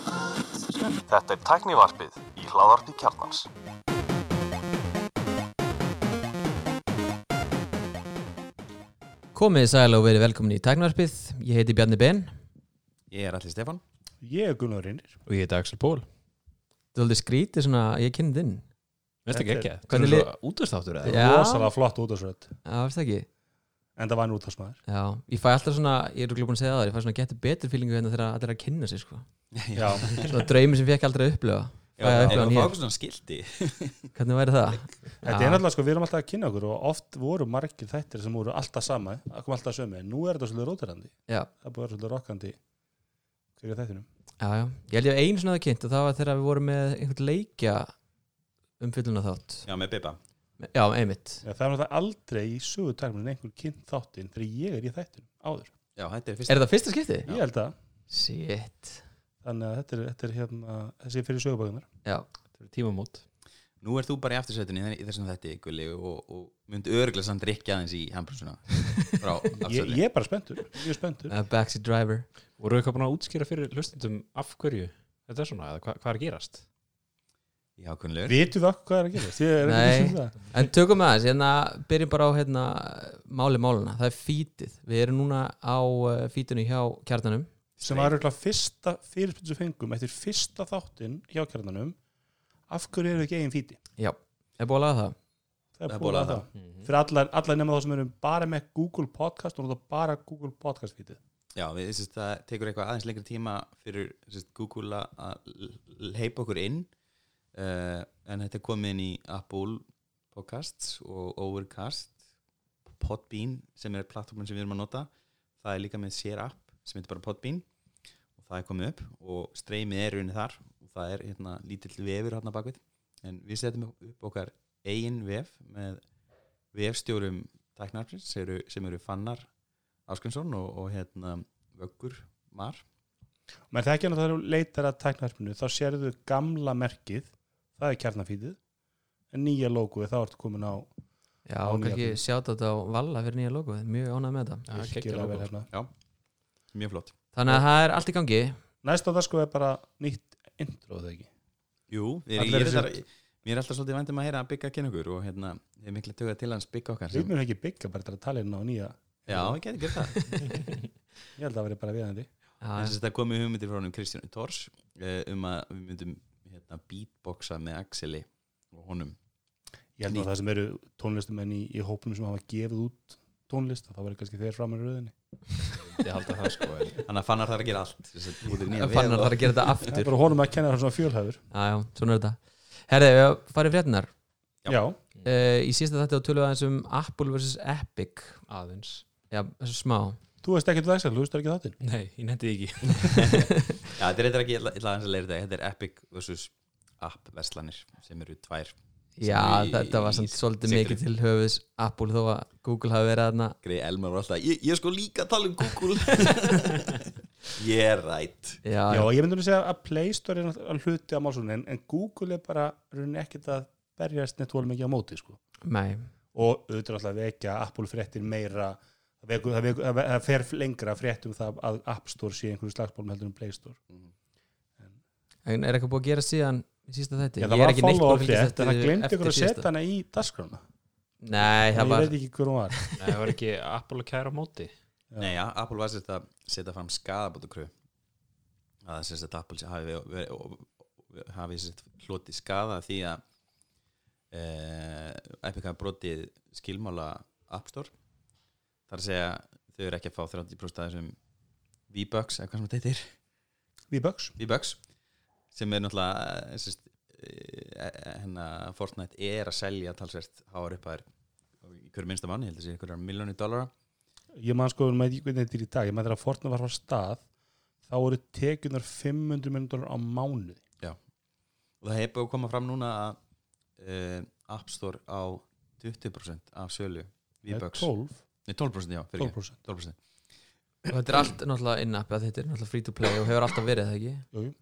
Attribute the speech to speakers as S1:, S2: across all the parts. S1: Þetta er tæknivarpið í hláðarpi kjarnans.
S2: Komið sæl og verið velkomin í Tæknarpið Ég heiti Bjarni Ben
S3: Ég er Alli Stefan
S4: Ég er Gunnar Reynir
S5: Og ég heiti Axel Pól
S2: Þú heldur skrítið svona, ég kynni þinn
S5: Veist ekki ekki að
S2: Hvernig
S5: Hvernig lið Útastáttur eða
S2: Já, það
S4: Rosalega flott útastrætt
S2: veist það ekki
S4: En það var nú útastmaður
S2: Já, ég fæ alltaf svona, ég er glúin að segja það Ég fæ svona getur betur fílingu hérna þegar allir er að kynna sig sko.
S4: Já,
S2: Svona draumi sem fékk aldrei að upplifa Fæ að upplifa hann
S3: En þú
S2: hér,
S3: fáið svona skildi
S2: hvernig væri það?
S4: þetta er náttúrulega sko, við erum alltaf að kynna okkur og oft voru margir þættir sem voru alltaf sama að koma alltaf sömu, en nú er þetta svolítið rótarandi
S2: Já,
S4: það er búið að vera svolítið rokkandi fyrir þættinum
S2: já, já Ég held ég að einu svona það kynnt og það var þegar við vorum með einhvern leikja um fylluna þátt
S3: Já, með Biba
S2: Já, einmitt
S4: Já, það er náttúrulega aldrei í sögu tækminn einhver kynnt þáttinn þegar ég er í þættinum áður
S3: Já, þetta er fyrst
S2: Er þetta fyrsta skipti?
S4: ég held að,
S2: Shit
S4: þannig að þetta er, þetta er hérna, þessi er fyrir sögubækunar
S2: Já,
S5: Tímamót
S3: Nú er þú bara í aftursætunni í þessum þetta Gulli og, og mynd örglega samt drikja aðeins í hambúrsuna frá
S4: ég,
S3: aftursætunni
S4: ég er bara spenntur, mjög spenntur
S2: uh, backseat driver
S5: Voru eitthvað búin að útskýra fyrir hlustendum af hverju Þetta er svona, eða hva, hvað er að gerast?
S3: Já, kunnulegur
S4: vitum við okkur hvað er að gerast Ég er ekki
S2: Nei.
S4: viss um það.
S2: En tökum aðeins, hérna byrjum bara á hérna, máli máluna, það er fítið Við erum núna á uh, fítinu hjá kjarnanum
S4: sem var auðvitað fyrsta fyrirspil sem við fengum eftir fyrsta þáttinn hjá kjarnanum af hverju eru ekki eigin fíti
S2: Já, er búið að laga það?
S4: það er búið að það fyrir allar, allar nema þá sem erum bara með Google Podcast og nota bara Google Podcast fítið
S3: Já, við, sérst, það tekur eitthvað aðeins lengri tíma fyrir sérst, Google að- að l- leipa okkur inn uh, en þetta er komið inn í Apple Podcasts og Overcast Podbean sem er plattformin sem við erum að nota það er líka með sér app sem heitir bara Podbean og það er komið upp og streymið er unni þar og það er hérna lítill vefur hérna bakvið en við setjum upp okkar eigin vef með vefstjórum tæknarfins sem eru, sem eru fannar Áskjönsson og, og hérna Vöggur Mar
S4: menn það ekki að það eru leitar að tæknaherpinu þá sérðu gamla merkið það er kjarnafítið en nýja logoið þá ertu komin á
S2: Já,
S4: Á
S2: og
S4: nýja
S2: kannski
S4: bíl.
S2: sjáta þetta á Valla fyrir nýja logoið, mjög ánægð með þetta
S5: Já,
S4: virkilega vel hérna.
S3: mjög flott
S2: Þannig að það er allt í gangi
S4: næst á það sko er bara nýtt intro það ekki
S3: Jú, er,
S4: Allir
S3: ég er
S4: þessi-
S3: þar, mér er alltaf svolítið vandum að heyra að bygga kynna okkur og hérna, ég er mikla tökað til hans bygga okkar
S4: við
S3: sem,
S4: munum ekki byggja bara til að tala inn á nýja
S3: Já, ég geti gert það
S4: ég held að það veri bara viðandi
S2: Já,
S3: Þess að þetta komið hugmyndir frá honum Kristján Tors eh, um að við myndum hérna, beatboxa með Axeli og honum
S4: ég held
S3: Nýtt.
S4: að það sem eru tónlistumenn í, í hópum sem hafa gefið út tónlist þá verður kannski þeir framar í röðinni
S5: Ég halda það sko en-
S3: Þannig að fannar þar að gera allt sem sagt, út í nýja
S2: en fannar
S3: vef
S2: þarf
S3: og-
S2: að gera þetta
S4: það er
S2: aftur
S4: bara honum að kenna það svona fjölhæfur
S2: Já, já, svona er þetta Herði, við farið fréttinar
S3: Já.
S4: já,
S2: uh, Í síðasta þetta á tölu aðeins um Apple vs. Epic
S5: Aðeins
S2: Já, þessu smá
S4: þú veist ekki til þess að þú veist ekki þáttinn
S5: Nei, ég nefndi ekki
S3: Já, þetta er eitthvað ekki, ég ætla- ég ætla aðeins að leira þetta Þetta er Epic vs. App verslanir sem eru tvær
S2: Já,
S3: Sem í-
S2: þetta var
S3: í-
S2: samt svolítið
S3: sigri.
S2: mikið til höfuðs Apple þó að Google hafi verið aðna
S3: Greið Elmar var alltaf, ég, ég er sko líka að tala um Google Ég er rætt
S2: Já,
S4: já, ég myndi nú að segja að Play Store er náttúrulega hluti á málsónu en, en Google er bara rauninni ekkert að berjast nettvóla mikið á móti sko.
S2: nei
S4: og auðvitað alltaf vekja Apple fréttir meira það, veku, það, veku, það ve- það fer lengra fréttum það að App Store sé einhverju slagsbólum heldur en Play Store
S2: En er eitthvað búið að gera síðan í síðasta þætti?
S4: já,
S2: Ég
S4: það
S2: er
S4: var
S2: ekki neitt búinn
S4: follow
S2: að
S4: up
S2: fylgjast
S4: frétt en það
S2: eftir-
S4: glemdi
S2: eftir
S4: ykkur að
S2: síðasta.
S4: setja hana í dasgrána
S2: Nei,
S4: ég
S2: það var
S4: veit ekki hver hún var
S5: Nei, það var ekki Apple að kæra á móti
S3: Nei, já, Apple var sérst að setja fram skadabótakröð að það sérst að Apple hafi, hafi, hafi sérst hlotið skada því að e, Epic hafi brotið skilmála App Store þar að segja þau eru ekki að fá 30% af þessum V-Bucks, eða hvað sem þetta heitir
S4: V-Bucks
S3: V-Bucks sem er náttúrulega eh, sérst, e, hérna, Fortnite er að selja talsvert háar upphæðir í hverju minnsta manni, heldur sér, einhverjar miljónir dollara
S4: ég man sko, maður ekki hvernig þetta er í dag ég maður þegar Fortnite var á stað þá voru tekjunar 500 miljón dólar á mánuði
S3: og það hefur komað fram núna að uh, App Store á 20% af sölu
S4: Nei,
S3: V-Bucks,
S4: 12,
S3: nei 12% já, fyrir
S4: 12%
S3: 12%.
S2: Og Þetta er allt náttúrulega innappi að þetta er náttúrulega free to play og hefur alltaf verið það ekki?
S4: jú, jú.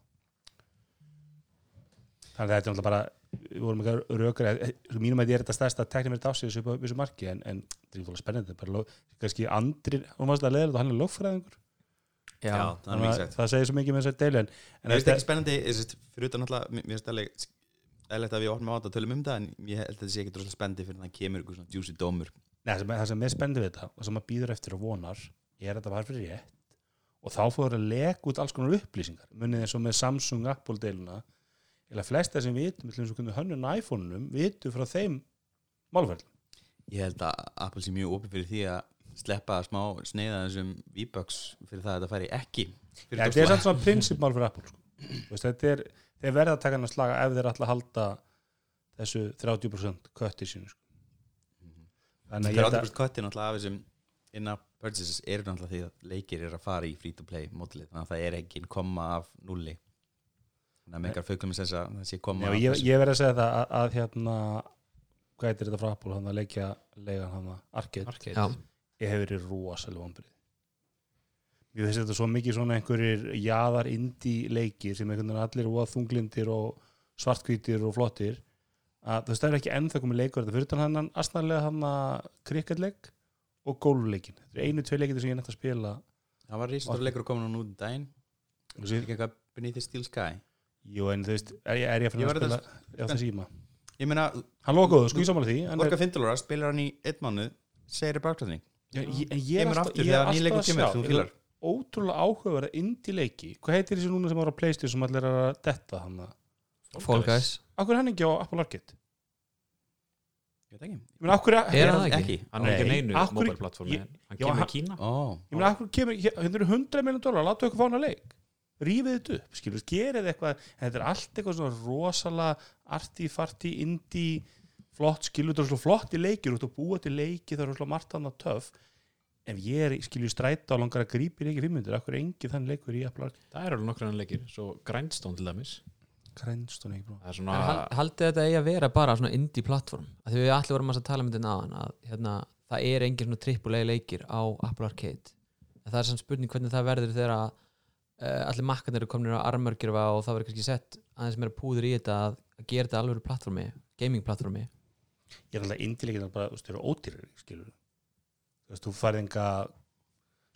S4: þannig að þetta er náttúrulega bara við vorum ekki rökur eh, mínum að ég er þetta stærsta teknir mér dásið þessu upp á vissu marki en, en þetta er náttúrulega spennandi bara, ló- kannski andri, hún varst að leða þetta og hann er lögfræðingur
S2: já, já.
S3: það er mikið
S4: það,
S3: sagt
S4: það segir svo mikið með þessar deilin
S3: Mér finnst ekki spennandi, ég sést, fyrir utan alltaf mér mér finnst alveg eðlægt að við opnum á þetta og tölum um það en ég held að þetta sé ekki droslega spennandi fyrir það kemur ykkur svona juicy dómur
S4: Nei, það sem, það sem er spennandi við þetta og sem maður býður eftir og vonar er að þetta var fyrir rétt og þá fóður að leka út alls konar upplýsingar munið eins og með Samsung Apple deiluna eða flesta sem vitum eins og hvernig hönnun iPhone-num vitum frá þeim málverð
S3: Ég held að Apple sé mjög opið fyrir því að sleppa smá sneiða þessum V-Bucks fyrir það að þetta færi ekki fyrir
S4: þetta er samt svona prinsipmál fyrir Apple sko. Þú veist, þetta er, þeir verða að taka hann að slaga ef þeir ætla að halda þessu 30% kött í sínu sko. þannig að ég held að
S3: 30% köttin alltaf af þessum in-app purchases eru náttúrulega því að leikir eru að fara í free-to-play mótlið þannig að það er ekki koma af nulli þannig að megar fauklum þess að það sé koma
S4: Já,
S3: af
S4: ég,
S3: þessu.
S4: ég verð að segja það að, að hérna hvað heitir þetta frá Apple hann að leikja leigan hann að Arcade
S5: Arcade.
S2: Já.
S4: ég hef verið rosalega vombrið ég veist þetta svo mikið svona einhverjir jaðar indie leikir sem einhvern veginn allir voða þunglindir og svartkvítir og flottir að þú veist það er ekki ennþá komið leikur þetta fyrir þannig hann astanlega hann að krikkatleik og gólfleikin þetta er einu tvei leikir sem ég er nætt að spila
S3: það var rísstofleikur að koma nú út um daginn
S4: Þessi-
S3: ekki eitthvað Beneath the Steel Sky
S4: jú en þú veist er ég, er ég að
S3: Ég
S4: fyrir að
S3: verð að-
S4: spila já það síma
S3: ég meina,
S4: hann lokaðu sko ég samanlega því en er-
S3: Orka Findalóra spilar hann í einn mánuð segir baklæðning,
S4: Já, ég, en ég er
S3: kemur
S4: alltaf,
S3: aftur
S4: ég er
S3: þegar
S4: alltaf
S3: nýleikur
S4: að sjá
S3: kemur, þú fílar
S4: ótrúlega áhugaverða indie leiki hvað heitir þessi núna sem var á Playstation sem allir er að detta hann að
S2: Fall Guys
S4: Akkur er hann ekki á Apple Arcade?
S3: ég veit ekki,
S4: Ég meina, akkur er,
S3: Eh.
S2: Er
S4: er
S2: hann það
S3: ekki,
S5: Hann er ekki
S4: Nei,
S5: neinu
S4: af hverju-
S5: mobile platformi
S4: ég-
S5: Hann
S4: já,
S5: kemur
S4: hann-
S5: í Kína
S3: ó
S4: Ég meina, akkur kemur, hér- hérna eru 100 miljón dólar, láta okkur fá hana leik Rífið þetta upp, skilur, gerið eitthvað en Þetta er allt eitthvað svona rosalega arti, farti, indie flott, skilur, þetta er svona flotti leikir út og búa til leiki, það er svona margt annað töf Ef ég er, skilur, stræta og langar að grípi leikir fimmyndir, akkur er engi þann leikur í Apple Arcade?
S5: Það er alveg nokkru hann leikir Svo Grindstone til dæmis
S4: Grænstun ekki, brú
S5: Það er
S2: En
S5: svona
S2: hal- haldið þetta eigi að vera bara svona indie platform að því við allir vorum að tala um þetta náðan að hérna, það er engin svona trippulegi leikir á Apple Arcade en það er samt spurning hvernig það verður þegar að uh, allir makkarnir eru komnir á armörgjörfa og það verður kannski sett aðeins meira púður í þetta að, að gera þetta alveg platformi, gaming platformi
S4: ég er alltaf indilegirna bara, þú veist, þau eru ódýrari skilur þú veist, þú farið enga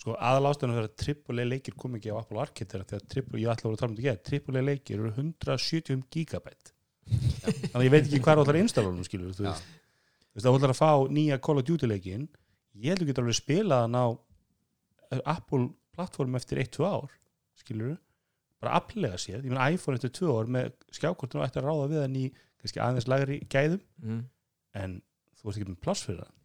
S4: sko aðalástunum þegar trippulei leikir kom ekki á Apple Arcade er að þegar trippulei, ég ætla að voru að tala um þetta ekki trippulei leikir eru 170 gigabæt þannig að ég veit ekki hvað er allar innstallunum skilur, þú
S3: Já.
S4: veist þú veist, það ætlar að fá nýja Call of Duty leikin ég held að þú getur alveg spilað hann á eh, Apple plattform eftir 1-2 ár, skilur bara aflega séð, ég menn iPhone eftir 2 ár með skjákortinu ætti að ráða við hann í kannski aðeins lagri gæðum
S2: mm.
S4: en þú veist ekki með pláss fyrir það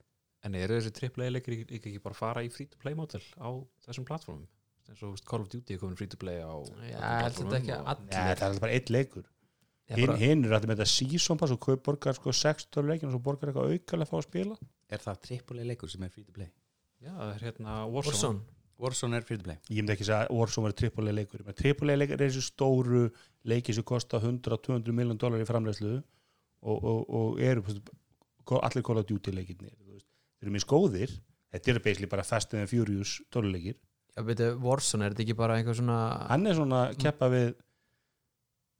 S5: En eru þessi AAA leikir ekki- ekki ekki bara að fara í free to play model á þessum platformum? eins og þú veist, Call of Duty er komin free to play á
S2: Já,
S5: öllum
S2: ég held þetta
S5: platformum
S2: ekki
S5: og-
S2: að
S4: Nei,
S2: allir
S4: það er alltaf bara einn leikur
S2: Já,
S4: hinn,
S2: bara-
S4: hinn er alltaf með þetta season pass og kaup borgar sko 60 leikin og svo borgar eitthvað aukalega að fá að spila
S3: er það trippulei leikur sem er free-to-play
S5: Já, það er hérna Warzone
S2: Warzone
S3: Warzone er free-to-play
S4: ég myndi ekki segja að Warzone er trippulega leikur með trippulega leikur er þessi stóru leiki sem kosta 100-200 miljón dólar í framleiðslu og, og, og eru þú veist, ko- allir Call of Duty leikirnir þú veist. þeir eru mjög skóðir þetta er basically bara Fast and Furious dólarleikir
S2: Já, beti, Warzone er þetta ekki bara einhver svona
S4: hann er svona að keppa við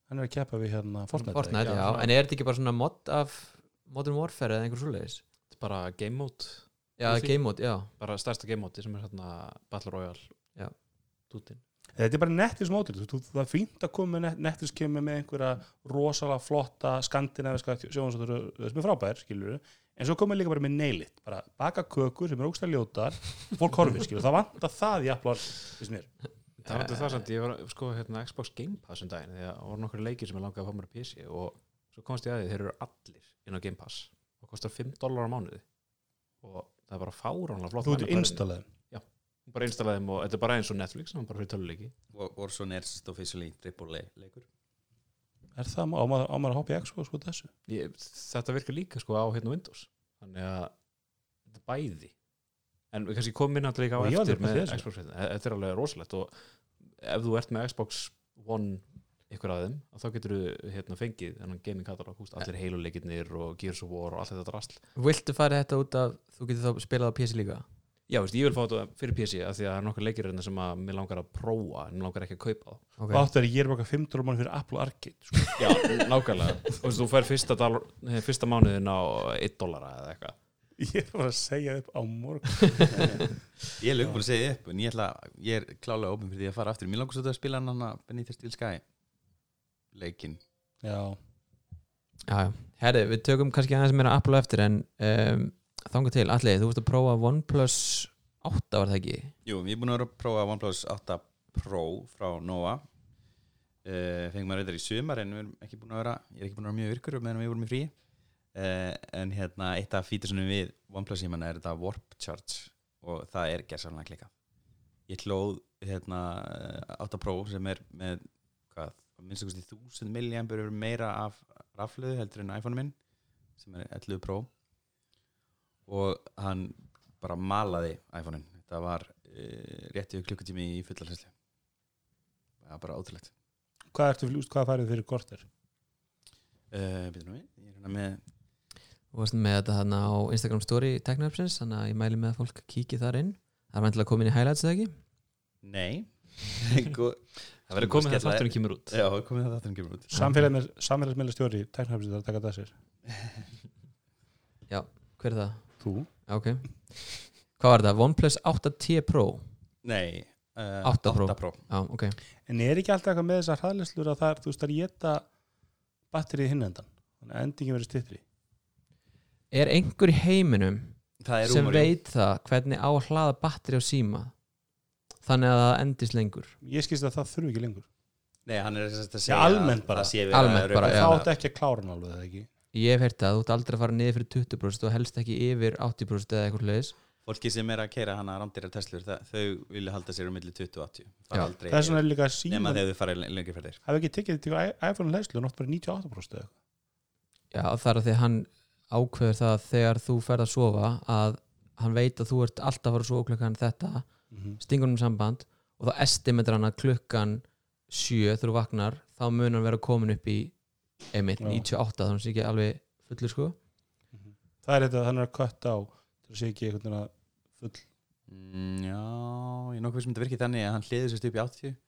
S4: hann er að keppa við hérna Fortnite,
S2: Fortnite, já, en er þetta ekki bara svona mod af Modern Warfare eða einhver svoleiðis
S5: Þetta er bara game mode
S2: Já,
S5: Því-
S2: game mode, já,
S5: bara stærsta game mode sem er hérna Battle Royale
S2: Já.
S5: Dútin
S4: Þetta er bara Netflix mótir, þú, þú- það er fínt að koma með Net- Netflix kemur með einhverja rosalega flotta skandinaviska sjónvansóttur sem er frábær, skilur en svo komum við líka bara með neilit, bara baka kökur sem er ógstæð ljótar, fólk horfið skilur, það vantar það í Apple Arcade, finnst mér.
S5: Það var um það samt, ég var að sko hérna Xbox Game Pass um daginn, því að voru nokkru leikir sem ég langaði að fá mér að PC og svo komst ég að því þeir eru allir inn á Game Pass og kostar 5 dólar á mánuði og það er bara fáránlega flott
S4: Þú ert
S5: mælikvarði.
S4: installaðið.
S5: bara installaði þeim og þetta er bara eins og Netflix sem er bara fyrir töluleiki
S3: War- Warzone er sérst officially trippulei leikur
S4: Er það, má maður, á maður að hoppa í Xbox út af þessu?
S5: ég, þetta virkar líka sko á hérna Windows þannig að þetta er bæði en við kannski komum inn að leika á
S4: Og ég
S5: eftir
S4: aldrei
S5: með
S4: pælt í þessu.
S5: Xbox hérna. E- þetta er alveg rosalegt og ef þú ert með Xbox One ykkur af þeim, að þá getur þú hérna fengið þennan gaming katalog, húst, allir heiluleikirnir og Gears of War og allt þetta drasl
S2: Viltu fara þetta út af, þú getur þá spilað á PC líka
S5: já, veist, ég vil fá þetta fyrir PC af því að það er nokkar leikir hérna sem að mér langar að prófa en mér langar ekki að kaupa þá
S2: okay.
S4: Okay. Áttu er að ég er bara 500 mann fyrir Apple Arcade, sko.
S5: eh, já, nákvæmlega, þú veist, þú fær fyrsta, dal, fyrsta mánuðin á 1 dollara eða eitthvað
S4: Ég er bara að segja upp á morgun
S3: Ég er lögum búin að segja upp en ég, ætla, ég er klálega opinn fyrir því að fara aftur Mér langar svolítið að spila hann hana Benítez Steel Sky leikinn
S4: Já,
S2: Já, já. Herri, við tökum kannski aðeins meira Apple á eftir en um, þanga til, allir, þú vorst að prófa OnePlus 8 var það ekki?
S3: Jú, ég er búin að vera að prófa OnePlus 8 Pro frá Nova uh, Fengum að reyndar í sumar en við erum ekki búin að vera Ég er ekki búin að vera mjög virkur meðan við vorum í frí uh, En hérna, eitt af fítisunum við OnePlus síman er þetta Warp Charge og það er gerðsannlega klika Ég hlóð hérna, eh, 8 Pro sem er með hvað, minnst að kosti 1000 milliampur meira af rafluðu heldur en iPhone minn sem er 11 Pro og hann bara malaði iPhone-in þetta var uh, rétt yfir klukkutími í fullalhæslu það var bara ótrúlegt
S4: hvað ertu fyrir, úst, hvað færið fyrir korter?
S3: uh, býtum við, ég er hérna með
S2: Þú varst með þetta þarna á Instagram story teknaupsins, þannig að ég mæli með að fólk kíki þar inn Það er vantilega komin í highlights eða ekki?
S3: nei Sko,
S5: Það verður komið þegar
S2: um
S5: þátturinn kemur út
S3: já, komið um það þátturinn kemur út
S4: Samfélagsmiðla stjóri, teknarhafsið að taka þetta að sér
S2: Hver er það?
S4: Þú?
S2: Já, Ok Hvað var það? OnePlus 8T Pro?
S3: nei, uh,
S2: 8 Pro.
S3: Pro.
S2: Já, ok
S4: En er ekki alltaf eitthvað með þessar hraðleyslur að það er, þú veist, það er geta batterið hinn endan Þannig að endingin verið stittri
S2: Er einhver í heiminum
S3: það er
S2: sem
S3: rúmur í-
S2: veit það hvernig á að hlaða batteri á síma þannig að það endist lengur
S4: Ég skýrst að það þurfi ekki lengur
S3: nei, hann er sem sagt
S4: Já,
S3: að segja
S4: almennt bara.
S2: Almennt bara, Já.
S4: Það átt ekki að klára hann alveg, eða ekki?
S2: ég hef heyrt að þú ert aldrei að fara niður fyrir 20% og helst ekki yfir 80% eða eitthvað leis
S3: fólki sem er að keira hana rándir að Tesla þau vilja halda sér um milli 20 og 80
S2: Já.
S3: fara aldrei
S4: Það er svona líka
S3: nema
S4: síma
S3: þegar þau fara lengi fyrir þér
S4: Hafi ekki tekið til iPhone-leyslu, nátt bara 98% eða eitthvað
S2: já það er að því að hann ákveður það að þegar þú ferð að sofa að hann veit að þú ert alltaf að fara að sofa klukkan þetta, stingur um samband og þá estimetur hann að klukkan 7 þegar þú vaknar þá mun hann vera komin upp í einmitt,
S4: Já.
S2: 98 þannig sé ekki alveg fullur sko
S4: Það er þetta, þannig að kött á Það sé ekki einhvern veginn að full
S3: Mm, já, ég er nokkuð sem þetta virkið þannig að hann hliður sérst upp í 80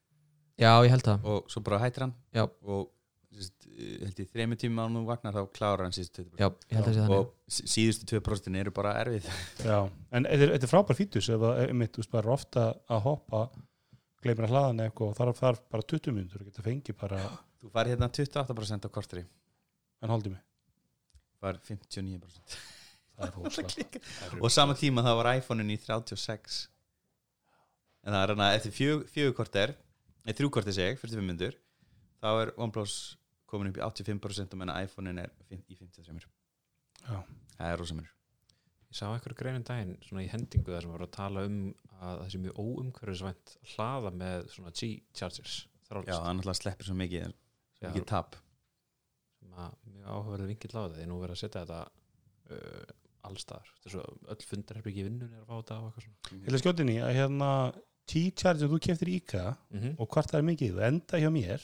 S2: já ég held það,
S3: og svo bara hættir hann
S2: Já.
S3: og sérst, held ég þremur tíma án og vagnar þá klárar hann síðustu 20%
S2: já ég held það sé þannig
S3: og sí- síðustu 2% eru bara erfið
S4: Já, en þetta er- þetta er frábær fítus ef það er mitt, þú veist, bara ofta að hoppa gleymir að hlaðan eitthvað og þarf, þarf bara 20 minnur, geta fengið bara
S3: þú fari hérna 28% á kortri
S4: en haldið mig
S3: var 59%
S4: Það er hóðslega
S3: og sama tíma þá var iPhone-in í 36 en það er hann að eftir fjög, fjögur korter eða þrjú korter seg, 45 myndur þá er OnePlus komin upp í 85% og menna iPhone-in er fim- í 53
S4: Já.
S3: það er rosamur
S5: Ég sá eitthvað greinum daginn svona í hendingu þar sem var að tala um að það sé mjög óumhverfisvænt að hlaða með svona G-chargers
S3: já,
S5: þrálist
S3: hann alltaf sleppir svo mikið, svo
S5: Já.
S3: mikið tap
S5: sem að mjög áhugaverði vingill á þetta því nú verið að setja þetta uh, allstar þessu öll fundarherbyggi vinnun er að fá þetta á eitthvað svona
S4: Ég ætla skjótinni að hérna T-Charge sem þú keftir íka og kvartar mikið og enda hjá mér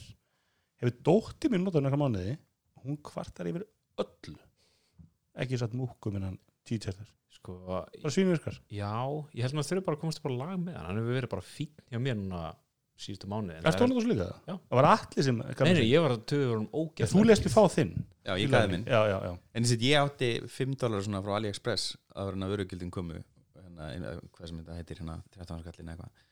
S4: hefur dótti mín notaður nekra mánuði hún kvartar yfir öllu ekki satt múku minnan T-Charger
S5: sko,
S4: bara svínvirkar
S5: já, ég held maður þurfi bara að komast upp á lag með hann hann hefur verið bara fín hjá mér núna síðustu mánuði en
S4: Ertu
S5: það
S4: hann þessu líka?
S5: Já.
S4: Það var allir sem
S5: er- Nei, nei, ég var að töðu um
S4: ég,
S5: ógæð
S4: Þú lest við fá þinn
S3: já, ég gæði minn
S4: Já, já, já
S3: En þess að ég átti 5 dólar svona frá AliExpress að vera hann að vörugildin komu hérna, inn- hvað sem þetta heitir hérna 13 skallin eitthvað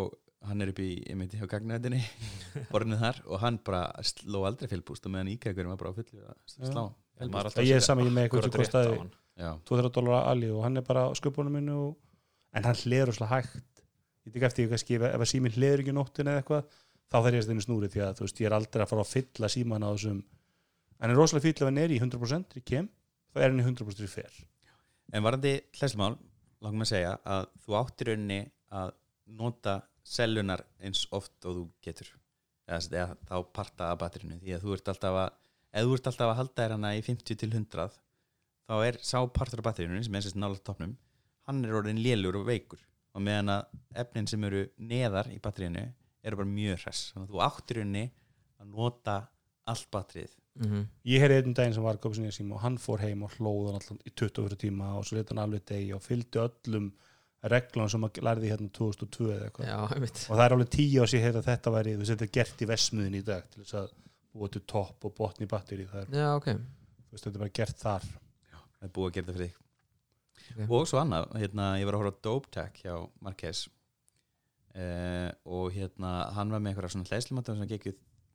S3: og hann er upp í, ég meinti hjá gagnættinni borðinu þar og hann bara sló aldrei fylgbúst og meðan íkækurinn var bara á fullu að slá
S4: Ég er saman, ég er með eitthvað sem kostaði-
S3: Já,
S4: 2-3 dólar ali og hann er bara á sköpunum minu og... en hann hleður svolítið hægt ég tek eftir ég kannski ef, ef að síminn hleður ekki nóttin eða eitthvað þá þarf ég að steinu snúri því að þú veist ég er aldrei að fara að fylla síman á þessum hann er rosalega fyll ef hann er í 100% í kem, þá er hann í 100% í fer
S3: en varandi hlæslumál langum að segja að þú áttir rauninni að nota sellunar eins oft og þú getur eða, sem sagt, eða þá parta að batterinu því að þú ert alltaf að eða þú ert alltaf að halda þér hana í 50 til 100 þá er sá partur af batterinu sem er sérst nála topnum hann er orðin lélur og veikur og meðan að efnin sem eru neðar í batterinu eru bara mjög hress þannig að þú áttir rauninni að nota allt batterið
S2: mm
S4: ég heyrði einn daginn sem var að köpa sér nýja síma og hann fór heim og hlóð hann allan í 24 tíma og svo leta hann alveg degi og fylgdi öllum reglum sem að lærði hérna 2002 eða eitthvað
S2: já, einmitt
S4: og það er alveg tíu ás ég heyrði að þetta væri þú veist þetta er gert í vesmiðin í dag til þess að búa til topp og botn í batteri það er
S2: já, ok
S4: þú veist, þetta er bara gert þar
S3: það er búið að gera þetta fyrir þig og svo annað, hérna, ég var að horfa á Dope Tech hjá Marquez uh, og hérna, hann var með einhverja svona hlæslumatum sem gekk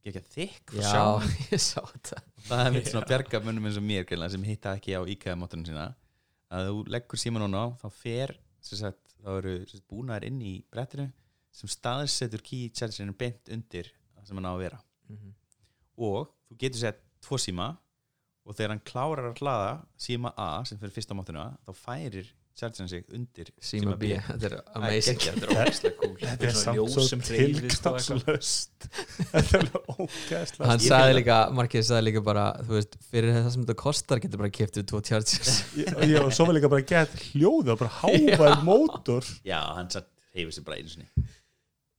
S3: gekk að þykk frá
S2: Já,
S3: sjónum.
S2: ég sá þetta
S3: það er mitt svona bjarga mönnum eins og mér greinlega, sem hitta ekki á IKEA-mátunum sína að þú leggur síman hún á þá fer, sem sagt, þá eru sem sagt, búnaðir inn í brettinu sem staðsetur key chargerinu beint undir það sem hann á að vera
S2: Mhm.
S3: og þú getur sett tvo síma og þegar hann klárar að hlaða síma A sem fyrir fyrsta mátuna þá færir chargerinu sig undir
S2: Síma B, þetta er
S3: Það er
S2: amazing
S3: geggjað, þetta er ógeðslega cool.
S4: Þetta er
S5: Svona
S4: samt
S5: ljós
S4: svo
S5: sem dreifist og eitthvað.
S4: tilgangslöst Þetta er alveg ógæðslega
S2: Hann
S3: Ég
S2: sagði
S3: fíla
S2: líka, Markið sagði líka bara þú veist, fyrir það sem þetta kostar getur bara kiftið tvo tjartjars
S4: Ég ég var svo vel líka bara gett hljóða bara hávæð mótor
S3: Já, hann satt hefur sér bara einu sinni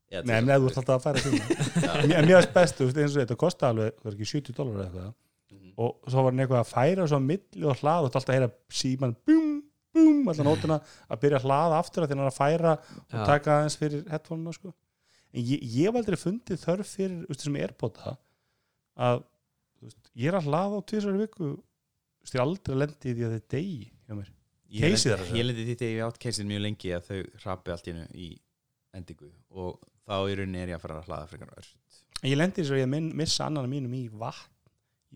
S3: Já,
S4: Nei, en
S3: þetta
S4: ef þú ert alltaf að færa síma En mér varst bestu, þú veist, eins og þetta kosti alveg var ekki 70 dólar eða eitthvað og svo var hann eitthvað að færa svo á milli og hlaða og þú ert alltaf að heyra síman búm, búm, alltaf nótuna að byrja að hlaða aftur að því hann er að færa og
S2: Já.
S4: taka aðeins fyrir headphone sko. en ég, ég hef aldrei fundið þörf fyrir þú veist, þessum airpota að þú veist, ég er að hlaða á tvisar viku þú veist, ég er aldrei að lendi í því að þetta er degi hjá mér
S3: Ég
S4: Keisið
S3: lendi-
S4: þar að segja.
S3: Ég lendi því þegar ég átt keisið mjög lengi að þau hrapi allt í hennu í endingu og þá í rauninni er ég að fara að hlaða frekar ört
S4: En ég lendi í þess að ég minn, missa annan mínum í vatn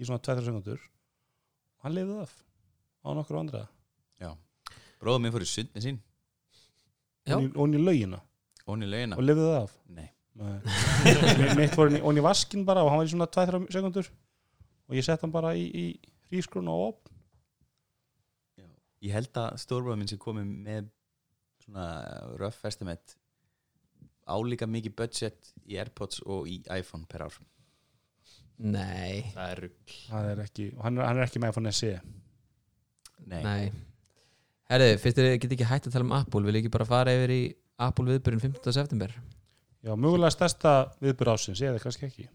S4: í svona 2-3 sekundur og hann lifði það af á nokkur andra
S3: Bróðum minn fór í sund með sín
S2: Já.
S4: og hún í laugina
S3: og hún í laugina
S4: og lifði það af
S3: Nei,
S4: Nei. mitt voru hann í vaskin bara og hann var í svona 2-3 sekundur og ég sett hann bara í, í rískrun og op
S3: ég held að stórbróðum minn sem komið með svona rough estimate álíka mikið budget í Airpods og í iPhone per ár
S2: Nei,
S5: það er rugg
S4: það er ekki, og hann er, hann er ekki með iPhone E. SE
S3: Nei,
S2: nei Herðu, fyrst er þið ekki hægt að tala um Apple vil ekki bara fara yfir í Apple viðbyrjun 15. september
S4: já, mögulega stærsta viðbyrð ásins ég er það kannski ekki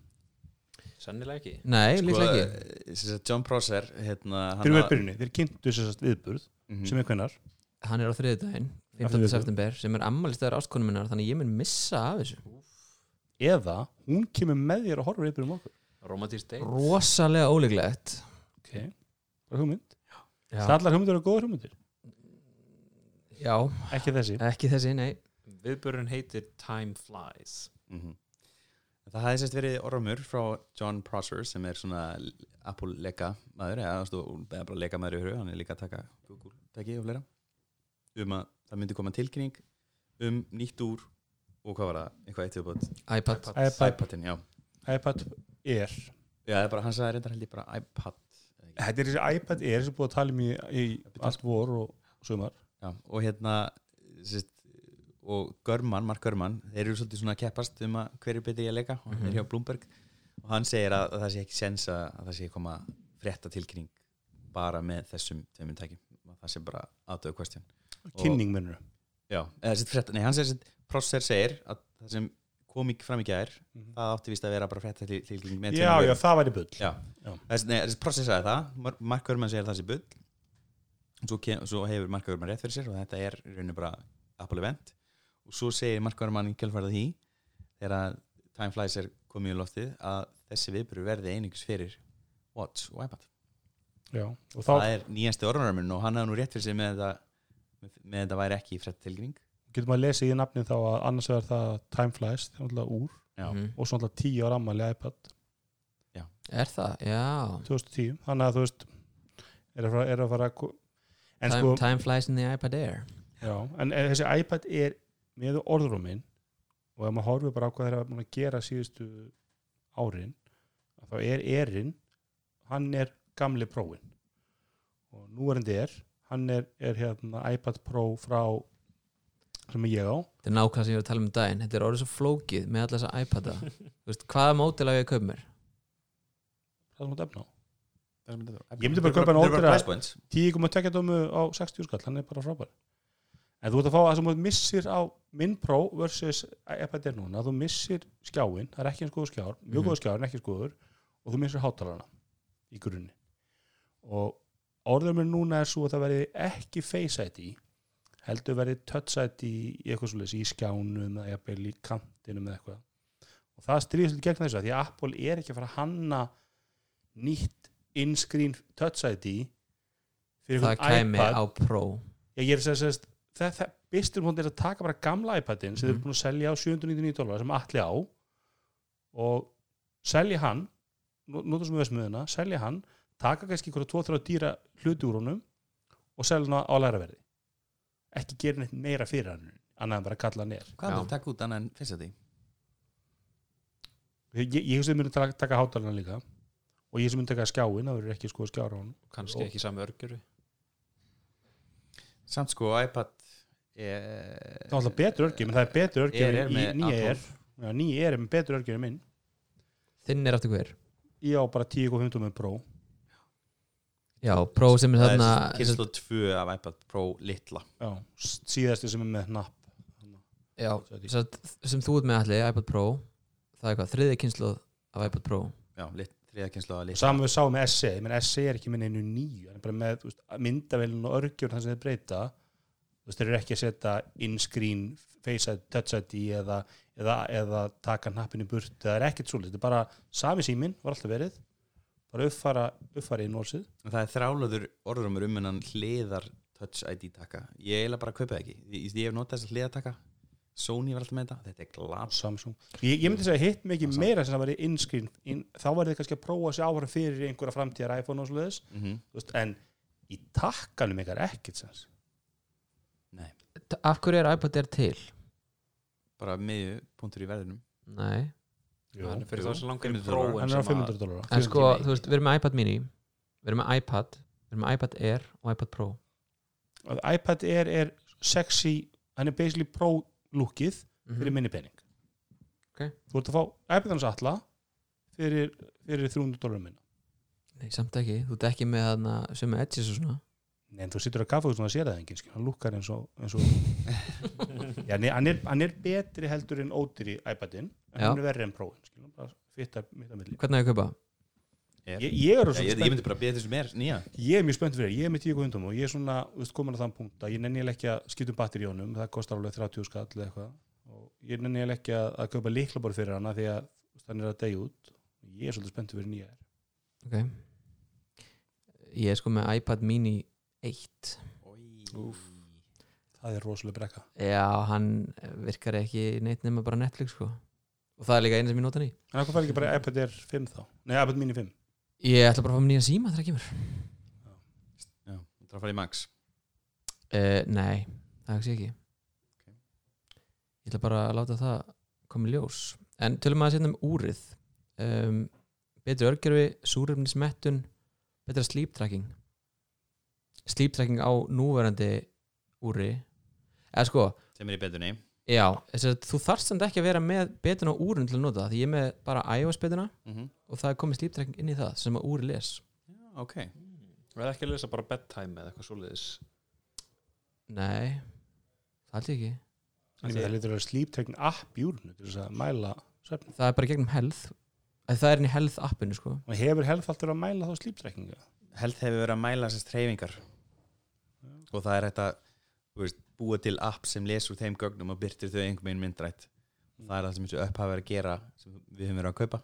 S5: sennilega ekki
S2: Nei,
S3: Sko,
S2: líklega ekki
S3: eh, sem sagt, John Prosser hérna, hann
S4: fyrir
S3: að-
S4: með byrjunni, þeir kynntu þessast viðbyrð
S3: Mhm.
S4: sem er hvennar
S2: Hann er á þriðudaginn,
S4: Á
S2: 15.
S4: þriðjudaginn.
S2: september sem er ammælistæður áskonum minnar þannig að ég mun missa af þessu
S4: eða hún kemur með þér að horfa viðbyrðum okkur
S5: romantísk date
S2: Rosalega ólíklegt
S4: ok, bara hugmynd
S2: Já.
S4: það allar hugmyndir eru góður hugmyndir,
S2: Já,
S4: ekki þessi
S2: ekki þessi, nei
S5: viðbörun heitir Time Flies
S3: Mm Það hefði sérst verið ormur frá John Prosser sem er svona Apple leka maður eða, þú veist, eða bara leka maður í höru, hann er líka að taka Google tæki og fleira um að það myndi koma tilkynning um nýtt úr og hvað var það, eitthvað eitt viðbót
S2: iPad,
S4: iPad,
S3: iPadin, já,
S4: iPad Air
S3: já það er bara, hann sagði reyndar held ég bara iPad
S4: þetta er þessi iPad Air sem er búið að tala um í, í allt vor og sumar
S3: já, og hérna sérst, og Görman, Mark Görman þeir eru svolítið svona að keppast um að hverju betri ég að leka og hann
S4: Mhm.
S3: er hjá Bloomberg og hann segir að, að það sé ekki sens að, að það sé koma frétta tilkynning bara með þessum tveimum tækjum Að það sé bara aðdöðu question
S4: kynning minnur
S3: já, eða sérst frétta, nei hann segir sérst Prosser segir að það sem kom í fram í gær
S4: Mhm.
S3: það átti vist að vera bara frétta til- tilkynning með
S4: já,
S3: tveimur
S4: já, það væri bull
S3: Já,
S4: Já.
S3: Þessi, nei, þessi process sagði það Mar- Mark Örman segir það sé bull og svo, kem, svo hefur Mark Örman rétt fyrir sér og þetta er í rauninni bara Apple event og svo segir Mark Örman í kjálfærið því þegar að Time Flies er komið í loftið að þessi viðbyrju verði einingus fyrir Watch og iPad
S4: Já, og þá
S3: það er nýjasti orðanarminn og hann hefði nú rétt fyrir sér með þetta með þetta væri ekki frétt tilgjöning
S4: getur maður að lesa í nafnin þá að annars vegar það time flies, það er náttúrulega úr
S3: Já.
S2: Mhm.
S4: og svo náttúrulega 10 ára ammali iPad
S2: Er það? Já
S4: 2010, þannig að þú veist er að fara, er að, fara að ko- en
S2: time,
S4: sko,
S2: time flies in the iPad Air
S4: já, en er- þessi iPad er með orðrúmin og ef maður horfir bara á hvað þeirra er búin að gera síðustu árin að þá er erinn hann er gamli prófin og núverandi er hann er, er hérna iPad Pro frá sem ég á
S2: Þetta er nákvæmst sem ég var að tala um daginn Þetta er orðið svo flókið með alla þessa iPada Þú veist, Hvaða mótil á ég að kaupa mér?
S4: það er svona efna á
S3: Ég
S4: Ég myndi bara kaupa hann ódýra-
S3: points
S4: 10,2 dómu á 60 skall hann er bara frábær en þú ert að fá að þú missir á minn Pro versus iPad Air núna þú missir skjáin, það er ekki eins góður skjár mjög
S2: Mhm.
S4: góður skjár en ekki eins góður og þú missir hátalarna í grunni og orður mér núna er svo að það verði ekki Face ID heldur verði Touch ID í eitthvað svolítið í skjánum eða jafnvel í kantinum eða eitthvað og það stríðir svolítið gegn þessu af því að Apple er ekki að fara að hanna nýtt in-screen Touch ID fyrir
S2: Það
S4: einhvern
S2: kæmi
S4: iPad
S2: á Pro
S4: ég er sem sagt það, það, bestur hún er að taka bara gamla iPadin
S3: Mhm.
S4: sem þeir eru búin að selja á 799 dólar sem allir á og selja hann nota sem við smuðuna, selja hann taka kannski ykkur 2-3 dýra hluti úr honum og selja hann á læraverði ekki gera neitt meira fyrir hann annað en bara kalla hann er
S3: Hvað
S5: Já.
S3: er það að taka út annað en fyrst að því?
S4: ég, ég, ég hugsa að myndi taka, taka hátalarna líka og ég sem myndi taka skjáin, það verður ekki sko skjára á hann
S5: kannski ekki sami örgjur
S3: Samt sko iPad eh, er,
S4: það er alltaf betur örgjum, en það er betur
S3: er,
S4: örgjum
S3: er
S4: í
S3: með
S4: nýja er
S3: A12.
S4: já, nýja er er með betur örgjum en minn
S2: þinn er aftur hver
S4: ég á bara 10.15 með Pro
S2: já, Pro sem er
S3: Það er
S2: þarna
S3: kynslu 2 af iPad Pro litla
S4: já, s- síðasti sem er með hnapp
S2: já, sem, sagt, sem þú ert með allir, iPad Pro það er hvað, þriði kynsluð af iPad Pro
S3: Já, lit, þriða kynslu af
S4: og
S3: litla
S4: saman við sáum með SE, ég menn SE er ekki með einu nýju, hann er bara með þú veist, myndavélun og örgjur þannig sem þeir breyta þú veist, þeir eru ekki að setja in-screen Face ID, Touch ID eða, eða, eða taka hnappinu burt það er ekkert svolítið, þetta er bara sami síminn var alltaf verið, bara uppfara uppfara í nórsið
S3: En Það er þrálaður orðrumur um en hann hliðar Touch ID taka Ég eiginlega bara kaupa það ekki Ég, ég hef notað þess að hliða taka Sony var alltaf með þetta Þetta er
S4: og
S3: glas
S4: Samsung ég, ég myndi segja hitt mikið
S3: Samsung.
S4: meira sem það væri innscreen in, þá væri þið kannski að prófa sér áfram fyrir einhverja framtíðar iPhone og svoleiðis
S3: mm -hmm.
S4: þú veist, en í takkanum ykkar ekkert sens
S3: Nei,
S2: T- af hverju er iPad Air til?
S3: bara miðju punktur í verðinum
S2: nei,
S5: hann er fyrir
S3: jú.
S5: það sem langar í
S3: 500 dólar.
S5: próin
S4: hann er á
S5: sem að
S4: 500 dólar
S2: en sko,
S5: tíma í.
S2: þú veist, við erum með iPad mini við erum með iPad, við erum með iPad Air og iPad Pro
S4: iPad Air er sexy hann er basically pro lookið fyrir minni pening
S2: Mhm. Ok.
S4: þú ert að fá iPad hans alla fyrir, fyrir 300 dólar minna
S2: nei, samt ekki, þú ert ekki með þarna sem er edges og svona
S4: Nei, en þú sittur að kaffa þú svona að sér það enginn skilur. hann lukkar eins og, eins og... Já, nei, hann, er, hann er betri heldur en ódýr í iPadin en
S2: Já.
S4: hann er verri en próin skilur, bara fittar mitt að milli
S2: hvernig er ég að kaupa?
S3: er,
S4: ég, ég er
S3: Já,
S4: svona
S3: ég, ég
S4: spennt,
S3: myndi bara beða þessum er nýja
S4: ég er mjög spennt fyrir þér. ég er með tíu hundum og ég er svona þú veist, komin að þann punkt að ég nenni eiginlega ekki að skipta um batteri í honum það kostar alveg 30 skall eða eitthvað og ég nenni eiginlega ekki að, að kaupa liklabor fyrir hana því að þú veist, hann er að degja út ég er svolítið spennt fyrir nýja
S2: ok ég er sko með iPad mini 1
S3: Úf.
S4: það er rosalega brekka
S2: já, hann virkar ekki neitt nema bara Netflix sko og það er líka einu sem ég nota hann í
S4: en hvað fær ekki bara iPad Air 5 þá nei, iPad mini 5
S2: ég ætla bara að fá mér nýjan síma þegar það kemur
S3: Já, það er að fara í Max
S2: uh, nei, það hugsi ég ekki
S3: Ok.
S2: ég ætla bara að láta það koma í ljós en tölum að setja um úrið um, betri örgjörfi, súrumnismettun betra sleep tracking sleep tracking á núverandi úri eða sko,
S3: sem er í betunni
S2: já þess að þú þarft samt ekki að vera með betun á úrun til að nota það, því ég er með bara iOS betuna
S3: mm -hmm.
S2: og það er komið sleep tracking inn í það sem að úri les
S3: Ok,
S5: verða ekki að lesa bara bedtime eða eitthvað svoleiðis
S2: nei, það held ég ekki
S4: En ég meina, það lítur að vera sleep tracking app í úrinu til þess að mæla svefn
S2: það er bara gegnum health að það er inn í health appinu sko
S4: og hefur helf alltaf að mæla þá sleep tracking eða?
S3: held hefur verið að mæla þessast hreyfingar og það er hægt að þú veist, búa til app sem lesur þeim gögnum og byrtir þau einhver meginn myndrætt það er það sem þessu upphaf er að gera sem við höfum verið að kaupa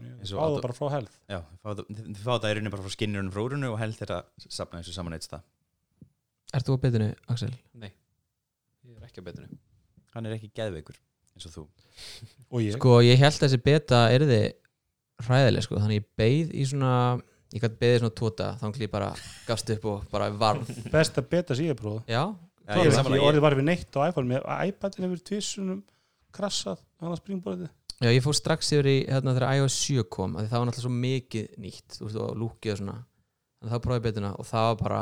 S3: Eins
S4: Ég
S3: og
S4: fá það
S3: auto-
S4: bara frá helf
S3: Já, þau fá það- þau fá það í rauninni bara frá skinnurinn frá úrinu og held þetta safna þessu saman eitt stað
S2: Ert þú á betinu, Axel?
S5: nei, ég er ekki að betinu
S3: hann er ekki geðveikur eins og þú
S4: og ég
S2: Sko, ég held að þessi beta erði hræðileg, sko, þannig ég beið í svona ég gætt beðið í svona tóta þannig ég bara gafst upp og bara varð
S4: besta beta sem ég hef prófað
S2: Já,
S3: Já,
S4: ég,
S3: ég er
S4: ég,
S3: sammála,
S4: ég
S3: ég-
S4: orðið var við neitt á iPhone með iPadin hefur tvissunum krassað hann að springborðið
S2: Já ég fór strax yfir í hérna þegar iOS 7 kom af því það var náttúrulega svo mikið nýtt þú veist, og lúkið og svona þannig þá prófaði ég betuna og það var bara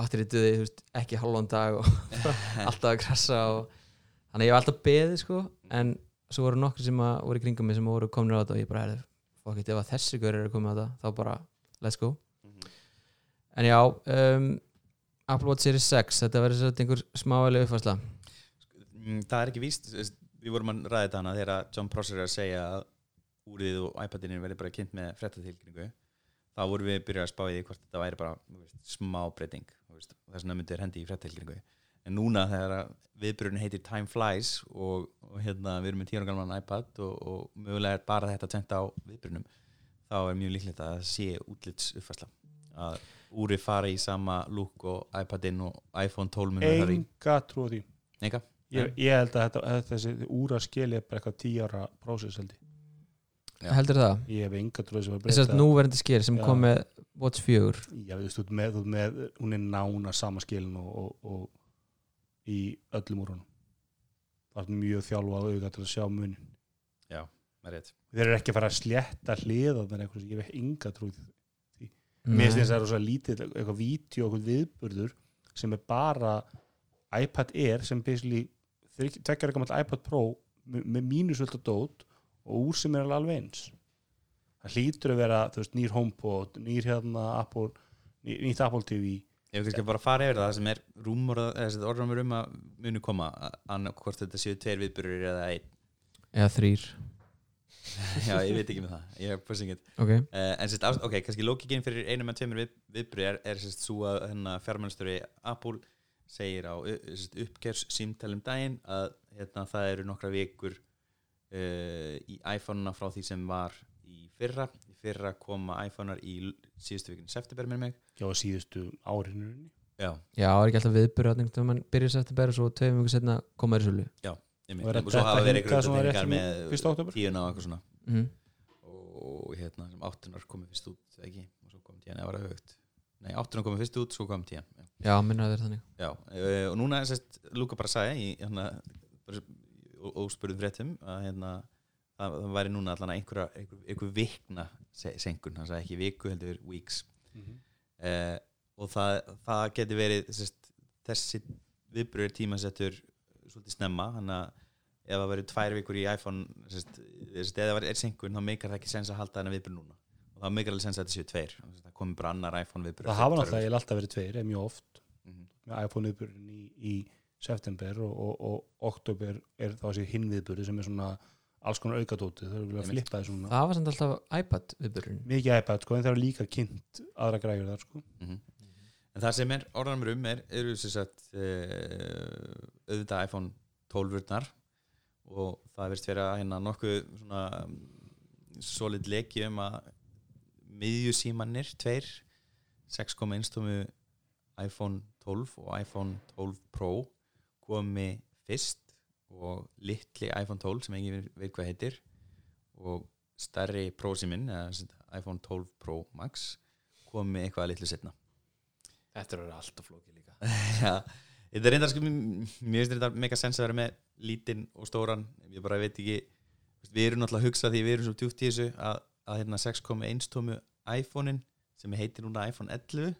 S2: batterið duði, þú veist, ekki halvan dag og alltaf að krassa og þannig að ég var alltaf beðið, sko en svo voru nokkur sem að, voru í kringum mig sem voru komin á þetta og ég bara, herðu, fokk it, ef að þessi gaur eru að koma á þetta, þá bara, let's go
S4: Mhm.
S2: en já um, Apple Watch Series 6, þetta verður svo einhver smáælega uppfærsla
S3: Mm, það er ekki víst þú veist, við vorum að ræða þetta hana þegar að John Prosser er að segja að úrið og iPadinir verði bara kynnt með frettatilkningu þá vorum við byrjað að spá í því hvort þetta væri bara þú veist, smá breyting þú veist, og þess vegna myndir hendi í frettatilkningu en núna þegar viðbyrjun heitir Time Flies og, og hérna, við erum með 10 ára gamlan iPad og, og mögulega er bara þetta tvennt á viðbyrjunum þá er mjög líklegt að það sé útlits uppfærsla að úri fara í sama lúk og iPadinn og iPhone 12 munur þar í
S4: enga trú á því
S3: Enga?
S4: ég, ég held að þetta, að þessi úra skeli er bara eitthvað tíjara prósess held ég
S3: Já.
S2: heldur það
S4: ég hef enga trú á þessi að
S2: þess að
S4: breyta
S2: núverandi sker sem
S4: Já.
S2: kom með Watch 4
S4: já, þú veist, þú ert með, þú ert með, hún er nána sama skilin og, og, og í öllum úr honum það er mjög þjálfað auðvitað til að sjá munin
S3: Það er rétt.
S4: þeir eru ekki að fara að slétta hliða þannig eitthvað, ég hef enga trú í því. mér finnst þess að það er svo lítið eitthvað víti og eitthvað viðburður sem er bara iPad Air sem basically þeir tekjar eitthvað iPad Pro me- með mínusvölda dót og úr sem er alveg alveg eins það hlýtur að vera þú veist, nýr HomePod, nýr hérna Apple, ný, nýtt Apple TV
S3: Ef við skal bara fara yfir það sem er rúmur eða orðramur um að munu koma annað hvort þetta séu tveir viðbyrjur eða einn
S2: Mm. eða þrýr
S3: Já, ég veit ekki með það, ég er pussingið
S2: ok
S3: uh, En sérst, ást- ok, kannski lókikinn fyrir einum en tveimur við, viðbyrjur er, er sérst svo að hérna, fjármennsturi Apple segir á eh, uppgjörs símtælum um daginn að hérna, það eru nokkra vikur uh, í iPhone-una frá því sem var í fyrra í fyrra koma iPhone-ar í l- síðustu vikinu september með mig
S4: já, á síðustu árinu
S3: Já,
S2: já, það er ekki alltaf viðbyrðatning þegar mann byrjar sætt að bæra svo tveim vikur setna koma þér í sölu
S3: ég
S4: Og er
S3: mynd, og
S4: að
S3: svo
S4: detta
S3: hafa verið
S4: hingað
S3: einhverjum
S4: svona rétt
S3: undantekningar
S4: fyrir fyrsta október?
S3: með tíuna og eitthvað svona
S4: Mhm.
S2: mm.
S3: og hérna sem áttunar komið fyrst út eða ekki, og svo kom tíðan eða var það högt nei, áttunar komið fyrst út, svo kom tíðan já,
S2: já, minna það er þannig
S3: já. eh, og núna sérst, Lúka bara sagði í hérna bara í ó- óspurðum fréttum að hérna það, það væri núna allan einhverja einhver, einhver vikna se- senkun, hann sagði ekki viku heldur weeks eh, og það, það geti verið sérst, þessi viðbröður tímasettur svolítið snemma þannig að ef það verið tvær vikur í iPhone sérst, sérst, eða það er senkun þá meikar það ekki sens að halda þennan viðbröð núna og það meikar alveg sens að þetta séu tveir Sérst, það komi bara annar iPhone viðbröð
S4: það hafa náttúrulega eiginlega alltaf verið tveir, eða mjög oft
S3: Mhm.
S4: með iPhone viðburðin í, í september og, og, og oktober er þá þessi hinn viðburði sem er svona alls konar aukadótið, þau eru vilja að
S3: Einmitt.
S4: flippa þessu núna
S2: það var samt alltaf iPad viðbyrðin
S4: mikið iPad sko, en það eru líka kynnt aðra græður þar sko
S3: Mhm. En það sem er orðanum um er, eru sem sagt uh, auðvitað iPhone 12-urnar og það verðist vera hérna nokkuð svona mm, solid leki um að miðjusímanir, tveir 6,1 tómu iPhone 12 og iPhone 12 Pro komi fyrst og litli iPhone 12 sem engin veit hvað heitir og stærri Pro síminn, eða sem sagt iPhone 12 Pro Max komi eitthvað litlu setna
S5: Þetta er alltaf flókið líka
S3: Já, þetta er reyndar sko mér finnst þetta mega sens að vera með lítinn og stóran, ég bara veit ekki við erum náttúrulega að hugsa því við erum svo djúpt í þessu að, að hérna 6.1 tómu iPhone-in sem heitir núna iPhone 11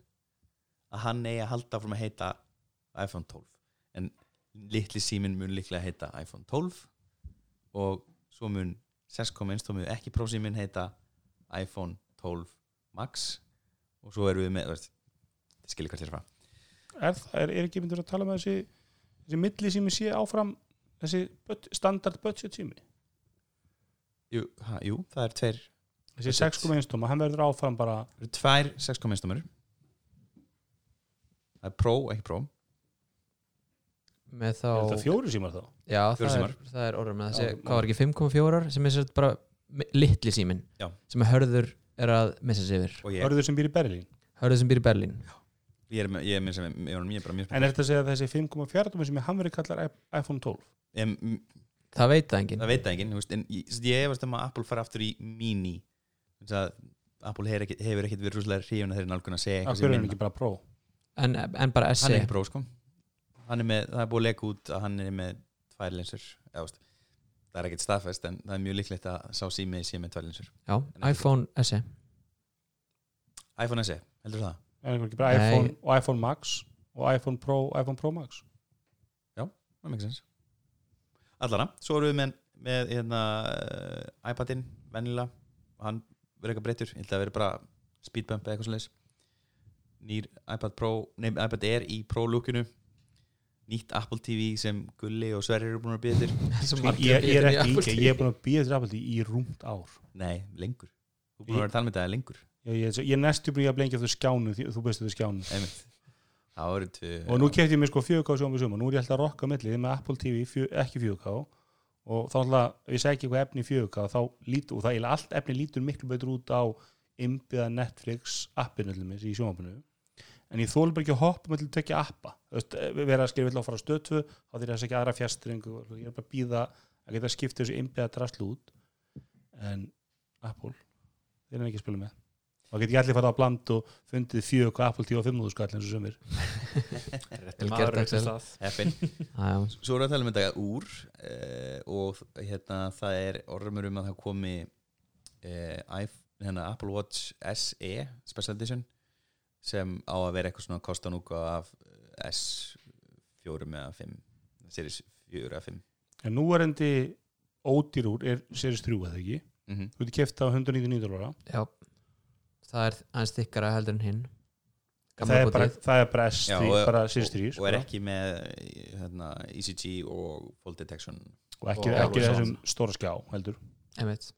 S3: að hann eigi að halda frá að heita iPhone 12 en litli síminn mun líklega heita iPhone 12 og svo mun 6.1 tómu ekki prósíminn heita iPhone 12 Max og svo erum við með, þú veist, skilja hvað þér frá
S4: er, það- er, er ekki myndur að tala með þessi þessi milli sími sé áfram þessi bud, standard budget sími
S3: Jú, ha, jú það er tveir
S4: þessi
S3: Budget.
S4: 6,1 tóma, hann verður áfram bara
S3: það eru tvær 6,1 stómur Það er pró, ekki pró
S2: með
S4: er
S2: þá
S4: þetta fjóri símar þá
S2: já,
S3: fjórir
S2: það
S3: símar.
S2: er, það er orður með þessi
S4: Já,
S2: hvað var ekki 5.4 sem er sér bara mi- litli símin
S3: Já.
S2: sem að hörður er að missa sig yfir
S3: og ég,
S4: hörður sem býr í Berlín,
S2: hörður sem býr í Berlín
S3: ég er með, ég er með sem, ég er, ég er bara mjög
S4: en er þetta að segja að þessi 5,4 tóma sími, hann verður kallar i- iPhone 12
S3: en, m-
S2: það veit það enginn
S3: það veit það enginn, þú veist, en ég, ég efast um að Apple fara aftur í mini þess að Apple hefur ekkit, hefur ekkit verið rúslega hrifun að þeirra nálgun að segja
S4: af hverju
S3: eitthvað sem
S4: er hann
S3: minna
S4: ekki bara Pro
S2: en, en bara E.
S3: hann
S2: SE
S3: er ekki pró, sko hann er með, það er búið að leka út að hann er með tvær linsur, eða þú veist það er ekkit staðfest, en það er mjög líklegt að sá sími sé með tvær linsur
S2: já, iPhone E. SE
S3: iPhone SE, heldur það?
S4: er hann ekki bara
S2: Nei.
S4: iPhone og iPhone Max og iPhone Pro og iPhone Pro Max
S3: það mikið sens allana, svo erum við með, með hérna, eh, iPadinn, venjulega hann verður eitthvað breyttur, ég held að það verður bara speedbump eða eitthvað svoleiðis nýr iPad Pro, nei iPad Air í Pro lookinu nýtt Apple TV sem Gulli og Sverri eru búin að býða þér
S2: Svo
S4: ég,
S2: margir
S4: ég, ég
S2: bitir í
S4: er ekki
S2: Apple
S4: yngri,
S2: TV.
S4: ég er búin að býja þér Apple TV í rúmt ár
S3: nei, lengur, þú búin að vera að tala með þetta lengur
S4: ég, ég, ég er næstu búin að blengja þú skjánu því, þú bestu þú skjánu
S3: einmitt, það voru tvö
S4: og nú kefti ég mér sko 4K sjóma sjóma nú er ég alltaf að rokka á milli með Apple TV fjö, ekki 4K og þá alltaf ef ég segi eitthvað efni í 4K þá lít, og það er allt efni lítur miklu betur út á innbyða Netflix appinu allir mér í sjómafinu en ég þóli bara ekki að hoppa með til að tekja appa Þú veist, eh, vera að skrifa vill að fara á stötu þá þýr þess ekki aðra fjastringu ég er bara að býða að geta skipta þessu einbyða drastlu út en Apple, þeir eru ekki að spila með þá get ég allir fara á bland og fundið fjög og Apple 10 og 5 skall eins og sömur
S2: Vel
S5: Maður
S2: gert,
S5: er ekki
S2: Axel.
S5: stað.
S3: Heppin.
S2: já,
S3: Svo erum við að tala um þetta úr eh, og hérna það er ormur um að það komi eh, iPhone, hérna, Apple Watch SE Special Edition sem á að vera eitthvað svona kostan úka af eh, S4 með 5 Series 4 eða 5
S4: en nú er endi ódýr úr er Series 3 eða ekki
S3: mm -hmm.
S4: þú getur kefta á 199 dólara
S2: já. það er aðeins þykkara heldur en hinn
S4: það er bara, það er bara S3
S3: Já, og-
S4: bara Series sko. 3
S3: og, og er ekki með eh, hérna, ECG og Fall Detection
S4: og ekki,
S5: og
S4: ekki
S5: alveg
S4: þessum stóra skjá heldur
S2: einmitt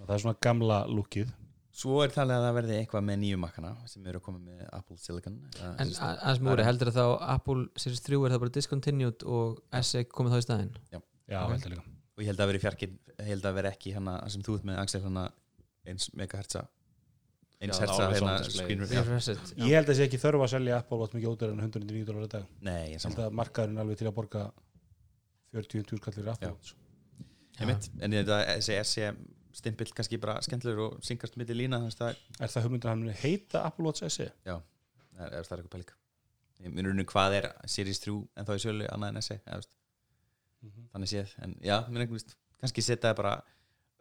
S4: og það er svona gamla lukkið
S3: Svo er talið að það verði eitthvað með nýju makkana sem eru að koma með Apple Silicon eða
S2: en
S3: sem sagt-
S2: a- aðeins múri heldur þá Apple Series 3 er það bara discontinued og SE komið þá í staðinn
S4: já,
S2: Ok.
S4: heldur líka
S3: og ég held að vera í fjarkinn ég held að vera ekki hana það sem þú ert með Axel hana eins megahertsa eins
S5: Já,
S3: hertsa
S5: always
S3: hérna
S5: on display.
S3: screen
S2: Já.
S3: reader
S4: ég held að sé ekki þörfa að selja Apple Watch mikið ódýrar en 199 dólar í dag ég
S3: nei, ég
S4: held
S3: saman
S4: að markaðurinn alveg til að borga 40-20 skallir Apple
S3: Já.
S4: Watch
S3: Einmitt. en þetta þessi SE stimpill kannski bara skemmtilegur og syngast milli lína þannig að
S4: er það hugmyndin að hann muni heita Apple Watch E? SE
S3: það er, er, það er eitthvað pæling ég minn rauninu hvað er Series 3 en þá í sölu annað en SE eða, þú veist, þannig séð en já, minn ekki veist kannski setja það bara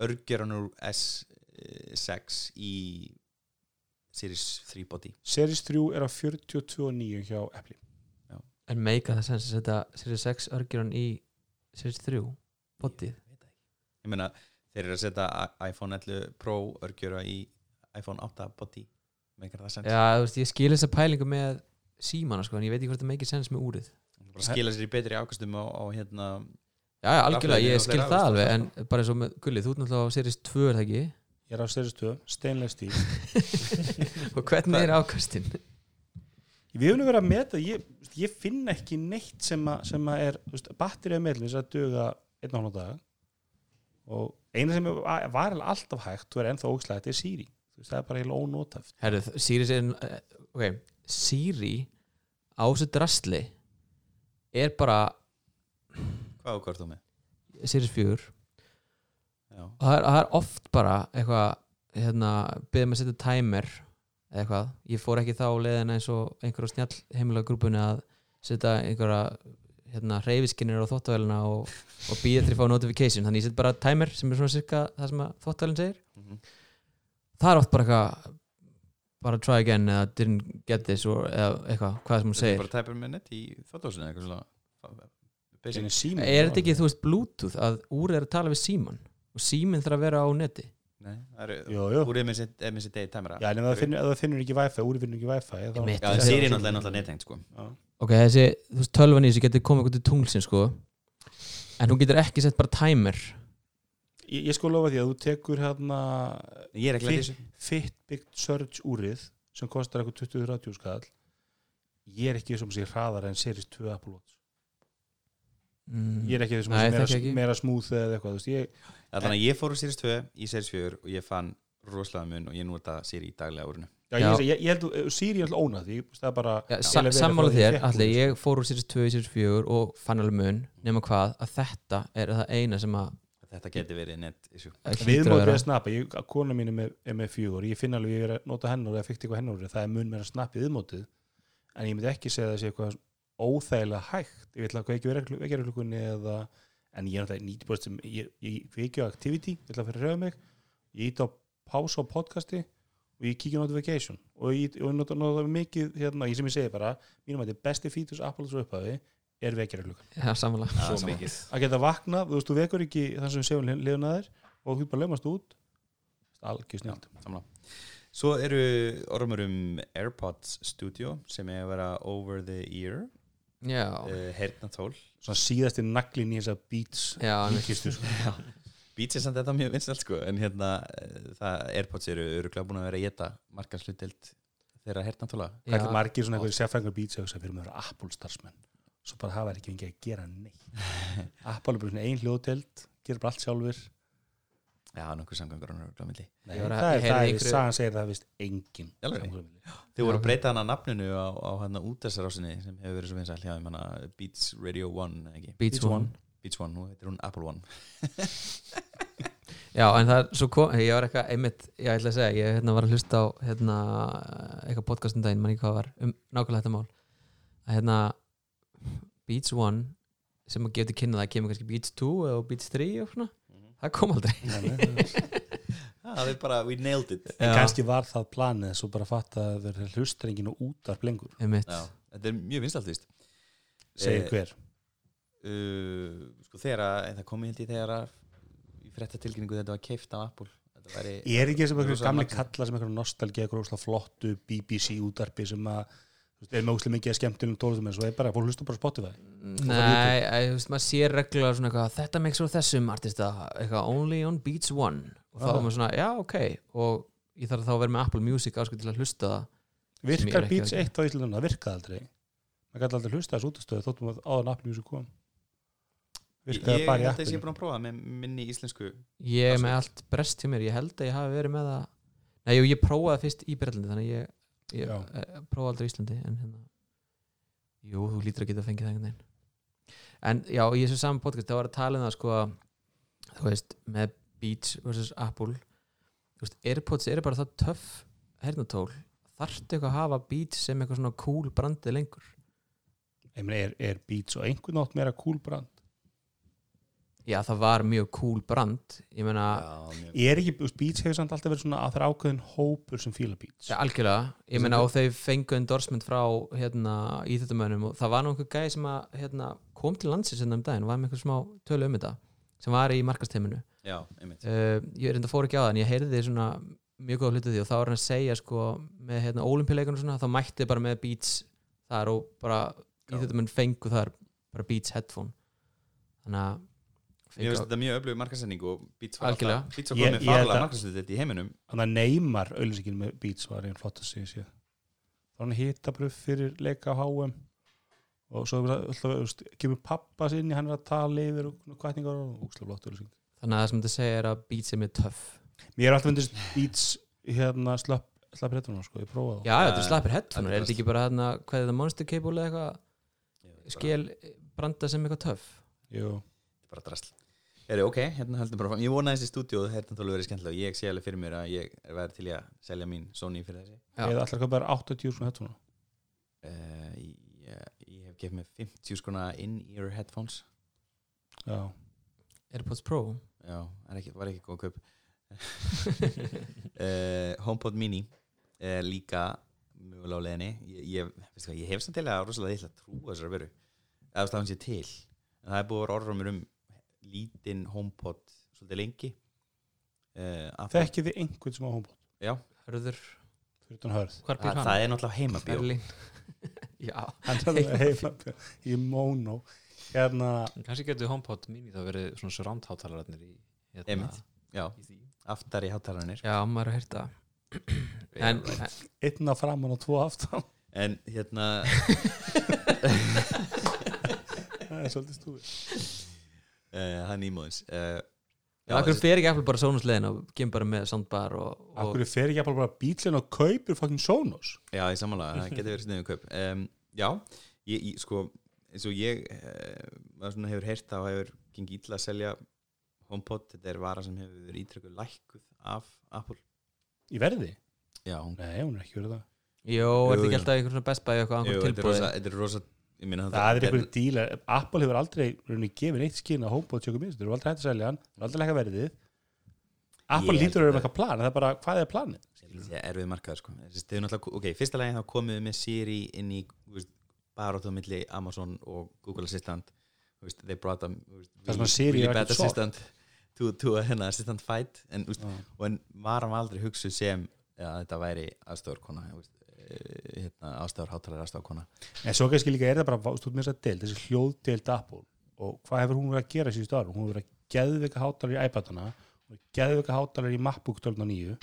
S3: örgjöran úr S6 í Series 3 body
S4: Series 3 er á 42.9 hjá Apple
S2: en meika það sens að setja Series 6 örgjörn í Series 3 bodyð
S3: ég meina þeir eru að setja i- iPhone 11 Pro örgjöra í iPhone 8 body meikar það sens
S2: já, þú veist, ég skil þessa pælingu með símana sko, en ég veit ekki hvort það meikir sens með úrið
S3: bara skila sér í betri ákastum á, á hérna
S2: já, já, algjörlega,
S3: Rafleðinu
S2: ég
S3: og
S2: skil
S3: fleira,
S2: það
S3: veist,
S2: alveg
S3: það
S2: en bara eins og með Gulli, þú ert náttúrulega á Series 2 er það ekki
S4: ég er á Series 2, stainless steel
S2: og hvernig er ákastin?
S4: við höfum verið að meta, ég, ég finn ekki neitt sem að, sem að er þú veist, batterið meðlum þess að duga einn og hann á dag og eina sem var var eiginlega alltaf hægt og er ennþá ógislega þetta er Siri Þú veist, það er bara heila ónótaf
S2: Herru, þ- Sirius er eh, ok, Siri á þessu drastli er bara
S3: hvað ákvörðu þú með?
S2: Sirius 4 og
S3: Já.
S2: það er, það er oft bara eitthvað, hérna, byrðum að setja timer eða eitthvað, ég fór ekki þá leiðina eins og einhverja snjall heimilega grúpunni að setja einhverja hérna, reyfiskinnir á þóttavælina og, og býða til að fá notification þannig ég set bara timer sem er svona cirka það sem að þóttavælin segir
S3: Mhm.
S2: það er oft bara eitthvað bara try again eða didn't get this or, eða eitthvað, hvað sem hún
S3: þetta er
S2: segir
S3: bara tæpur með nett í þáttósinu eitthvað svona basic
S4: er sími
S2: er þetta ekki, þú veist, bluetooth að úr er að tala við síman og síminn þarf að vera á neti
S3: nei, það eru
S4: jú, jú.
S3: úr er með sitt- er með sitt degi tæmara
S4: já, en ef það finnur, ef það finnur ekki Wi-Fi, úr finnur ekki Wi-Fi þá-
S2: Einmitt.
S3: já en Siri er náttúrulega náttúrulega nettengt sko
S2: ok, þessi, þú veist, tölvan í þessu getur komið eitthvað til tunglsinn, sko en hún getur ekki sett bara timer
S4: ég, ég sko lofa því að þú tekur hérna
S3: ég er ekki
S4: Fit-
S3: lætið þessu
S4: Fitbit Surge úrið sem kostar eitthvað 20-30 skall ég er ekki þessum sem sé hraðar en Series 2 Apple Watch
S2: mm.
S4: ég er ekki þessum
S2: Nei,
S4: sem
S2: þekki
S4: meira,
S2: ekki.
S4: meira smooth eða eitthvað þú veist, ég,
S3: Já, þannig að ég fór úr Series 2 í Series 4 og ég fann rosalega mun og ég nota Siri í daglega úrinu
S4: já,
S2: Já.
S4: Ég, ég, ég held að Siri er alltaf ónað því það er bara
S2: ja,
S4: Til að
S2: sa
S4: vera
S2: sammála
S4: frá því
S2: þér,
S4: fékk
S2: allir
S4: úr.
S2: ég fór úr Sirius 2 í Sirius 4 og fann alveg mun nema hvað, að þetta er það eina sem að
S3: þetta geti verið nett issue
S2: að hlýtur að
S4: viðmótið að
S2: vera
S4: snappa, ég, kona mín er með, er með fjögur ég finn alveg ég er að nota hennar eða fikk eitthvað hennar það er mun meira snappi viðmótið en ég myndi ekki segja þessi eitthvað óþægilega hægt ég vil að kveikja vekjaruglugunni eða en ég er náttúrulega nýtbúrst sem ég, ég kveikja á activity, ég ætla að fyrir að reyða mig ég ít á pása á podcasti og ég kíkja á notification og ég, og ég nota, nota mikið hérna, ég sem ég segi bara, mínum að þetta besti features Apple svo upphafi er vekjaruglugan
S2: ja, sammála,
S3: svo mikið
S4: að geta vakna, þú veist, þú vekur ekki þann sem séum liðun að þér og þú bara lögmast út algjör snilt
S3: samla Svo eru ormur um AirPods Studio sem er að vera over the ear
S2: já
S3: uh, heyrnatól
S4: svona síðasti naglin í þessa beats
S2: já, einmitt.
S4: líkistu sko.
S3: Beats er samt þetta mjög vinsalt sko en hérna uh, það AirPods eru öruglega búin að vera að geta markarslutild þeirra heyrnatóla
S2: Já.
S4: það er ekki margir svona eitthvað sérfræðingar beats og það fyrir með að vera Apple starfsmenn svo bara hafa þeir ekki fengið að gera neitt Apple er bara svona ein hljóðtelt gera bara allt sjálfur
S3: Já, nokkuð samgangur hann er milli
S4: Nei,
S2: Ég var að-
S4: það
S2: ég
S4: er,
S2: heyrði
S4: það er,
S2: einhverju-
S4: sagan segir það vist engin
S3: Í alvöru?
S4: samgangur milli.
S3: Þau voru að breyta hann að nafninu á, á hann útessarásinni sem hefur verið svo vinsæl hjá þeim hana Beats Radio One, eða ekki?
S2: Beats One.
S3: Beats One, nú heitir hún Apple One
S2: Já, en það er svo kom ég var eitthvað einmitt, ég ætla að segja ég hérna, var að hlusta á hérna, eitthvað podcastum daginn, mann ekki hvað var um nákvæmlega þetta mál að hérna Beats 1 sem að gefa til kynna það kemur kannski Beats 2 eða Beats 3 og svona, það kom aldrei
S3: ah, Það er bara, we nailed it
S4: en
S2: Já.
S4: kannski var það planið svo bara fatt að vera hlustrengin og útarp lengur
S2: einmitt,
S3: Já, þetta er mjög vinsælt víst
S4: segir
S3: Eh,
S4: hver
S3: uh, Sko þegar að, en það komi held ég þegar að í frettatilkynningu þetta var keift af Apple Þetta væri
S4: er ekki sem einhverjum
S3: Rosa
S4: gamli
S3: magna.
S4: kallar sem einhverjum nostalgi einhverjum ósla flottu BBC útarpi sem að þú veist, er með ósla mikið að skemmtunum tólustum en svo er bara, fólk hlusta bara á Spotify
S2: nei, æ, þú veist, maður sér reglulega svona eitthvað, þetta makes úr þessum artista, eitthvað, only on Beats 1 og þá
S4: Aha.
S2: er maður svona, já, ok og ég þarf þá að vera með Apple Music ásku til að hlusta það Sem ég er
S4: virkar
S2: ekki
S4: Beats
S2: að
S4: 1 á Íslandunum, það virkaði aldrei maður gæti aldrei hlusta þessu útastöðu þóttum að áðan Apple Music kom
S3: Ég
S4: virkaði
S3: held
S4: bara í
S3: að ég sé
S4: appinu
S3: búin að prófa með minni íslensku
S2: Ég er
S3: Absolutt.
S2: með allt brest hjá mér, ég held að ég hafi verið með það Nei, jú, ég prófaði fyrst í Breitlandi þannig að ég, ég
S4: Já.
S2: eh, prófaði aldrei í Íslandi en hérna Jú, þú lítur að geta að fengið það einhvern veginn En já, í þessu saman podcast það var að tala um það sko að þú veist, með Beats versus Apple þú veist, Airpods eru bara það töff hernatól þarftu eitthvað að hafa Beats sem eitthvað svona cool brandið lengur
S4: Ég meina, er, er Beats og einhvern nátt meira cool brand
S2: Já, það var mjög cool brand Ég meina,
S3: mjög
S4: Ég er ekki, þú veist, Beats hefur samt alltaf verið svona að það er ákveðin hópur sem fíla Beats
S2: Já, algjörlega, ég
S4: Sem
S2: meina
S4: þau-
S2: og þau fengu endorsement frá hérna, íþjóttamönnum og það var nú einhver gæði sem að, hérna, kom til landsins hérna um daginn, var með einhver smá tölu um þetta sem var í markasteiminu
S3: Já, einmitt
S2: uh, ég reynda fór ekki á það en ég heyrði því svona mjög góða hlutu því og þá var hann að segja sko með hérna, olimpíuleikun og svona þá mætti bara með Beats þar og bara íþjóttamönn fengu þar bara Beats headphone þannig að
S3: Mér finnst
S2: fengu,
S3: þetta mjög öflug markasending og Beats var
S2: Algjörlega.
S3: alltaf- Beats var
S4: Ég- ég
S3: komið farlega
S4: held að-
S3: markasending í heiminum
S4: Þannig að neymar auðlýsingin með Beats var einn flottast sem ég sé þá hann hitabröf fyrir leika á HM og svo er alltaf, þú veist, kemur pappa sinni hann er að tala yfir og kvætningar og úslega flott auðlýsing
S2: þannig að það sem þetta segja er að Beats er mjög töff
S4: Mér er alltaf myndist Beats hérna slapp, slapp réttunum sko, ég prófaði
S2: Já, þetta er slappir headphone,
S3: Þetta
S2: er
S3: er
S2: þetta ekki bara hérna, hvað er þetta monster cable eða eitthvað
S3: Skil
S2: skil eh, branda sem eitthvað töff
S4: það Jú.
S3: Bara drasl Heri, ok, hérna höldum bara fram Ég vona þessi stúdíu og þetta tólu verið skemmtilega og Ég sé alveg fyrir mér að ég er verið til í að selja mín Sony fyrir þessi
S2: Já.
S4: eða alltaf hvað bara 80 svona hettuna
S3: uh, ég, ég hef gefið mér 50 skona in-ear headphones
S4: Já,
S2: AirPods Pro
S3: Já, það er ekki, var ekki góð kaup uh, HomePod Mini er líka mjögulega á leðinni ég, ég, veistu hvað, ég hef samt til að rosalega illa trú þessari veru eða þú veist að hann sé til en það er búið að orra mér um lítinn HomePod svolítið lengi uh,
S4: þekkið þið einhvern sem á homebot
S3: Já,
S2: Hörður,
S4: fyrir þann hörð
S2: hvar býr
S3: það,
S2: hann?
S3: Ah, það er náttúrulega heimabjó
S2: Berlín Já,
S4: hann er alveg heima í mónó hérna,
S5: En kannski getur HomePod mini þá verið svona surround hátalararnir í hérna,
S3: Einmitt. Já,
S5: í því
S3: aftar í hátalarnir
S2: já, maður er að heyrta En, en
S4: einn að framan og tvo aftan
S3: En hérna
S4: það er svolítið stúfið
S3: uh, hann ímóðins uh,
S2: akkur fer ekki Apple bara sónuslegin og kemur bara með soundbar og, og
S4: Akkur fer ekki bara bílinn og kaupir fucking Sonos
S3: Já, ég samanlega, það getur verið sniðum kaup um, Já, ég, ég sko eins og ég eh, maður svona hefur heyrt að hefur gengið illa að selja HomePod, þetta er vara sem hefur verið ítrykkuð lækkuð af Apple
S4: í verði?
S3: Já, hún
S4: Nei, hún er ekki verið það
S2: Jó, er þetta
S3: Jú, jú.
S2: ekki alltaf einhver svona best buy og eitthvað angur
S3: Jú, þetta er rosa,
S2: tilbúið
S3: þetta er rosa ég meina
S4: Það er einhverju díla, Apple hefur aldrei rauninni gefið neitt skinn að HomePod tjökum minnst, þeir eru aldrei hægt að selja hann, þeir eru aldrei hægt að verðið Apple
S3: Ég held
S4: lítur að vera
S3: að-
S4: með eitthvað plan, en það er bara, hvað er planið?
S3: Þetta er erfið markaður sko Þessi, þau náttúrulega- Ok, fyrsta lagi þá komum við með Siri inn í þú veist, barátum milli Amazon og Google Assistant Þú veist, They brought them þú veist,
S4: Það sem að Siri er
S3: really
S4: ekkert
S3: bad
S4: sort.
S3: assistant to, to a, hérna, assistant fight en, þú veist, og en var hann aldrei hugsuð sem að þetta væri aðstöður kona hérna, aðstöður hátalega aðstöður kona
S4: En svo kannski líka er það bara, þú veist, mér þess að deild, þessi hljóðdeild Apple og hvað hefur hún verið að gera síðustu árum? Hún hefur verið að geðveika hátalar í iPadana, hún hefur geðveika hátalar í MacBook 12 og 9,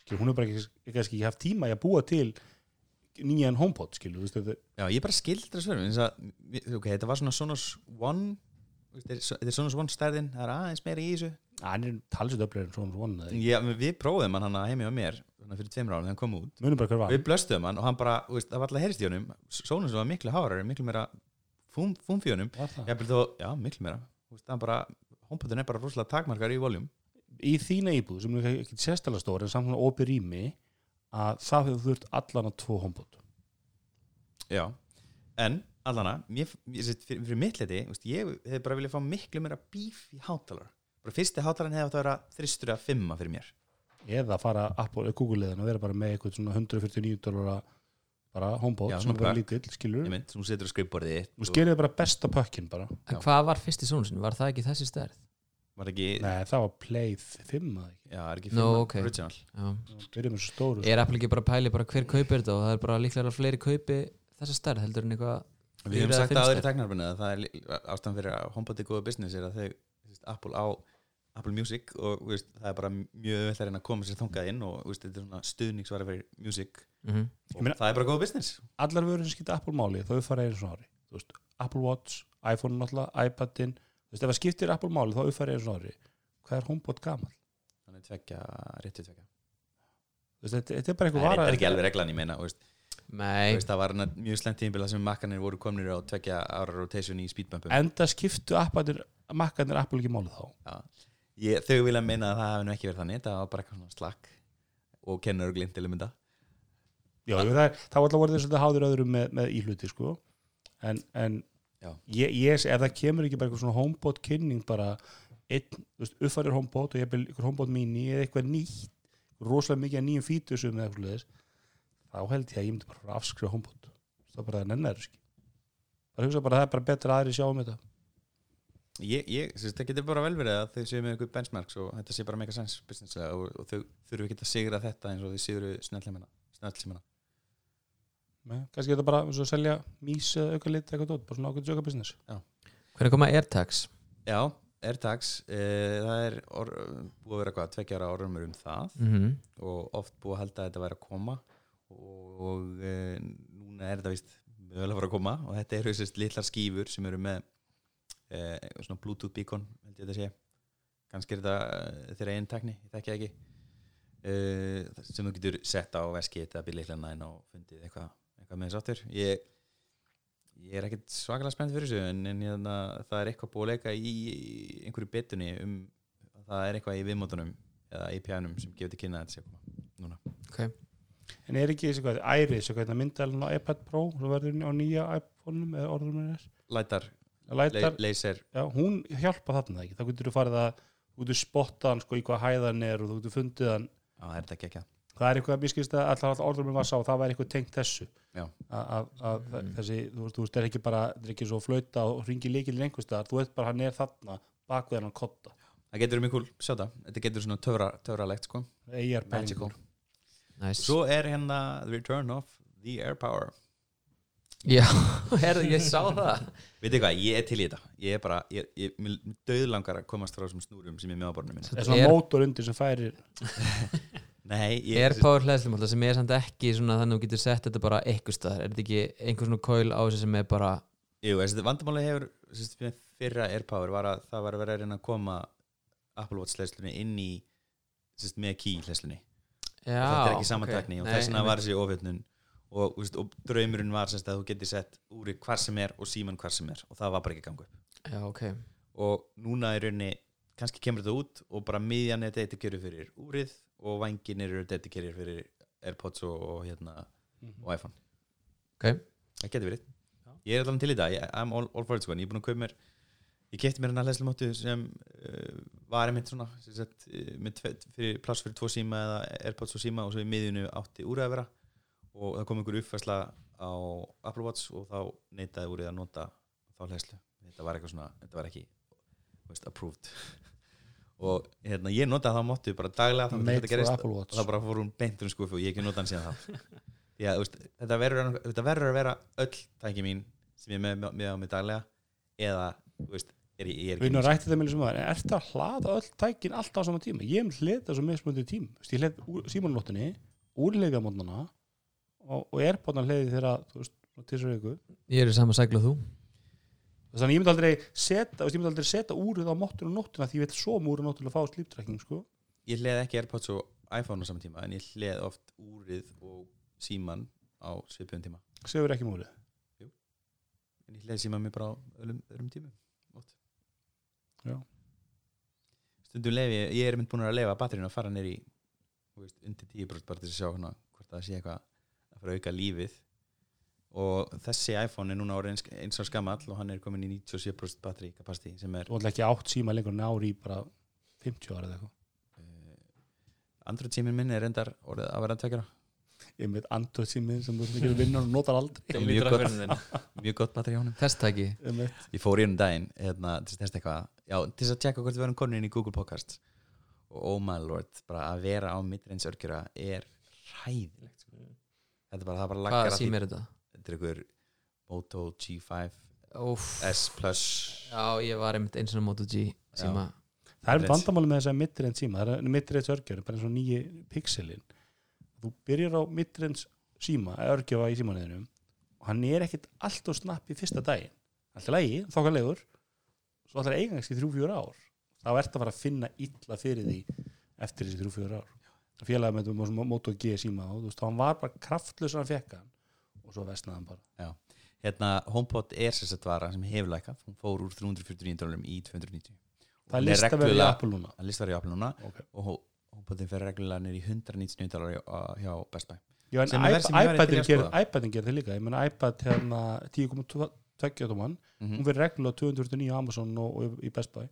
S4: skilur, hún hefur bara ekki, kannski ekki haft tíma í að búa til nýjan HomePod, skilur, þú veist, þetta-
S3: Já, ég bara skildra svörum eins að, ok, þetta var svona Sonos One þú veist, þetta er- þetta er Sonos One stærðin það er aðeins meira í þessu
S4: hann er talsið öflegir en svo hann vonaði
S3: Já, men við prófum hann hana heimi á mér hana fyrir tveimur árum þegar hann kom út
S4: munum bara hver var
S3: við blöstum hann og hann bara, þú veist, það var alltaf heyrst í honum sónum sem var miklu hárari, miklu meira fúm, fúmf í honum
S4: Var það?
S3: Jafnvel þó, já, miklu meira Þú veist, hann bara, hómpötun er bara rosalega takmarkar í voljum
S4: í þína íbúð sem er ekki sérstæðlega stór en samt svona opið rými að það hefur þurft allan að tvo homebot
S3: já, en allana mér, mér, sér, fyrir, fyrir mitt leti, veist, ég hef bara viljað fá miklu meira bíf í hátalara bara fyrsti hátalarinn hefði átt að vera þristur að fimma fyrir mér
S4: eða fara Apple eða Google leðan og vera bara með eitthvað svona 149 dólar bara homebot
S3: Já,
S4: sem
S3: svona
S4: er bara
S3: pakk.
S4: lítill, skilur
S3: ég mynd, sem þú setur á skrifborðið þitt
S4: og skilur bara besta pökkin bara
S2: En hvað var fyrst í sónu sinni? Var það ekki þessi stærð?
S3: var ekki,
S4: nei, það var Play 5 eða ekki.
S3: já, er ekki
S2: No,
S3: fimma
S2: ok.
S3: original
S2: Já.
S4: Það byrjum með svo stóru
S2: Er Apple ekki bara að pæli bara hver kaupir þetta og það er bara líklega að fleiri kaupi þessa stærð heldur en eitthvað
S3: Við
S2: Fjögur
S3: hefum
S2: eða
S3: sagt
S2: fimm
S3: að aðri
S2: stær.
S3: teknarbunni að það er lí- ástæðan fyrir að HomePod er góða business er að þau, þú veist, Apple á Apple Music og þú veist, það er bara mjög auðvitað en að koma sér þangað inn og þú veist, þetta er svona stuðningsvara fyrir music
S2: mm -hmm.
S4: Ég meina-
S3: og það er bara góða business
S4: allar vörur sem skipta Apple máli þau fara einu svona ári Þú veist, Apple Watch, iPhone náttúrulega, iPadin þú veist, ef það skiptir Apple máli þá þau fara einu svona ári hvað er homebot gaman?
S3: þannig tvekja, rétti tvekja
S4: Þú veist, þetta, þetta er bara
S3: það
S4: eitthvað
S3: er
S4: vara
S3: ekki alveg reglan ég meina þú veist, þú
S2: Nei,
S3: veist, það var hana mjög slengt tímbil sem makkanir voru komnir á tvekja ára rotation í speedbumpum
S4: enda skiptu appatir, makkarnir Apple ekki máli þá
S3: ég, þau vilja meina að það hafi nú ekki verið þannig það var bara eitthvað svona slakk og kennur og glint til að mynda
S4: Já, jú, það, er- þá alltaf voru þeir svolítið háður öðrum með, með íhluti sko. en, en
S3: Já.
S4: ég, ég, ef það kemur ekki bara eitthvað svona homebot kynning bara einn, þú veist, uppfærir homebot og ég byrja eitthvað homebot mini eða eitthvað nýtt rosalega mikið af nýjum fítusum eða eitthvað leðis þá held ég að ég myndi bara fara að afskrifa homebot það er bara að nennar ekki bara hugsa bara að það er bara betra að aðri sjá um þetta
S3: Ég, ég syns, það getur bara vel verið að þau séu með einhver benchmarks og þetta sé bara mega sense business og, og þau þurfu ekki að sigra þetta eins og þau sigru snjallsímana snjallsímana.
S4: Nei, kannski er þetta bara eins og að selja mís eða auka lit eitthvað dót, bara svona ákveð jöka business
S2: hvernig koma AirTags?
S3: Já, AirTags e, það er or, búið að vera hvað tveggjara orðumur um það
S2: Mm
S3: og oft búið að halda að þetta væri að koma og e, núna er þetta vist mögulega að fara að koma og þetta eru sérst litlar skífur sem eru með e, svona bluetooth beacon held ég þetta sé kannski er þetta eh, þeirra einn tekni, ég þekki það ekki uh, sem þú getur sett á veskið eða bílíklarna inn og fundið eitthvað eitthva með sáttur ég, ég er ekkit svakalega spennt fyrir þessu en, en ég, þarna- það er eitthvað búið að leika í einhverju betunni um það er eitthvað í viðmótunum eða API-num sem gefur til kynna að þetta sé að koma
S4: En er ekki þessi hvað, Iris, eitthvað, það mynda alveg á iPad Pro, svo verður hún á nýja iPhone-um eða orðum hennar,
S3: Lætar, le,
S4: lætar,
S3: laser
S4: já, hún hjálpa þarna ekki, þá getur þú farið að, þú getur spottað hann sko í hvað hæðan er og þú getur fundið hann,
S3: á, það er þetta ekki ekki
S4: það er eitthvað að mér skilst að alltaf orðum hennar var sá, það væri eitthvað tengt þessu,
S3: Já. Mm.
S4: að að- að þessi, þú veist, þú veist, það er ekki bara, það er ekki svo flauta og ringi líkilin einhvers staðar, þú veist bara hann er þarna, bak við hann kotta,
S3: það getur mjög kúl, sjá það, þetta getur svona töfra, töfralegt sko
S4: eigjar
S3: Magical.
S4: pælingur.
S2: Nice.
S3: svo er hérna The Return of the Air Power
S2: Já, herðu, ég sá það
S3: Veitir hvað, ég er til í þetta Ég er bara, ég, ég, mér döðlangar að komast frá þessum snúrum sem ég er með á borðinu minn
S4: Það er svona
S2: Air-
S4: mótor undir sem færir,
S3: Nei, ég
S2: AirPower hlæðslum alltaf sem er samt ekki svona þannig að þú getur sett þetta bara eitthvað staðar er þetta ekki einhver svona coil á þessu sem er bara
S3: Jú, þessi vandamáli hefur sérst, með fyrra AirPower var að það var að vera að reyna að koma Apple Watch hlæslunni inn í sérst, með key hlæslunni
S2: Já,
S3: Þetta er ekki
S2: ok.
S3: samantækni og
S2: Nei,
S3: þess vegna
S2: einmitt.
S3: var þessi ofjötnun og, þú veist, og draumurinn var sérst, að þú getur sett úri hvar sem er og síman hvar sem er og það var bara ekki gangu
S2: Já, ok
S3: og núna er rauninni kannski kemur þetta út og bara miðjan er dedikerið fyrir úrið og vangin eru dedikerið fyrir Airpods og, og hérna og iPhone
S2: Ok.
S3: Það getur verið Ég er allavega til í dag, ég, I'm all, all for it sko en ég er búin að kaupa mér ég kefti mér hann að leslumáttu sem uh, var einmitt svona sem sagt, eh, með tve, fyrir, pláss fyrir tvo síma eða Airpods og síma og svo í miðjunu átti úrið að vera og það kom einhver uppfærsla á Apple Watch og þá neitaði úrið að nota þá leslu þetta var eitthvað svona, þetta var ekki þú veist, approved og hérna, ég notaði það móttu bara daglega þangað til
S4: made
S3: þetta
S4: for
S3: gerðist
S4: Apple
S3: og það
S4: Watch.
S3: bara fór hún beint um skúfi og ég hef ekki notað hann síðan þá Já, þú veist, þetta, verður, að- þetta verður að vera öll tæki mín sem ég er með, með á mig daglega eða þú veist, er, ég, ég er
S4: Við erum
S3: ekki
S4: að rætti það með sem var, en ertu að hlaða öll tækin alltaf á sama tíma? Ég hef hleta svo mismunandi tím. Þú veist, Ég hleta símanlóttinni, úrleika mótnana og, og er bátan hliði þegar, þú veist, til svo ykkur.
S2: Ég er í sama segla þú
S4: þannig að ég myndi aldrei setja þú veist, ég myndi aldrei setja úrið á móttun og nóttuna því ég vil svo um múrið nóttun að fá slíptrækning sko.
S3: ég hleð ekki Airpods og iPhone á saman tíma en ég hleð oft úrið og síman á svipun tíma
S4: segur ekki um múrið
S3: en ég hleð síman mér bara á öðrum, öðrum tímum oft.
S4: Já.
S3: stundum leif ég, ég er mynd búin að leifa batterinu að fara neyri þú veist, undir 10% bara til að sjá hana, hvort það sé eitthvað að fara að auka lífið og þessi iPhone er núna orðinn eins, eins og skamall og hann er komin í 97% batteri kapasiti sem er
S4: þú ætla ekki átt síma lengur nári í bara 50 ára eða eitthvað
S3: uh, Android síminn minn er reyndar orðið að vera tvekjara
S4: ég með andur sími sem þú getur vinnar og notar aldrei
S3: Mjög
S5: Mjög
S3: gott.
S5: gott
S3: mjög gott batteri á honum
S2: Testæki
S4: Einmitt.
S3: ég fór í hennum daginn hérna, til þess eitthvað, já, til þess að tjekka hvort við verðum konin inn í Google Podcast og oh my lord, bara að vera á mittreins örgjura er hræðilegt sko.
S4: Mm.
S3: þetta er bara, það bara
S2: Hvað
S3: laggar að því
S2: sím er þetta?
S3: þetta er ykkur Moto G5
S2: Óf,
S3: S Plus
S2: já ég var einmitt eins og Moto G síma
S4: það er
S3: Rétt.
S4: vandamáli með þess að midrend síma það er midrend örgjör, bara eins og nýji pixelin þú byrjar á midrend síma, örgjöfa í símaneðinum og hann er ekkit allt og snapp í fyrsta daginn, allt í lagi, þokkalegur svo allar eigangst í 3-4 ár þá ert að fara að finna illa fyrir því eftir þessi 3-4 ár félagið með þetta Moto G síma og þú veist, hann var bara kraftlaus að hann fekk hann og svo vestnaði hann bara
S3: hérna, HomePod er sem sagt vara sem hefur lækað, hún fór úr 349 dólarum í 290
S4: það
S3: Hún
S4: er list að vera í
S3: reglulega-
S4: Apple núna
S3: það listar í Apple núna
S4: okay.
S3: og Ho- HomePodin fer reglulega nýr í 199 dólar hjá Best Buy
S4: Já, en
S3: Sem er verð sem ég væri til í
S4: iPadin
S3: að sko.
S4: gerir
S3: skoða.
S4: iPadin gerir það líka, ég menna iPad hérna 10.2 tóman
S3: mm
S4: hún verður reglulega 249 á Amazon og, og í Best Buy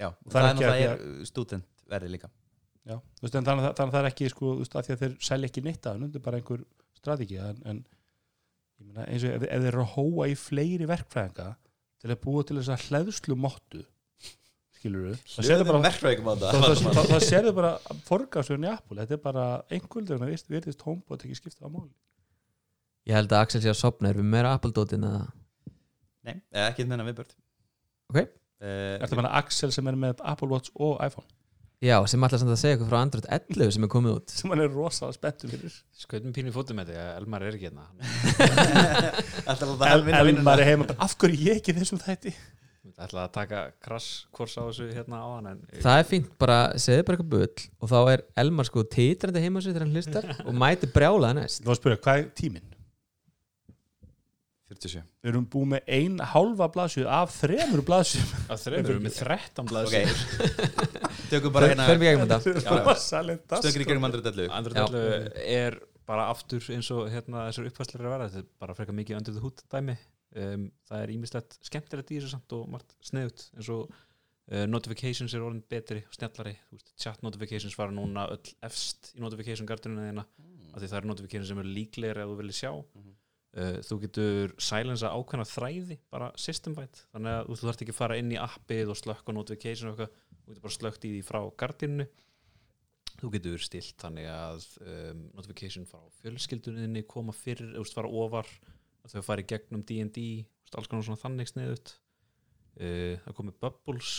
S3: já,
S4: Það
S3: og það,
S4: er
S3: er
S4: ekki að-
S3: náttúrulega er student verði líka
S4: Já, þú veist, en þannig, að- þannig að það er ekki sko, þú veist, að því að þeir selja ekki neitt af hann þetta er bara einhver strategi en, en ég meina, eins og ef, ef þeir eru að hóa í fleiri verkfræðinga til að búa til þess að hleðslu mottu skilur við það
S3: Hlöðum
S4: serðu bara,
S3: verkfræðingum á
S4: það, það,
S3: þetta
S4: það, það serðu bara forgangsvörn í Apple, þetta er bara einhverjum þegar virðist hombo að ekki skipta á máli
S2: Ég held að Axel sé að sopna, erum við meira Apple-dótin eða?
S3: Nei, eh, ekki Eh, að menna við börn
S2: Ok.
S4: Er það bara Axel sem er með Apple Watch og iPhone
S2: Já, sem ætla samt að segja eitthvað frá Android 11 sem er komið út
S4: sem hann er rosalega spenntur fyrir
S5: Skautum pínu í fótum með þetta, Elmar er ekki hérna
S3: Alltaf að
S4: El,
S3: hann vinna vinnuna
S4: Elmar er heima, bara, af hverju ég ekki í þessum þætti
S5: Það ætlaði að taka krass kors á þessu hérna á hann en
S2: Það er fínt, bara segðu bara eitthvað bull og þá er Elmar sko titrandi heima á sér þegar hann hlustar og mæti brjálaða næst
S4: Þú var að spyrja, hvað er tíminn?
S3: 47
S4: Við erum búið með ein hálfa blaðsjöð af þremur blaðsjöð
S5: að þreifur við erum með 13
S3: Ok
S5: blaðs okay.
S3: Tökum bara
S2: Förum
S3: hérna
S2: við gegnum þetta
S4: Rosalegt
S3: Stöngir í gegnum andra dellu
S5: Andrútt
S2: Já.
S5: er bara aftur eins og hérna þessar uppfæslar er að vera þetta er bara frekar mikið undir the hood dæmi um, það er ímislegt skemmtilegt í þessu samt og margt snegut eins og uh, notifications er orðin betri og snjallari Þú veist, chat notifications fara núna öll efst í notification gardunina þína af því það eru notifications sem eru líklegri að þú vilja sjá
S3: Mhm.
S5: uh, þú getur silensa ákveðna þræði bara systemvætt þannig að þú þarft ekki að fara inn í appið og slökka notification og eitthvað þú getur bara slökkt í því frá gardinu þú getur stilt þannig að um, notification frá fjölskylduninni koma fyrir, þú veist, fara ofar að þau fara í gegnum D&D þú veist, alls konar svona þannig sniðut uh, það komið Bubbles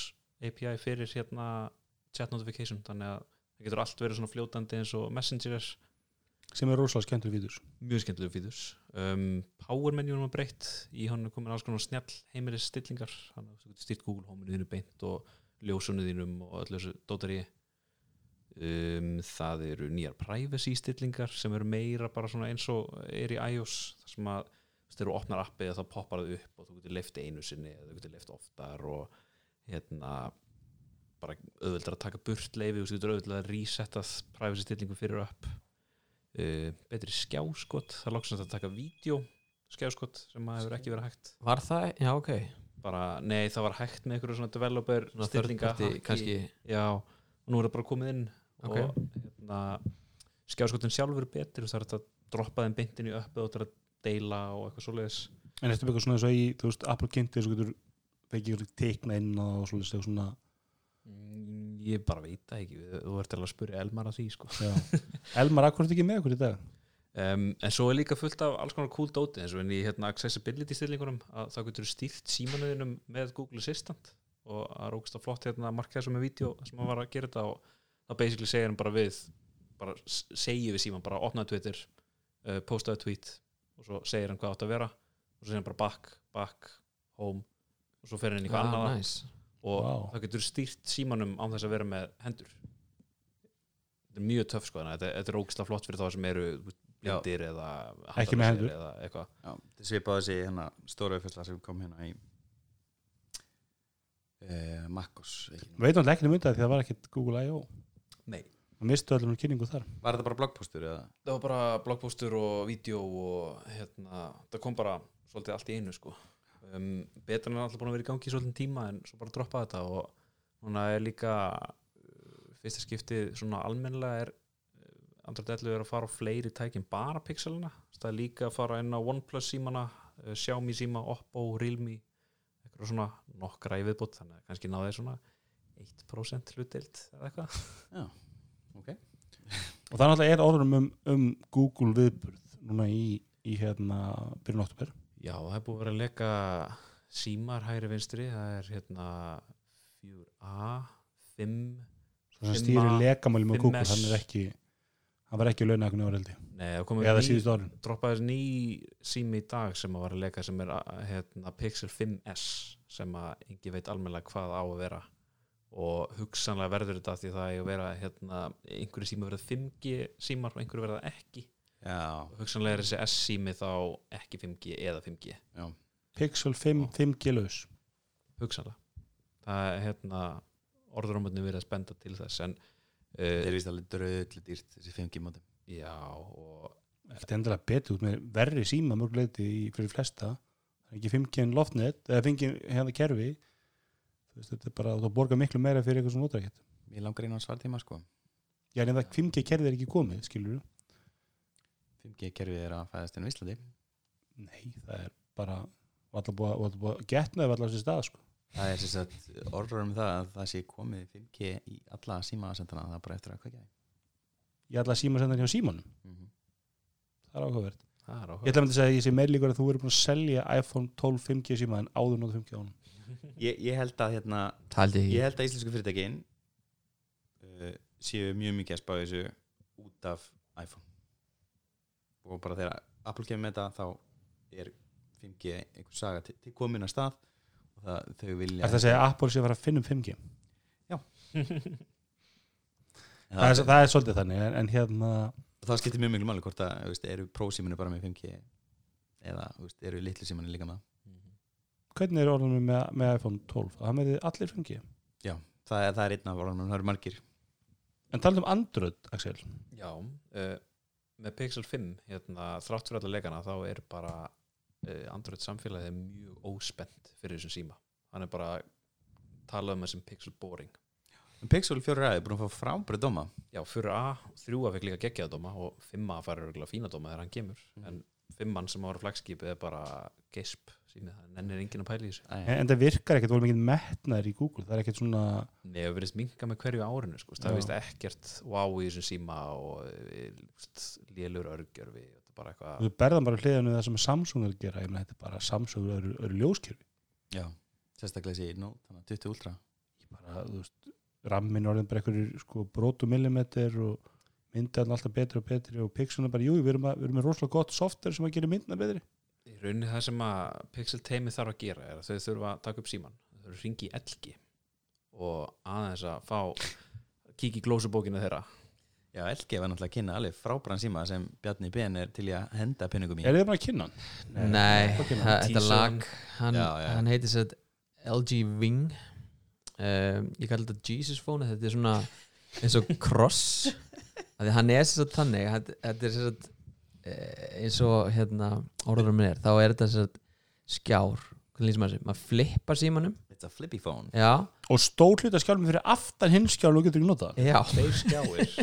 S5: API fyrir hérna chat notification þannig að það getur allt verið svona fljótandi eins og messenger er
S4: sem er rosalega skemmtur vítur
S5: mjög skemmtilegu fítur um, Power menjunum var breytt í hann er komin alls konar snjall heimilis stillingar hann er stýrt Google Home-inu þínu beint og ljósunni þínum og öllu þessu dótari um, það eru nýjar privacy stillingar sem eru meira bara svona eins og er í iOS þar sem að þú veist, þegar þú opnar appið þá poppar það upp og þú getur leift einu sinni eða þú getur leift oftar og hérna bara auðveldar að taka burt leifi og þú getur auðveldar að resetta privacy stillingu fyrir app uh, betri skjáskot það er loksins að taka vídeo skjáskot sem að hefur ekki verið hægt
S2: Var það? Já, ok
S5: bara, nei það var hægt með einhverju svona developer
S2: Svona
S5: stillinga
S2: þörfparti
S5: hacki.
S2: kannski
S5: já, og nú er það bara komið inn
S2: Ok.
S5: og hérna, skjáskotin sjálfur er betri og það er hægt að droppa þeim beintin í uppi og það er að deila og eitthvað svoleiðis
S4: en þetta er eitthvað svona eins og í, þú veist, Apple kynnti þess að getur fengið eitthvað teikna inn á og svolítið eitthvað svona
S5: Mm, ég bara veit það ekki, þú ert alveg að spyrja Elmar að því sko
S4: já. Elmar, akkur er þetta ekki með okkur í dag?
S5: Um, en svo er líka fullt af alls konar cool dóti eins og enn í hérna, accessibility stillingunum að það getur stýrt símanuðinum með Google Assistant og að rókast að flott hérna að marka þessu með vídeo sem að var að gera þetta og það basically segir hann bara við bara s- segir við síman bara opnaði Twitter, uh, postaði tweet og svo segir hann hvað átt að vera og svo segir hann bara back, back, home og svo fer hann í
S2: Ah,
S5: eitthvað annað
S2: nice.
S5: og
S4: Vá.
S5: þá getur stýrt símanum án þess að vera með hendur þetta er mjög töff sko þannig að þetta, þetta er ógislega flott fyrir þá sem eru þú veist, blindir eða
S4: Ekki með hendur.
S5: handalausir eða eitthvað
S3: Já, það svipaði þessi hérna stóra uppfærsla sem kom hérna í eh, Makkos ekki nú.
S4: veit hann ekki mynda því það var ekkit Google I.O.
S5: Nei.
S4: Það mistu öllum kynningu þar
S3: Var þetta bara blogpostur eða?
S5: það var bara blogpostur og vídeo og hérna, það kom bara svolítið allt í einu sko um, betur en alltaf búin að vera í gangi í svolítið tíma en svo bara droppa þetta og núna er líka uh, fyrsta skiptið svona almennlega er andra dellu er að fara á fleiri tækin bara pixelina, Þess, það er líka að fara inn á OnePlus símana, uh, Xiaomi síma Oppo, Realme, eitthvað svona nokkra í viðbútt, þannig að kannski náði svona 1% hlutdeild eða eitthvað,
S4: og það náttúrulega er orðum um, um Google viðburð núna í, í hérna byrjun oktober
S5: já það er búið að vera að leka símar hægri vinstri, það er hérna 4A 5,
S4: svo sem
S5: Fimma-
S4: stýri lekamæli með Google
S5: 5S.
S4: hann er ekki hann var ekki launa eitthvað njóðareldi
S5: nei það komið
S4: eða
S5: ný-
S4: síðustu árin
S5: droppaði þessi ný sími í dag sem að var að leika sem er að, hérna, Pixel 5S sem að engi veit almennilega hvað á að vera og hugsanlega verður þetta af því það er að vera hérna, einhverju sími verða 5G símar og einhverju verða ekki
S3: Já,
S5: og hugsanlega er þessi S sími þá ekki 5G eða 5G
S4: Pixel 5, 5G laus
S5: hugsanlega það er hérna orðurómöndin verið að spenda til þess en uh,
S3: þeir vist alveg dröðlu dýrt þessi 5G móti
S5: já og
S4: ekkert endilega betur út með verri síma mörguleiti fyrir flesta það er ekki 5G en loftnet eða 5G hérna kerfi Þú veist, þetta er bara þú borgar miklu meira fyrir eitthvað sem notar ekkert
S3: Ég langar inn á svartíma sko
S4: já en það 5G kerfi er ekki komið skilur
S3: 5G kerfið er að fæðast inn á Íslandi
S4: nei það er bara varla búið að- varla búið að getnaði varla á sér stað sko.
S3: Það er sem sagt orður um það að það sé komið 5G í alla símaðasendana það er bara eftir að kvækja
S4: ég ætla að síma senda hjá símanum
S3: mm -hmm.
S4: það er áhugavert
S5: það er
S4: ég ætla að myndi að segja að ég sé meir líkur að þú verður búin að selja iPhone 12 5G síma en áður nóðu 5G á honum
S3: ég, ég held að hérna
S2: Taldi ekki
S3: Ég held að íslensku fyrirtækin uh, séu mjög mikið að spá í þessu út af iPhone og bara þegar Apple kemur með þetta þá er 5G einhver saga til, til komin að stað og það, þau vilja
S4: er það að segja að Apple sé að fara að finna um 5G
S3: En
S4: það
S3: það,
S4: er, það er svolítið þannig en, en hérna
S3: og það skiptir mjög mjög máli hvort að þú veist, eru prósíminu bara með 5G eða þú veist, eru litlu símanu líka með það.
S4: hvernig er orðanum með, með iPhone 12 að það með allir 5G
S3: það er, það er einn af orðanum, það eru margir
S4: en talað um Android Axel
S5: Já, uh, með Pixel 5 hérna, þrátt fyrir alla leikana þá er bara uh, Android samfélagið er mjög óspennt fyrir þessum síma hann er bara talað um þessum Pixel Boring
S3: En Pixel 4a er búin að fá frábæri dóma
S5: Já, fyrir A, þrjú að fekk líka geggjaða dóma og fimma að fara örgulega fína dóma þegar hann kemur
S3: Mhm.
S5: en fimman sem var flagskipið er bara gesp, sími það nennir enginn að pæla í þessu
S4: en, en það virkar ekkert voru mikið metnaður í Google það er ekkert svona
S5: Nei, það verðist minka með hverju árinu sko. það
S4: Já.
S5: er vist ekkert wow í þessum síma og eh, víst, lélur örgjörfi þetta er bara eitthvað
S4: þú berðan bara hliðan við það sem Samsung er að gera ég meina þetta er bara Samsung eru, eru ljóskjörfi
S3: Já, sérstaklega þessi Note þannig að 20 Ultra
S4: ég bara þú veist rammin orðin bara einhverjir sko brotumillimeter og myndaðan alltaf betri og betri og pixelna bara jú við erum, að, við erum með rosalega gott software sem að gera myndina betri
S5: í rauninni það sem að Pixel teimi þarf að gera er að þau þurfa að taka upp síman þau þurfa að ringi í elgi og aðeins að fá kíkja í glósubókina þeirra
S3: Já, LG var náttúrulega að kynna alveg frábæran síma sem Bjarni Ben er til í að henda peningum í
S4: er þið bara að kynna hann?
S2: Nei,
S4: Hvað kemur?
S2: það- þetta lag hann,
S3: Já, já.
S2: hann heitir sér LG Wing um, ég kalli þetta Jesus Phone þetta er svona eins og cross að hann er sér satt þannig hann- þetta er sér satt eins og hérna orðurum er þá er þetta sér satt skjár hvernig lýsum maður sér, maður flippar símanum
S3: It's a flippy phone
S2: já,
S4: og stór hluta skjálfum fyrir aftan hinn skjálf og getur ekki notað hann.
S2: já
S5: þeir skjáir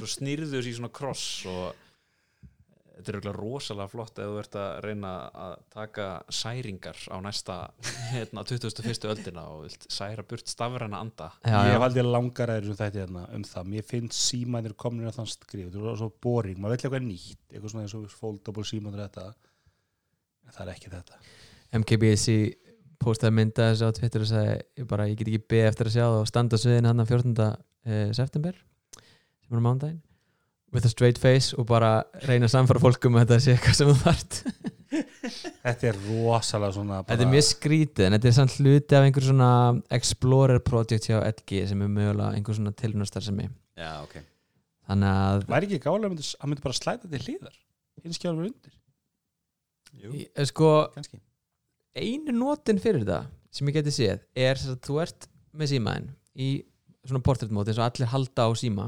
S5: svo snýrðu þessi í svona kross og eh, þetta er auðvitað rosalega flott ef þú ert að reyna að taka særingar á næsta hérna 2001. öldina og vilt særa burt stafræna anda
S2: já,
S4: ég
S2: já.
S4: hef aldrei langar aðeins um þetta hérna, um það, mér finnst símænir komin að þann skrif, þú er svo boring maður vill eitthvað nýtt, eitthvað svona eins og foldable símænir þetta en það er ekki þetta
S2: MKBC postaði mynda þessu á Twitter og sagði ég bara, ég get ekki beðið eftir að sjá það og standa sviðin hann 14. eh, september sem er á mándaginn um with a straight face og bara reyna að samfara fólkum að þetta sé eitthvað sem þú þart
S4: þetta er rosalega svona bara,
S2: Þetta er mjög skrítið en þetta er samt hluti af einhver svona Explorer project hjá LG sem er mögulega einhver svona tilnastar sem er
S3: já, ok
S2: þannig að
S4: væri ekki gála að myndi, hann myndi bara slæta til hliðar hinskjálfur undir
S3: Jú,
S2: Ég- sko
S3: kannski
S2: einu notin fyrir það sem ég geti séð er sem sagt, þú ert með símaðin í svona portrait mode eins og allir halda á síma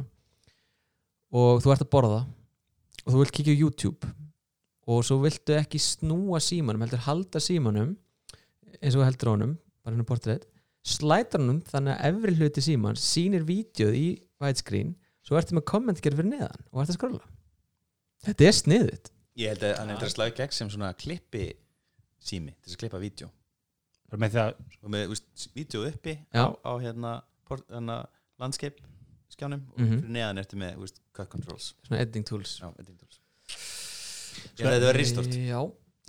S2: og þú ert að borða og þú vilt kíkja á YouTube og svo viltu ekki snúa símanum heldur halda símanum eins og þú heldur á honum, bara hennar portrait slætar honum þannig að efri hluti síman sýnir vídeoð í widescreen svo ertu með kommentgerð fyrir neðan og ert að skrolla þetta er sniðið
S3: Ég held að hann hefði að slá í gegn sem svona klippi sími, til þess að klippa vídeo
S4: bara með því að
S3: og með þú veist, vídeo uppi
S2: Já.
S3: á, á hérna, port, hérna landskeip skjánum og
S2: Mhm.
S3: fyrir neðan ertu með þú veist, cut controls
S2: svona editing tools Eh,
S3: Já, editing tools. Ég held að þetta var ristort
S2: Já,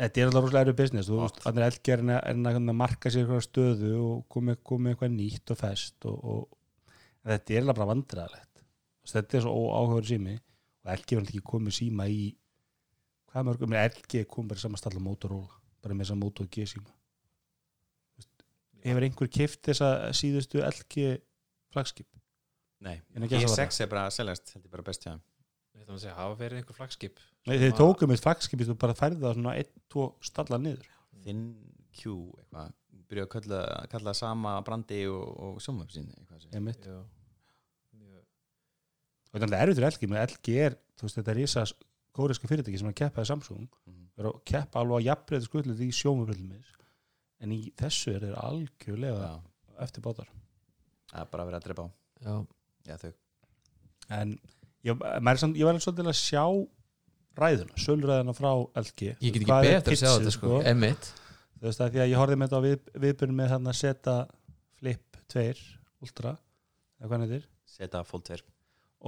S4: þetta er alltaf rosalega erfið business þú veist, hann er eldgerðin að, en að hérna marka sér eitthvað stöðu og komið komi eitthvað nýtt og fest og, og en þetta er eiginlega bara vandræðalegt Þess, þetta er svo óáhugaður sími og LG var ekki komið síma í hvað mörgum, en LG kom bara saman stalla Motorola, bara með þess að Moto G síma Þú veist, hefur einhver kift þess að síðustu LG flagskip
S3: Nei,
S4: En ekki að svara.
S3: G6 er bara að seljast held ég bara best hjá þeim
S5: Þetta maður að segja, hafa verið einhver flagskip
S4: Nei, þeir tókum eitt flagskip þú bara færði það svona 1-2 stalla niður
S3: Thin Q eitthvað byrjuðu að kalla, kalla sama brandi og, og sjónvöpsin
S4: Ég mitt.
S5: Já. Mjög-
S4: og þetta er erfitt fyrir LG, menn LG er þú veist, þetta er ísa kóriska fyrirtæki sem er að keppa í Samsung,
S3: Mhm.
S4: er að keppa alveg að jafnreita skullut í sjómafjöldumins en í þessu er þeir algjörlega
S3: Já,
S4: eftir bátar
S3: það er bara að vera að drepa á
S2: já
S3: Já, þau
S4: en ég, maður er samt, ég var alveg svolítið að sjá ræðuna, söluræðuna frá LG
S2: Ég get ekki
S4: Hvað er
S2: betur að sjá
S4: pitchið,
S2: þetta sko, emitt
S4: þú veist að því að ég horfði með þetta á við, viðbunum með hann að setja Flip 2 Ultra, eða hvað hann heitir
S3: Seta Fold 2,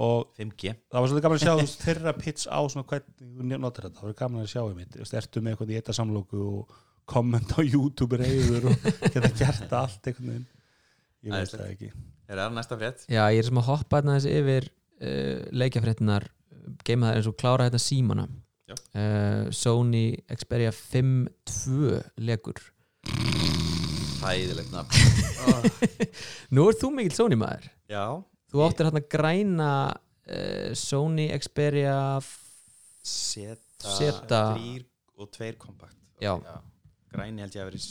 S4: og
S3: 5G
S4: það var svolítið gaman að sjá þú veist, þeirra pitch á svona hvernig þú notar þetta, það var gaman að sjá einmitt Þú veist, ertu með eitthvað í eitthvað samlóku og komment á YouTube reyður og geta gert allt einhvern veginn ég veit
S3: Æðislegt.
S4: það ekki
S3: Er það næsta frétt?
S2: Já, ég er sem að hoppa hérna þessi yfir uh, leikjafréttinar geima það eins og klára hérna símana
S3: Já.
S2: uh, Sony Xperia 5.2 leikur
S3: Hæðilegt nafn
S2: Nú er þú mikill Sony maður
S3: Já,
S2: Þú
S3: Ég-
S2: áttir hérna græna uh, Sony Xperia f-
S3: Seta,
S2: Zeta.
S3: 3 og 2 kompakt
S2: Já,
S3: Græni held ég að verið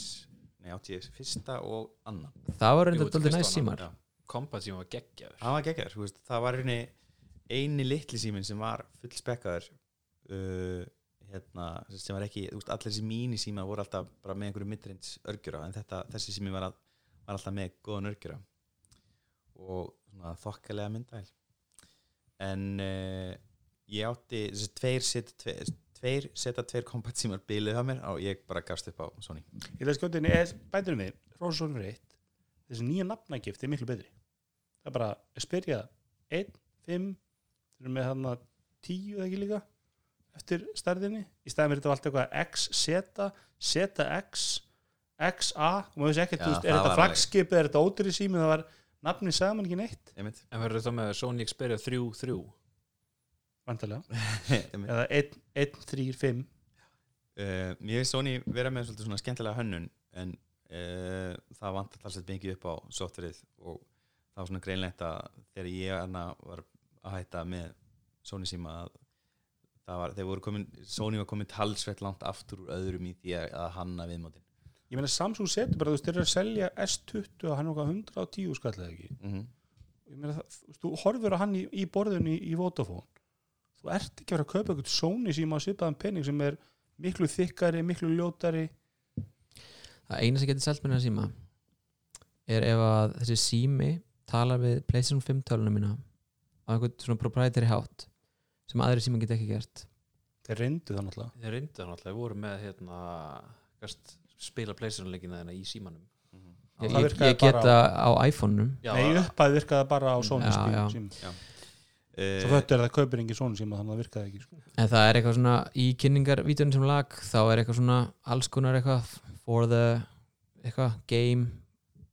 S3: Nei, átti ég fyrsta og annan
S2: það var
S5: Jú,
S2: reynda
S5: þetta
S2: daldið
S5: fyrsta
S2: næst
S5: var
S2: símar
S5: hann- já. Combat síma var geggjaður
S3: Það var geggjör, þú veist, það var eini, eini litli síminn sem var fullspekkaður uh, hérna, sem var ekki, þú veist, allir þessi míni síma voru alltaf bara með einhverju middreins örgjura en þetta, þessi sími var, að, var alltaf með góðan örgjura og svona þokkalega myndvæl en uh, ég átti þessi tveir seta tveir, tveir seta tveir kompat símar bilið á mér og ég bara gafst upp á Sony
S4: ég leist gjóttinni, bændurum við, Rósson fyrir eitt þessi nýja nafnagift er miklu betri það er bara að spyrja 1, 5, þeir eru með hann að 10 eða ekki líka eftir stærðinni, í staðum er þetta allt eitthvað X, Z, ZX XA, og maður veist ekkert
S3: Já,
S4: þú veist,
S3: það
S4: er þetta
S3: var alveg-
S4: flagskip, er þetta ódýri sími það var nafni saman ekki neitt
S3: einmitt,
S5: En verður þetta með Sony Xperia 3-3
S4: vantarlega,
S3: einmitt.
S4: eða 1, 1, 3, 5
S3: Uh, mér finnst Sony vera með svolítið svona skemmtilega hönnun en uh, það vantar alltaf mikið upp á softverið og það var svona greinlegt að þegar ég hana var að hætta með Sony síma að það var, þeir voru komin, Sony var komin talsvett langt aftur úr öðrum í því að, að hanna viðmótin
S4: ég meina Samsung setur bara, þú veist, þeir eru að selja S20 og hann er okkar 110 skall eða ekki
S3: mm -hmm.
S4: ég meina, það, þú veist, þú horfur á hann í, í borðinu í, í Vodafone þú ert ekki að vera að kaupa eitthvað Sony síma á svipaðan penning sem er miklu þykkari, miklu ljótari
S2: Það eina sem getur selt mér hérna síma er ef að þessi sími talar við Playstation 5 tölunum mína á einhvern svona proprietary hátt sem aðri síma get ekki gert
S4: þeir reyndu það náttúrulega
S5: Þeir reyndu það náttúrulega, þeir voru með hérna, gast, spila pleysirunleikina þeirna í símanum
S2: Ég,
S4: Það
S2: ég,
S4: virkaði
S2: ég geta á,
S4: bara
S2: iPhone-num
S5: Já,
S4: Nei, upphæði virkaði bara á Sony
S2: Já,
S4: já,
S2: já.
S4: síma svo
S3: uh,
S4: föttu er það kaupir engin Sony síma þannig að það virkaði ekki sko.
S2: En það er eitthvað svona í kynningarvítunum sem lag þá er eitthvað svona alls konar eitthvað for the eitthvað game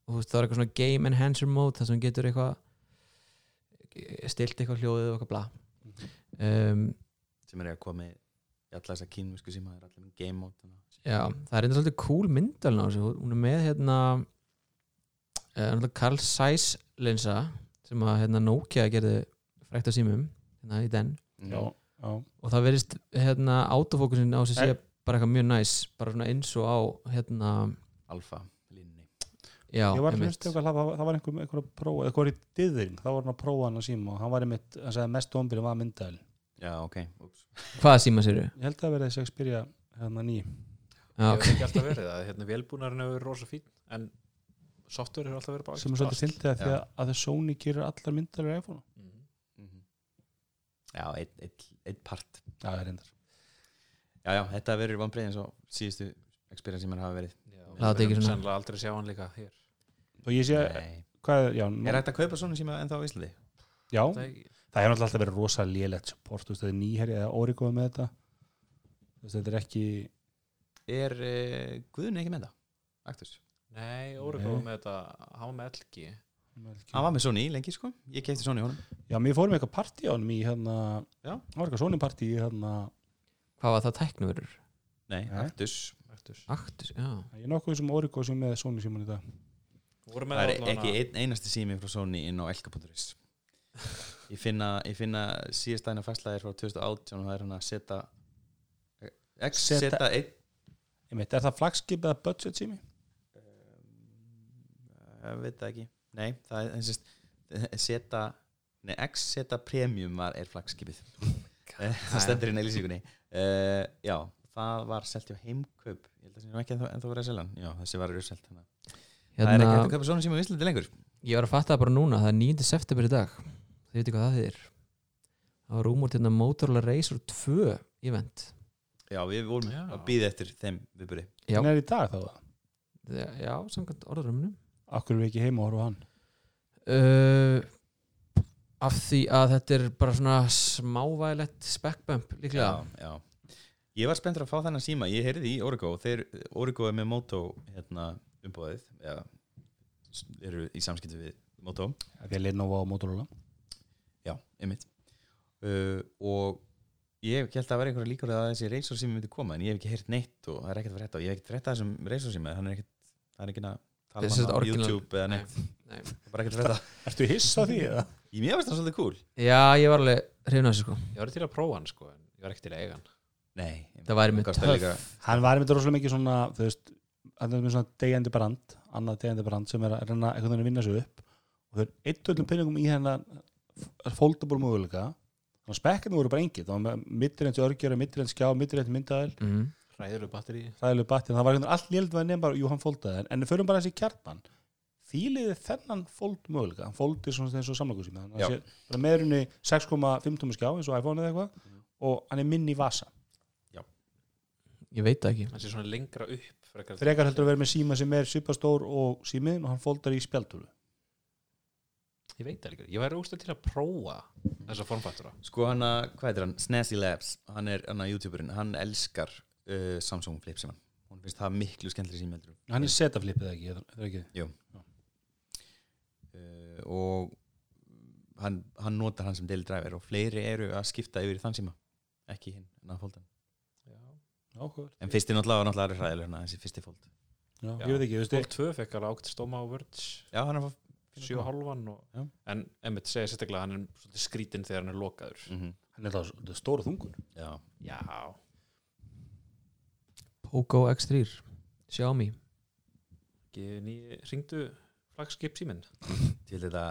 S2: og þú veist, það er eitthvað svona game enhancer mode þar sem getur eitthvað stilt eitthvað hljóðið og eitthvað bla um,
S3: sem er að koma með í alla þess að kínvísku síma er allir með game mode þannig að-
S2: Já, það er einnig svolítið cool myndalinn á þessu hún er með hérna uh, Carl Zeiss linsa sem að hérna, Nokia gerði frækt á símum hérna, í den
S4: já,
S3: Mhm.
S4: já,
S2: og það verðist hérna autofókusin á sér sé
S4: En-
S2: bara eitthvað mjög næs bara svona eins og á hérna
S3: alfa línni
S2: já,
S4: ég var
S2: einmitt.
S4: hlust eitthvað það var- það var einhver, einhver að prófa, eitthvað var í dyðring þá var hann að prófa hann að síma og hann var einmitt hann sagði að mest ombyrðin var myndaðil
S3: já ok Úps.
S2: hvaða síma sér
S4: ég held að það verði þess að spyrja hérna ný
S2: já,
S5: Ég
S2: ok.
S5: hef ekki alltaf verið það, hérna vélbúnarinn hefur verið rosa fín en software hefur alltaf verið bara
S4: sem er svolítið
S5: allt.
S4: sildið að því
S3: Já.
S4: að, að Sony gerir allar myndaðil í iPhone
S5: Mhm.
S3: Mhm. já, einn ein, ein part
S4: já, það er reyndar
S3: já, já, þetta verður vonbreið eins og síðustu experience sem hann hafa verið
S5: Já,
S2: er
S5: við
S3: Það
S2: ekki
S5: munum
S2: svona-
S5: sennilega aldrei sjá hann líka hér
S4: og ég sé,
S3: Nei.
S4: hvað, já, nú,
S3: er hægt að kaupa svona síma ennþá á Íslandi?
S4: já
S5: Það er ekki-
S4: það hefur náttúrulega alltaf verið rosa lélegt support, þú veist, þetta er nýherja eða órikoð með þetta Þú veist, þetta er ekki
S3: er uh, Guðun ekki með það? Aktus.
S5: Nei, Oracle var
S4: Nei.
S5: með þetta hann var með LG
S3: hann var með Sony lengi sko ég kefti Sony honum
S4: já, mér fórum eitthvað partí á honum í hérna
S3: Já.
S4: það var eitthvað Sony partí í hérna
S2: hvað var það tæknuvörur?
S3: nei,
S4: Nei.
S3: Aktus
S5: Actus.
S2: Aktus, já
S4: ég er nokkuð sem órikoð sem er með Sony síman í dag
S5: Voru með
S3: það er
S5: allavega-
S3: ekki ein, einasti sími frá Sony inn á elka.is ég finna, ég finna síðastæðina fæslaðir frá 2018 og það er hann að setja X
S4: Zeta-
S3: setja 1
S4: ég meit, er það flagskip eða budget sími?
S3: Eh, ég veit það ekki nei, það er einsist seta, nei, X seta premium var er flagskipið Eh, það stendur inn í lýsingunni uh, já, það var selt hjá heimkaup ég held að það er ekki ennþá, ennþá verið að selja hann já, þessi var rösselt hérna. það er ekki hægt að
S2: hérna,
S3: kaupa svona síma á Íslandi lengur
S2: ég var að fatta það bara núna það er 9. september í dag þið veitir hvað það þýðir það var rúmur hérna Motorola Razr 2 event
S3: já, við vorum
S5: Já.
S3: að býða eftir þeim viðbúri
S2: Já.
S4: hann er í dag þá það,
S2: já, samkvæmt orðrömmunum
S4: akkur er við ekki heima og horfa á hann
S2: uh, af því að þetta er bara svona smávægilegt spekkbömp líklega
S3: já, já. ég var spenntur að fá þennan síma ég heyrði í Origo og þeir Origo er með Moto hérna, umbúðið já, s- eru í samskipti við Moto
S4: því að Lenovo og Motorola
S3: já, einmitt uh, og ég held að vera einhverja líkur að þessi Razor sími myndi koma en ég hef ekki heyrt neitt og það er ekkert að frétta og ég hef ekkert frétta af þessum Razor sími þannig er ekkert, það er ekkert að tala
S2: Þessi
S3: um hann á
S2: original-
S3: YouTube eða neitt,
S2: nei.
S3: það er bara ekkert að frétta
S4: ertu hissa á því eða?
S3: ég mér finnst það svolítið cool
S2: já, ég var alveg hrifna þessu sko
S5: Ég var til að prófa hann sko en ég var ekki til að eiga hann
S3: nei,
S2: það væri mjög
S3: Gafst það
S2: töff
S3: líka-
S4: hann var einmitt rosalega mikið svona þú veist, hann er með svona degjandi brand annað degjandi brand sem er að reyna einhvern veginn að vinna sig upp og þau er eitt öllum pinningum í hennar foldable möguleika þannig að spekkarnir voru bara engið það var mittirreins örgjör, mittirreins skjá, mittirreins myndaðil
S2: mm.
S5: Ræðilegu batteri
S4: ræðileg battið, það var einhvern veginn allt léld við nefn bara, jú hann foldaði en, en við förum bara þessi kjartan fíliði þennan fold möguleika hann foldir svona eins og samlagu síma
S3: Já.
S4: þannig að sé bara meðrunni 6,5 tómur skjá eins og iPhone eða eitthvað og hann er minni í vasa
S2: ég veit það ekki
S5: Hann sé svona lengra upp frekar-
S4: frekar heldur að vera með síma sem er svipastór og síminn og hann foldar í spjaldtölu
S5: Ég veit það líka Ég væri úrstað til að prófa þessa formfaktora
S3: sko hann að, hvað heitir hann, Snazzy Labs hann er hann að youtuberinn, hann elskar uh, Samsung Flip síman hún finnst það miklu skemmtri sími heldur en-
S4: hann er setaflippið ekki, er það ekki
S3: uh, og hann, hann notar hann sem daily driver og fleiri eru að skipta yfir í þann síma ekki hinn, en að fólta
S4: Áhugavert.
S3: en fyrsti náttúrulega var náttúrulega aðri hræðilegur en að þessi fyrsti fólt
S4: Já,
S5: Já.
S4: ég veit ekki, þú veist
S5: Fólk 2 fekk alveg ákt stóma á Verge
S3: já, hann er að fá
S5: 7.5
S3: Já.
S5: og... en emmitt segja sérstaklega að hann er svolítið skrítinn þegar hann er lokaður
S3: mm -hmm.
S4: hann er það er stóra þungur
S3: já,
S5: Já,
S2: Poco X3 Xiaomi
S5: ný, ringdu flagskip síminn
S3: til þetta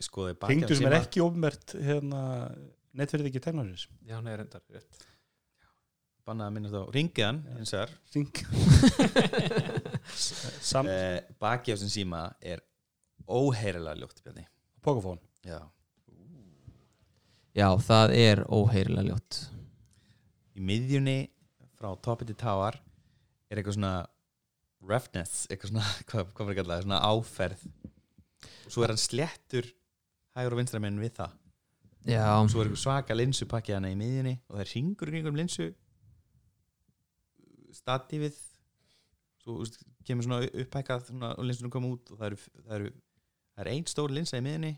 S3: skoði bakið
S4: hringdu sem er ekki ofmert hérna, netverið ekki teknarins
S5: Já, hann er reyndar rétt
S3: bannaði að minna þá, ringið hann hins vegar
S4: samt eh.
S3: uh, bakið á þessum síma er óheyrilega ljótt Bjarni
S4: Pokofón
S3: já
S2: já, það er óheyrilega ljótt
S3: í miðjunni frá toppi til táar er eitthvað svona roughness, eitthvað svona hvað, hvað var ekki alltaf, svona áferð og svo er hann sléttur hægur og vinstra menn við það
S2: já,
S3: og svo er eitthvað svaka linsu pakkið hana í miðjunni og það er hringur í einhverjum linsu statífið svo úst, kemur svona upphækkað svona, og linsunum koma út og það eru, það eru það er ein stór linsa í miðjunni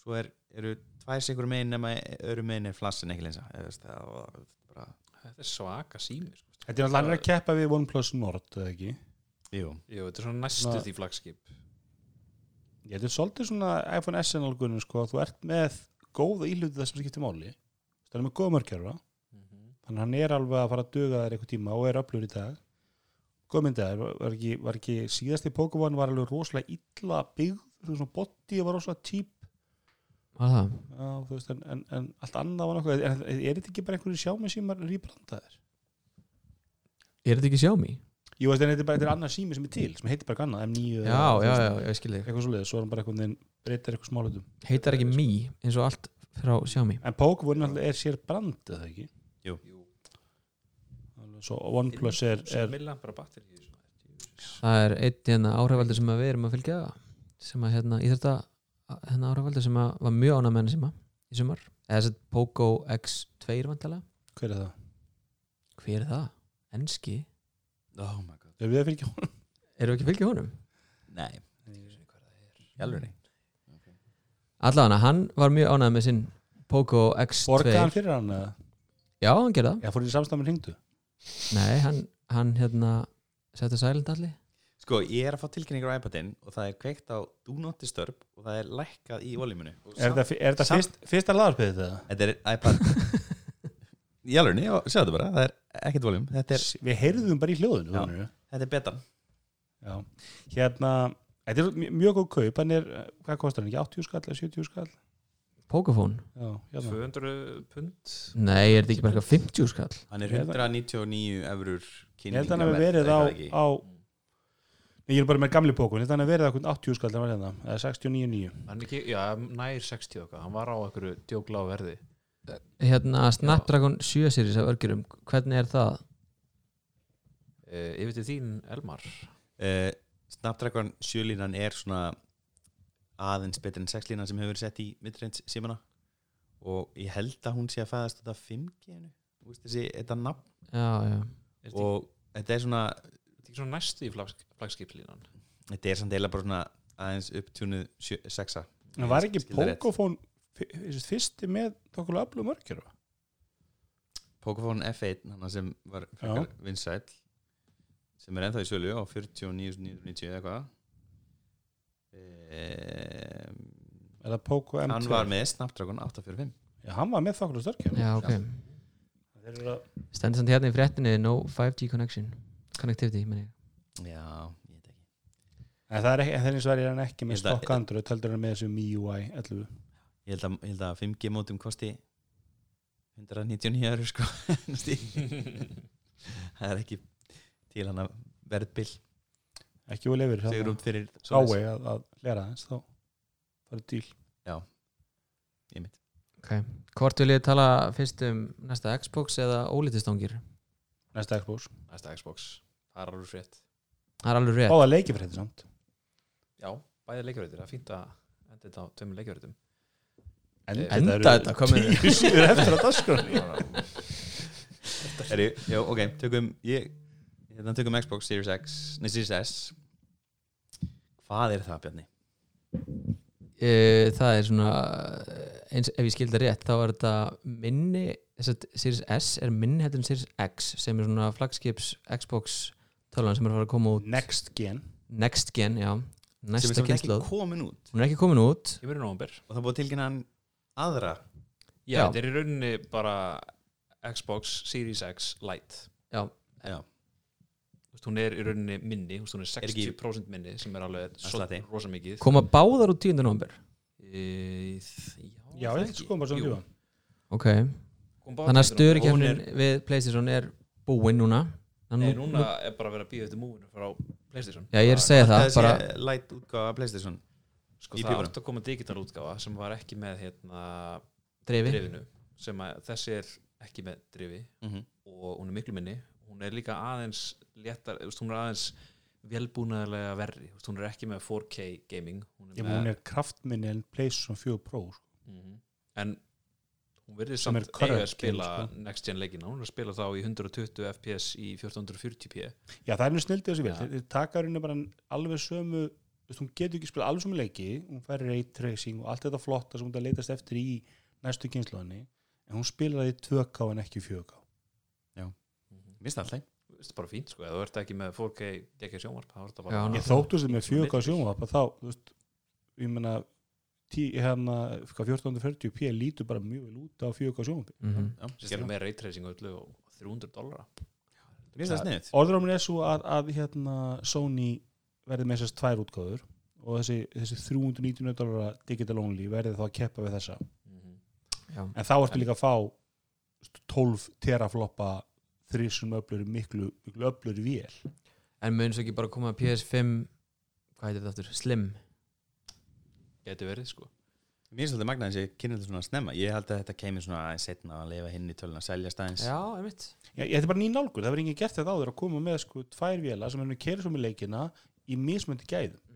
S3: svo er, eru tvær sikur megin nema öru megin er flassin ekki linsa eða, þú veist, það var bara
S5: Þetta er svaka sími sko.
S4: Þetta er alltaf annar að keppa við OnePlus Nord, eða ekki?
S3: Jú,
S5: Jú, þetta er svona næstu
S4: Svona-
S5: því flagskip
S4: Ég, þetta er svolítið svona iPhone SN algunum, sko, þú ert með góða íhlutið það sem skiptir máli. Það er með góða mörkjara, þannig að hann er alveg að fara að duga þær eitthvað tíma og er öflur í dag. Góð myndið, var ekki, var ekki síðasti Pokémon var alveg rosalega illa byggð, þú veist, svona body var rosalega típ,
S2: Var það?
S4: já, þú veist, en, en, en allt annað var nokkuð, er, er þetta ekki bara einhverju sjámi símar rýbrandaðir?
S2: Er þetta ekki Xiaomi?
S4: Jú, veist, en þetta er bara þetta er annað sími sem er til, sem heitir bara eitthvað annað, M9
S2: Já,
S4: eða-
S2: já,
S4: þú
S2: já, já,
S4: veist,
S2: ég skil þig
S4: eitthvað svo svo er hann bara eitthvað neginn breytar eitthvað smálutum
S2: Heitar ekki Mi eins og allt frá Xiaomi
S4: en Pokémon náttúrulega er sér brand eða ekki
S5: Jú,
S4: Alveg svo OnePlus er, er
S5: millan bara batteri í þessu
S2: Það er einn hérna, áhrifaldur sem að við erum að fylgja sem að hérna, ég þetta hérna, áhrifaldur sem að var mjög ánæg með henni síma í sumar, eða þess að Poco X2 vantalega,
S4: hver er það?
S2: hver er það? Enski?
S3: oh my god
S4: Ef við að fylgja honum
S2: Erum við ekki að fylgja honum?
S3: Nei, í alveg
S2: Allavega, hann var mjög ánæg með sinn Poco X2
S4: borgaði hann fyrir hann eða?
S2: Já, hann gerði það
S4: Já, fór í samstæð með hringdu
S2: Nei, hann, hann hérna setja silent allir
S3: Sko, ég er að fá tilkynningar á iPadin og það er kveikt á Do Not Disturb og það er lækkað í voluminu
S4: er þetta, er þetta
S3: samt-
S4: fyrst, fyrsta lagarpið þetta?
S3: Þetta er iPad Í alveg, já, sjáðu þetta bara, það er ekkert voljum Þetta er,
S4: við heyrðum bara í hljóðinu
S3: Já.
S4: já.
S3: þetta er betan
S4: Já. hérna þetta er mj- mjög góð kaup hann er hvað kostar hann ekki 80 skall eða 70 skall
S2: Pocophone?
S4: já, hérna.
S5: 200 pund
S2: Nei, er þetta ekki bara eitthvað 50 skall?
S3: Hann er
S4: Ég held
S3: 199 eurur
S4: ég held að hann hafi verið á, á Nei, ég er bara með gamli Pokémon ég held að hann hafi verið á einhvern 80 skall hann var hérna, eða 69,9
S5: Hann ekki, já, nær 60 okkar Hann var á einhverju djóklá verði
S2: Hérna, Snapdragon 7 series af örgjurum, hvernig er það?
S5: uh, Yfir til þín, Elmar
S3: uh, Snapdragon 7 línan er svona aðeins betur en 6 línan sem hefur verið sett í midrange símana og ég held að hún sé að fæðast þetta 5G -inu. Þú veist þessi, þetta nafn
S2: Já, já
S5: Er þetta ekki-
S3: og þetta er svona
S5: er þetta ekki svona næstu í flags, flagskiplínan?
S3: þetta er samt eila bara svona aðeins upptjúnuð 6a
S4: En var ekki
S3: Skil það rétt.
S4: Pocophone fyr- þessi fyrsti með tókulega öflum örkjara?
S3: Pocophone F1 hana sem var frekar vinsæll sem er ennþá í sölu á 49.990 eða eitthvað ehm,
S4: Eða Poco M2?
S3: hann var með Snapdragon 845
S4: Já, hann var með tókulega örkjara.
S2: Já, ok Stendur samt hérna í fréttinni No 5G connection Connectivity, meni ég
S3: já, ég veit ekki
S4: En það er ekki, en það er eins og það er hann ekki með
S3: Ég held að-
S4: stokk andru, töldur hann með þessu MIUI 11.
S3: ég held að, ég held að 5G mótum kosti 199 eurur sko næstum því. það er ekki til hann að verðbill
S4: Ekki úr lefur.
S3: segur út fyrir
S4: Ávei að, að lera þess, þá farið díl.
S3: ég mitt
S2: okay. Hvort vil ég tala fyrst um næsta Xbox eða ólítistangir?
S4: Næsta Xbox.
S5: Næsta Xbox Það er alveg frétt
S2: Það er alveg rétt
S4: Báða leiki fyrir þetta samt.
S5: Já, bæði leikjörður Það er fínt að enda þetta á tveimur leikjörðum
S4: En,
S5: Enda
S2: Enda þetta, hvað meinarðu?
S4: Tíu síður eftir að dasgrunni.
S3: Heri, já, ok, tökum ég, hérna tökum Xbox Series X nei, Series S hvað er það Bjarni?
S2: e, Það er svona eh, eins, Ef ég skildi rétt þá er þetta minni þess að Series S er minni heldur en Series X sem er svona flagskips Xbox tölvan sem er að fara að koma út
S4: Next Gen.
S2: Next gen, já
S3: sem er
S2: Næsta
S3: sem ekki
S2: kynnslóð
S3: komin út
S2: Hún er ekki komin út
S5: Ég verið nóvumber
S3: og það er búið að tilkynna hann aðra
S5: Já,
S2: Já.
S5: þetta er í rauninni bara Xbox Series X Lite
S2: Já,
S3: já,
S5: Þú veist, Hún er í rauninni minni, þú veist, hún er
S3: Er ekki-
S5: 60% minni sem er alveg
S3: Að slatti.
S5: rosa mikið
S2: koma báðar út 10. november
S5: e, Já,
S4: Já, ég sko bara svona tíma.
S2: Ok, þannig að
S3: Hún
S2: stöðurkjöfnin við PlayStation er búinn núna Þannig
S5: Nei,
S2: nú-
S5: núna
S2: nú-
S5: er bara að vera að býða eftir múinu frá Playstation
S2: Já, ég er að segja það,
S3: það
S2: bara
S3: sé light útgáfa af Playstation
S5: Sko,
S3: í
S5: það
S3: pípunum.
S5: átt að koma digital útgáfa sem var ekki með hérna,
S2: drefi
S5: drifinu sem að þessi er ekki með drifi
S3: mm -hmm.
S5: og hún er miklu minni hún er líka aðeins léttar, þú veist, hún er aðeins velbúnaðarlega verri þú veist, hún er ekki með 4K gaming hún
S4: Ég
S5: er
S4: mun hún
S5: með,
S4: er kraftminni en PlayStation 4 Pro. sko.
S5: Mhm. en hún verður
S4: Sem
S5: samt
S4: er
S5: eiga
S4: current
S5: að spila
S4: game,
S5: next gen leikina, hún er að spila þá í 120 fps í 1440p
S4: Já, það er nú snildið þessi vel.
S5: Ja.
S4: Þeir þeir taka henni bara alveg sömu, þú veist, hún getur ekki spila alveg sömu leiki, hún fær ray tracing og allt þetta flotta sem hún það leitast eftir í næstu kynnslóðinni, en hún spilar það í 2K en ekki 4K.
S3: mista alltaf
S5: veist, bara fínt sko, ef þú ert ekki með 4K geggjað sjónvarp, þá er þetta bara
S2: Já,
S4: ég þóttust þið með fjögur
S5: Millir.
S4: sjónvarp að þá, þú veist, ég meina tí, hérna, hvað, 1440p lítur bara mjög vel út á fjögur sjónvarp
S2: mm -hmm.
S3: Já,
S5: Sérstaklega
S3: gerum.
S5: með raytracing og öllu og 300 dollara
S3: Mér finnst það sniðt
S4: orðrámin er svo að, að hérna, Sony verði með þessast tvær útgáður og þessi, þessi 399 dólar digital only verði þá að keppa við þessa
S5: Mhm.
S2: Já.
S4: en þá ertu líka að fá þú veist, 12 terafloppa þrísum öflur miklu, miklu öflur vél
S2: en mun svo ekki bara koma PS5 hvað heitir þetta aftur, Slim
S5: geti verið sko
S3: Mér finnst þetta magnaðins ég kynni þetta svona snemma Ég held að þetta kemur svona aðeins setna að lifa hinn í tölun að selja stæðins
S2: já, einmitt
S4: Já, ég, þetta er bara ný nálgun, það verður enginn gert þetta áður að koma með sko tvær vélar sem er með keiri svo með leikina í mismöndi gæðum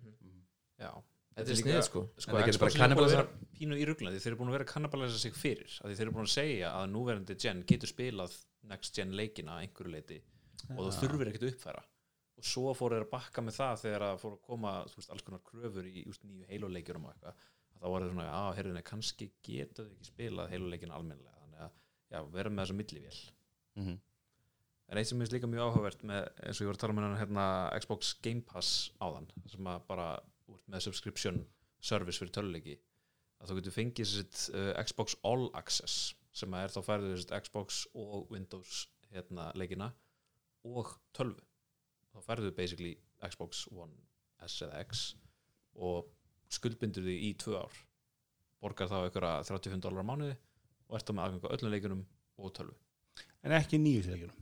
S5: Já.
S2: þetta er sniðið sko
S5: sko,
S3: En það getur bara
S5: Xbox er búin að
S3: kannibalisa-
S5: vera pínu í ruglandi þeir eru búin að vera að kannibalisa sig fyrir af því þeir eru búin að segja að núverandi gen getur spilað next gen leikina að einhverju leiti og þú þurfir ekkert að uppfæra og svo fóru þeir að bakka með það þegar að fóru að koma þú veist, alls konar kröfur í just, nýju heiluleikjurum og eitthvað að þá var þeir svona, já, heyrðu, nei, kannski geta þau ekki spilað heiluleikin almennilega þannig að, já, vera með þessa millivél
S3: Mhm.
S5: en eitt sem er líka mjög áhugavert með, eins og ég var að tala með hann hérna Xbox Game Pass áðan sem að bara úr með subscription service fyrir töluleiki að þú getur fengið sitt uh, Xbox All Access sem að er þá færður sitt Xbox og Windows hérna, leikina og tölvu þá færður basically Xbox One S eða X og skuldbindur því í tvö ár borgar þá einhverja 35 dólar á mánuði og ert þá með aðganga öllum leikunum og tölvu
S4: en ekki nýjus leikinum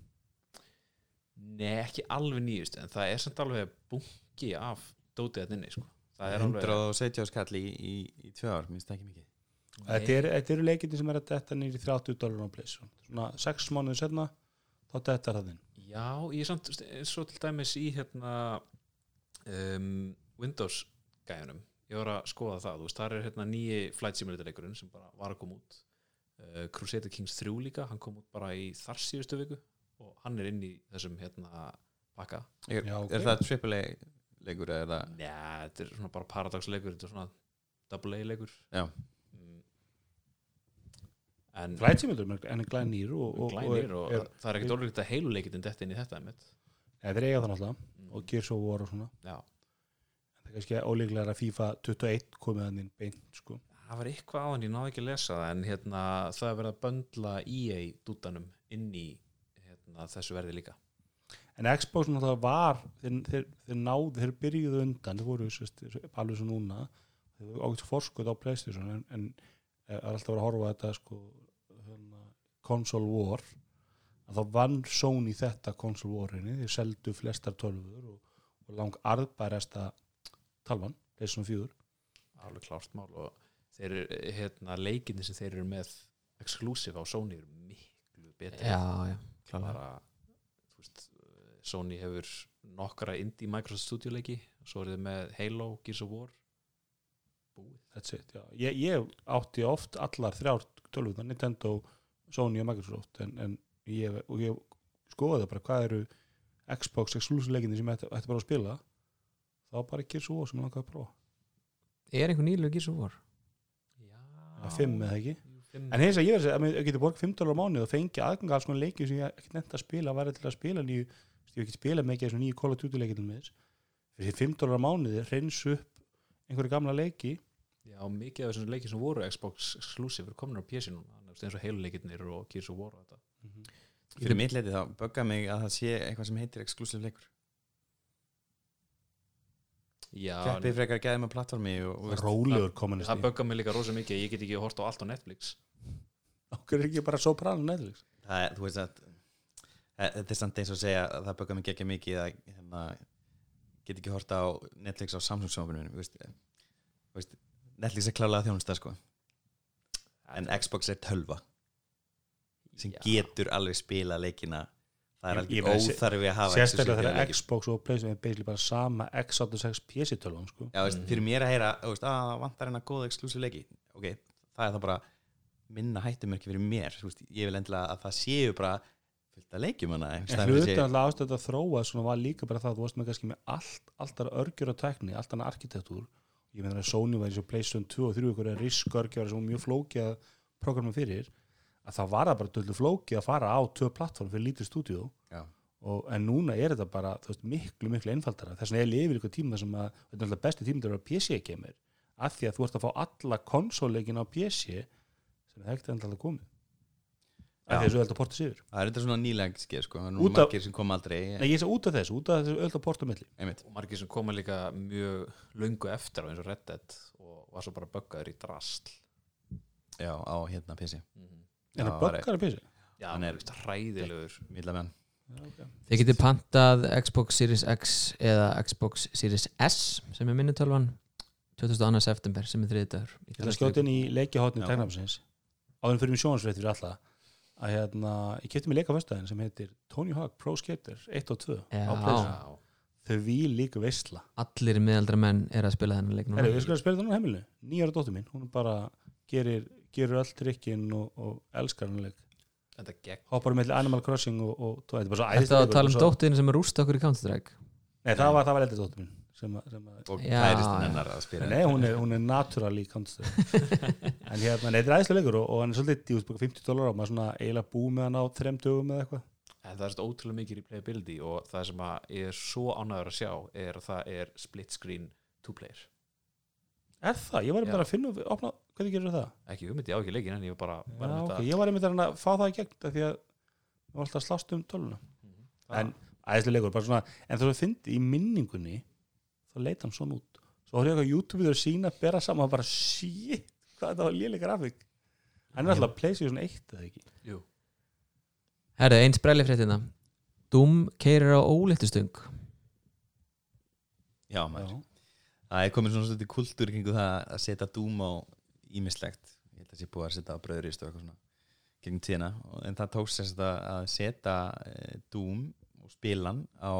S5: Nei, ekki alveg nýjust en það er samt alveg bungi af dótið þarna inni sko. það er alveg
S3: 170 skall í, í, í tvö ár, minnst það ekki mikið
S4: þetta, er, þetta eru leikinni sem er að detta nýri 30 dólar á pleysun svona 6 mánuðin setna þá dettar það inn
S5: Já, ég er samt þú veist, eins og til dæmis í hérna um, Windows gæjunum ég var að skoða það, þú veist, það er hérna nýji Flight Simulator leikurinn sem bara var að koma út uh, Crusader Kings 3 líka hann kom út bara í þar síðustu viku og hann er inn í þessum hérna pakka
S3: er,
S4: Já, ok.
S3: er það AAA leikur eða er það
S5: Nei, þetta er svona bara paradoxleikur þetta er svona double A leikur
S3: Já.
S5: mm. En
S4: flætsimildur, en er glænýr og, og,
S5: glænir og,
S4: er,
S5: það er ekkert orðvíkt að heiluleikitinn detti inn í þetta einmitt.
S4: eða þeir eiga það náttúrulega
S5: Mm.
S4: og Gears of War og svona
S5: Já.
S4: það er kannski óleiklega að FIFA 21 komið hann inn beint sko
S5: það var eitthvað áðan, ég náði ekki að lesa það en hérna, það er verið að böndla EA dútanum inn í hérna, þessu verði líka
S4: en Xbox náttúrulega var þeir, þeir, þeir náðu, þeir byrjuðu undan þeir voru sest, alveg svo núna þeir voru ákveðt forskuð á Playstation en, en eh, það er alltaf að vera að horfa á þetta sko, hérna, console war að þá vann Sony þetta console warinni, þeir seldu flestar tölvur og, og lang arðbærasta talvan, Playstation 4
S5: alveg klárt mál og þeir, eru, hérna, leikinni sem þeir eru með exclusive á Sony eru miklu betri
S2: já, já, klálega
S5: bara, þú veist, Sony hefur nokkra indie Microsoft Studio leiki svo eru þið með Halo, Gears of War búið
S4: That's it, já. Ég, ég átti oft allar þrjár tölvurnar, Nintendo, Sony og Microsoft en, en ég, og ég skoðaði bara hvað eru Xbox exclusive leikinni sem ég ætti, ætti bara að spila þá var bara ekki svo sem ég langaði að prófa
S2: er einhver nýlega gísu vor?
S5: Já,
S4: að fimm eða ekki
S5: jú, fimm.
S4: en hins að ég verið að ég geti borg 5 dólar á mánuð og fengi aðganga alls konar leikið sem ég ekkert nefnt að spila væri til að spila nýju, þú veist, ég hef ekki spila mikið af þessum nýju Call of Duty leikinu með þess fyrir 5 dólar á mánuði reynsu upp einhverju gamla leiki
S5: Já, mikið af þessum leikið sem voru Xbox exclusive eru komin á PC núna þannig að eins og heiluleikirnir og Gears of War og þetta.
S3: Fyrir mitt leiti þá bögga mig að það sé eitthvað sem heitir exclusive leikur
S5: Já,
S3: Keppið
S5: en
S3: frekar gæði með plattformi og, og veist-
S4: rólegur komin
S5: það böggar mig líka rosa mikið að ég get ekki hort á allt á Netflix
S4: okkur er ekki bara svo pralin eða
S3: það er, þú veist að e, þetta er samt eins og að segja að það böggar mig ekki mikið að hérna, get ekki horta á Netflix á Samsung sjónvarpinu mínu, þú veist, eh, þú veist, Netflix er klálega þjónusta sko en Xbox er tölva sem
S5: Já.
S3: getur alveg spila leikina það er
S4: Ég- ég
S3: alveg
S4: meina, sé-
S3: óþarfi að hafa
S4: sérstaklega
S3: exclusive
S4: þegar
S3: leiki.
S4: Xbox og Playstation er basically bara sama x86 PC tölvum sko.
S3: Já, veist, fyrir mér að heyra, þú veist, að vantar hennar góða exclusive leiki, ok, það er það bara minna hættumörki fyrir mér þú veist, ég vil endilega að það séu bara fullt að leikjum hana einhvers
S4: en
S3: staðar fyrir
S4: hlutin
S3: sig.
S4: alltaf ástæða að þróa svona var líka bara það, þú varst með kannski með allt alltaf örgjur á tækni, allt annað arkitektúr ég meina að Sony var eins og Playstation 2 og 3 ykkur er risk örgjur sem var mjög flókið að programma fyrir, að það var það bara döldu flókið að fara á tvö plattform fyrir lítið stúdíu
S3: Já.
S4: og, en núna er þetta bara þú veist, miklu, miklu einfaldara þess vegna ég lifi líka tíma þar sem að þetta er alltaf besti tíma þegar að PC kemur af því að þú ert að fá alla konsolleikin á PC sem það ekkert alltaf komið af því að þessu er alltaf portið sigur
S3: það er þetta svona nýlega skeið sko, það er nú
S4: Út af-
S3: margir sem koma aldrei
S4: Nei, ég sé út af þessu, út af þessu öll að porta milli
S3: einmitt,
S5: og margir sem koma líka mjög löngu eftir á eins og Red Dead og var svo bara böggaður í drasl
S3: já, á hérna PC
S4: en
S3: Já,
S4: það
S3: það er
S4: bökkar að PC
S5: já,
S3: Hann
S5: hann
S3: er-
S5: er hræðilegur
S3: vilja með hann
S2: Þið getið pantað Xbox Series X eða Xbox Series S sem er minni tölvan 22. september sem er þriði dagur
S4: Ég ætla að skjóta inn í leikjahotni
S3: Já.
S4: tegnafnsins áður en fyrir mig sjónansveit fyrir alla að hérna, ég kefti mig leika föstudaginn sem heitir Tony Hawk Pro Skater 1 og 2
S2: Já.
S4: á
S2: Já.
S4: pleysa þau við líka veistla
S2: Allir miðaldra menn er að spila þennan leik núna.
S4: Herru, við skulum spila það núna á heimilinu nýjara dóttir mín, hún bara gerir, gerir öll trikkin og, og elskar hann leik
S5: þetta gegn
S4: hoppar mellir Animal Crossing og, og þetta er bara svo
S2: Þetta
S4: æðislegur
S2: að tala um
S4: og svo-
S2: dóttiðin sem er rústa okkur í Counter-Strike
S4: Nei, það var, það var eldri dóttir mín sem, að- sem að,
S3: og
S2: Já,
S3: kæristinn
S2: já.
S3: hennar að spila
S4: Nei, hún er, hún er natural í Counter En hérna, nei, þetta er æðislega leikur og, og hann er svolítið djúpt, bara 50 dólar og maður svona eiginlega bú með hann á þrem dögum eða eitthvað
S5: en það er svo ótrúlega mikið replayability og það sem að ég er svo ánægur að sjá er að það er split screen two player
S4: Er það? Ég var einmitt
S5: Já.
S4: að finna og opna, hvernig gerir það?
S5: ekki hugmynd, ég á ekki leikin en ég var bara
S4: Já,
S5: var
S4: ok, Ég var einmitt að reyna að fá það í gegn af því að við var alltaf að slást um töluna
S5: Mhm.
S4: En æðislega leikur, bara svona en þegar þú fyndi í minningunni þá leit hann svona út Svo horfði ég eitthvað á YouTube þegar sína bera saman og bara shit, hvað þetta var lélega grafik Hann er alltaf að pleysa í svona eitt eða ekki
S2: Herru, eins brelli fréttina Doom keirir á óléttustöng
S3: já, maður, það er komin svona svolítið kultúr kringu það að setja dúm á ímislegt, ég held að sé búið að setja á bröðurist og eitthvað svona gegn tíðina Og- en það tókst þess að, að setja e, dúm og spilan á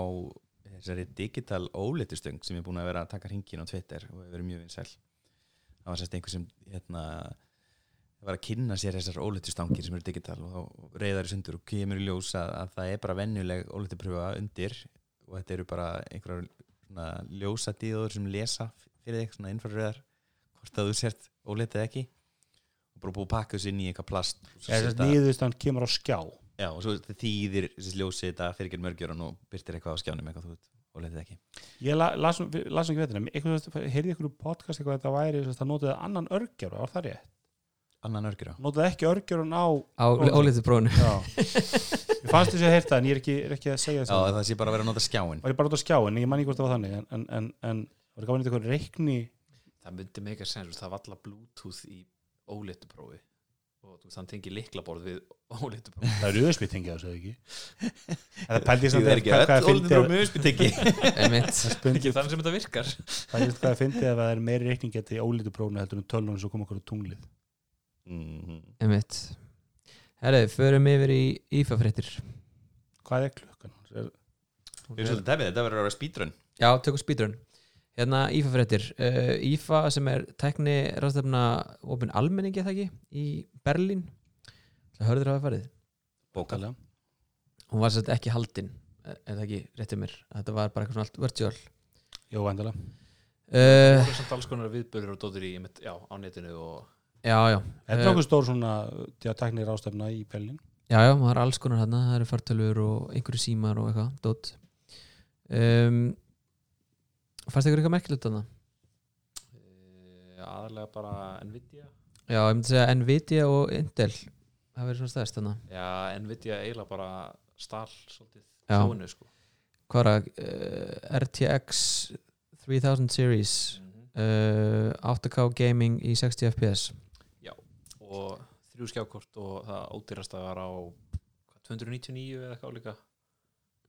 S3: þessari digital óleitustöng sem ég er búin að vera að taka hringin á Twitter og hefur verið mjög vinsæl það var sérst einhver sem hérna var að kynna sér þessar óleitustangir sem eru digital og þá reyðar í sundur og kemur í ljós að, að það er bara venjuleg óleitupröfa undir og þetta eru bara einhverjar svona ljósadíður sem lesa fyrir þig, svona innfarröðar hvort að þú sért óleitt eða ekki og bara búið að pakka þessu inn í eitthvað plast og svo
S4: Eða þess
S3: setja-
S4: að niðurstaðan kemur á skjá
S3: Já, og svo þetta þýðir þessi ljósið þetta fyrir ekki mörgjörun og byrtir eitthvað á skjánum eitthvað þú veit og letið ekki.
S4: Ég la, las, nú- við- las nú ekki veitina, eitthvað, heyrði ykkur um podcast eitthvað að þetta væri, þess að það notaði annan örgjör, var það rétt?
S3: Annan örgjör á.
S4: Notaði ekki örgjörun á,
S2: á
S4: Óléttu.
S2: óléttuprófinu
S4: já, ég fannst þess að heyrta en ég er ekki, er ekki að segja
S3: Já,
S4: þess að,
S3: það sé bara að vera að nota skjáin.
S4: var ég bara út á skjá, en ég man ekki hvort það var þannig, en, en, en, en var gaman eitthvað reikni,
S5: það myndi mega sens það var alltaf bluetooth í óléttuprófi og þú veist, hann tengi liklaborð við óléttuprófi
S4: það eru öðsbyttingi þessu eða ekki? En það pældi
S3: Þú
S4: samt
S3: er
S4: að
S3: ekki
S4: hvað
S3: öll
S4: það fyndi
S3: óleitur á
S4: að,
S3: mjög spytiki.
S2: Einmitt.
S4: spyndi,
S5: ekki þannig sem þetta virkar
S4: pældi hvað það fyndi að það er meiri reikning getið í ólítu prófuna heldur en tölunum sem kom okkur á tunglið.
S3: Mhm.
S2: Einmitt Herru, förum yfir í IFA fréttir
S4: Hvað er klukkan? Er,
S3: Við erum svolítið tefið, þetta verður að vera speedrun.
S2: Já, tökum speedrun Hérna IFA fréttir uh, IFA sem er tekni ráðstefna opin almenningi er það ekki í Berlín Það hörður hafa farið
S3: Bókal.
S4: Bókalega.
S2: Hún var svolítið ekki haldin er er það ekki réttið mér Þetta var bara eitthvað svona allt virtual
S4: Jó, endala.
S5: það
S3: Eh.
S2: uh,
S5: voru samt alls konar viðbörður og dóttir í einmitt, já, á netinu og
S2: Já, já
S4: Þetta
S2: Eh,
S4: er okkur stór svona, já, teknir ástefna í Berlín.
S2: Já, já, það er alls konar hérna, það eru fartölur og einhverju símar og eitthvað, dót um, Fannst ykkur eitthvað merkilegt þarna?
S5: e, aðalega bara Nvidia
S2: Já, ég myndi segja Nvidia og Intel það verið svona stærst þarna
S5: já, Nvidia eiginlega bara stál svolítið
S2: Já.
S5: þjónu sko
S2: Hvað er það? Uh, RTX 3000 Series uh, 8K gaming í 60 fps
S5: og þrjú skjákort og það ódýrasta var á hvað, 299 eða eitthvað álíka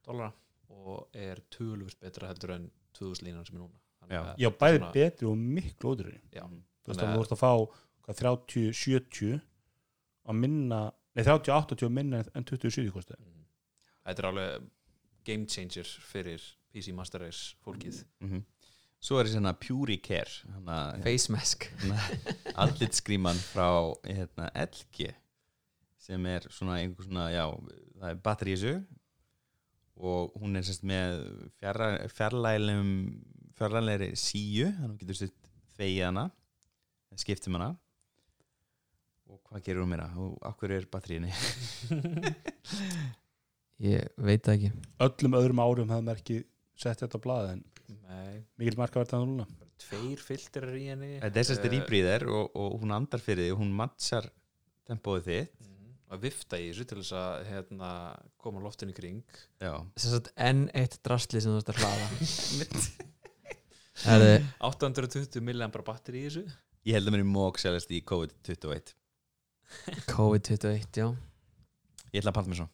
S5: dollara og er tölvist betra heldur en 2000 línan sem er núna Þannig
S3: Já.
S5: að-
S4: Já, bæði
S5: Svona-
S4: betri og miklu ódurinn.
S5: já,
S4: þú veist
S5: Þannig
S4: að
S5: að-
S4: þú ert að fá hvað, 30, 70 að minna, nei 30, 80 minna en 20, 70 kostu
S5: Mhm. þetta er alveg game changer fyrir PC Master Race
S4: Mhm.
S5: fólkið
S3: Mhm. Svo er þessi hérna Puri Care, hérna
S2: Face mask
S3: andlitskríman frá hérna, LG sem er svona einhver svona, já, það er batteri í þessu og hún er sérst með fjarra- fjarlægum fjarlæglegri síu þannig að hún getur sérst þegið hana skiptum hana og hvað gerir hún meira? og af hverju er batteríinni?
S2: ég veit það ekki
S4: öllum öðrum árum hafði maður ekki sett þetta á blaði en
S5: Nei,
S4: mikil marka verða það núna
S5: bara tveir filtrar í henni
S3: Þetta er sérst
S5: Eh,
S3: rýbríðir og, og hún andar fyrir því og hún mattsar tempóið þitt
S5: mhm, að vifta í þessu til þess að hérna, koma loftinu í kring
S3: Já,
S2: Sem sagt, enn eitt drastli sem þú ert að hlaða Herði,
S5: 820 milliambar batteri í þessu
S3: ég held að mér er mók sérst í COVID-21
S2: COVID-21, já
S3: Ég ætla að panta mér svo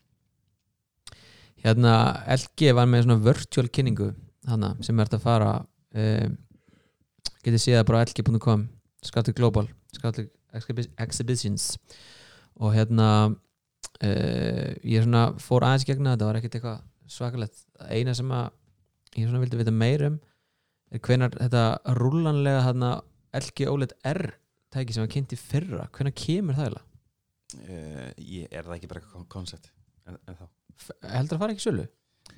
S2: hérna LG var með svona virtual kynningu hana, sem er þetta að fara um, getið séð það bara á lg.com skattu global, skattu exhibitions og hérna uh, ég svona fór aðeins gegna þetta var ekkert eitthvað svakalegt eina sem að ég svona vildi vita meir um er hvenar þetta rúlanlega hana, LG OLED R tæki sem var kynnt í fyrra, hvenar kemur það eiginlega?
S3: uh, Ég er það ekki bara kon- koncept en, en þá
S2: F- heldur það fara ekki í sölu?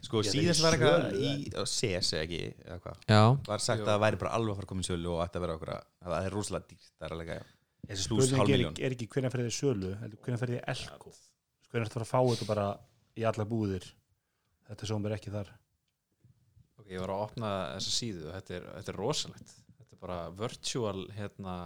S3: Sko,
S4: Ég er
S3: síðast
S4: í
S3: var eitthvað
S4: sölu,
S3: í á CS eða ekki, eða hvað
S2: Já,
S3: var
S5: Jú.
S3: sagt að það væri bara alveg að fara komin sölu og ætti að vera okkur að að það er rosalega dýrt það er alveg að slús
S4: Spurningin
S3: hálf
S4: er,
S3: miljón
S4: er ekki hvernig fyrir þið sölu hvernig fyrir þið elko hvernig ertu að fara að fá þetta bara í alla búðir þetta sjáum við ekki þar
S5: Ok, ég var að opna þessa síðu og þetta er, þetta er rosalegt Þetta er bara virtual hérna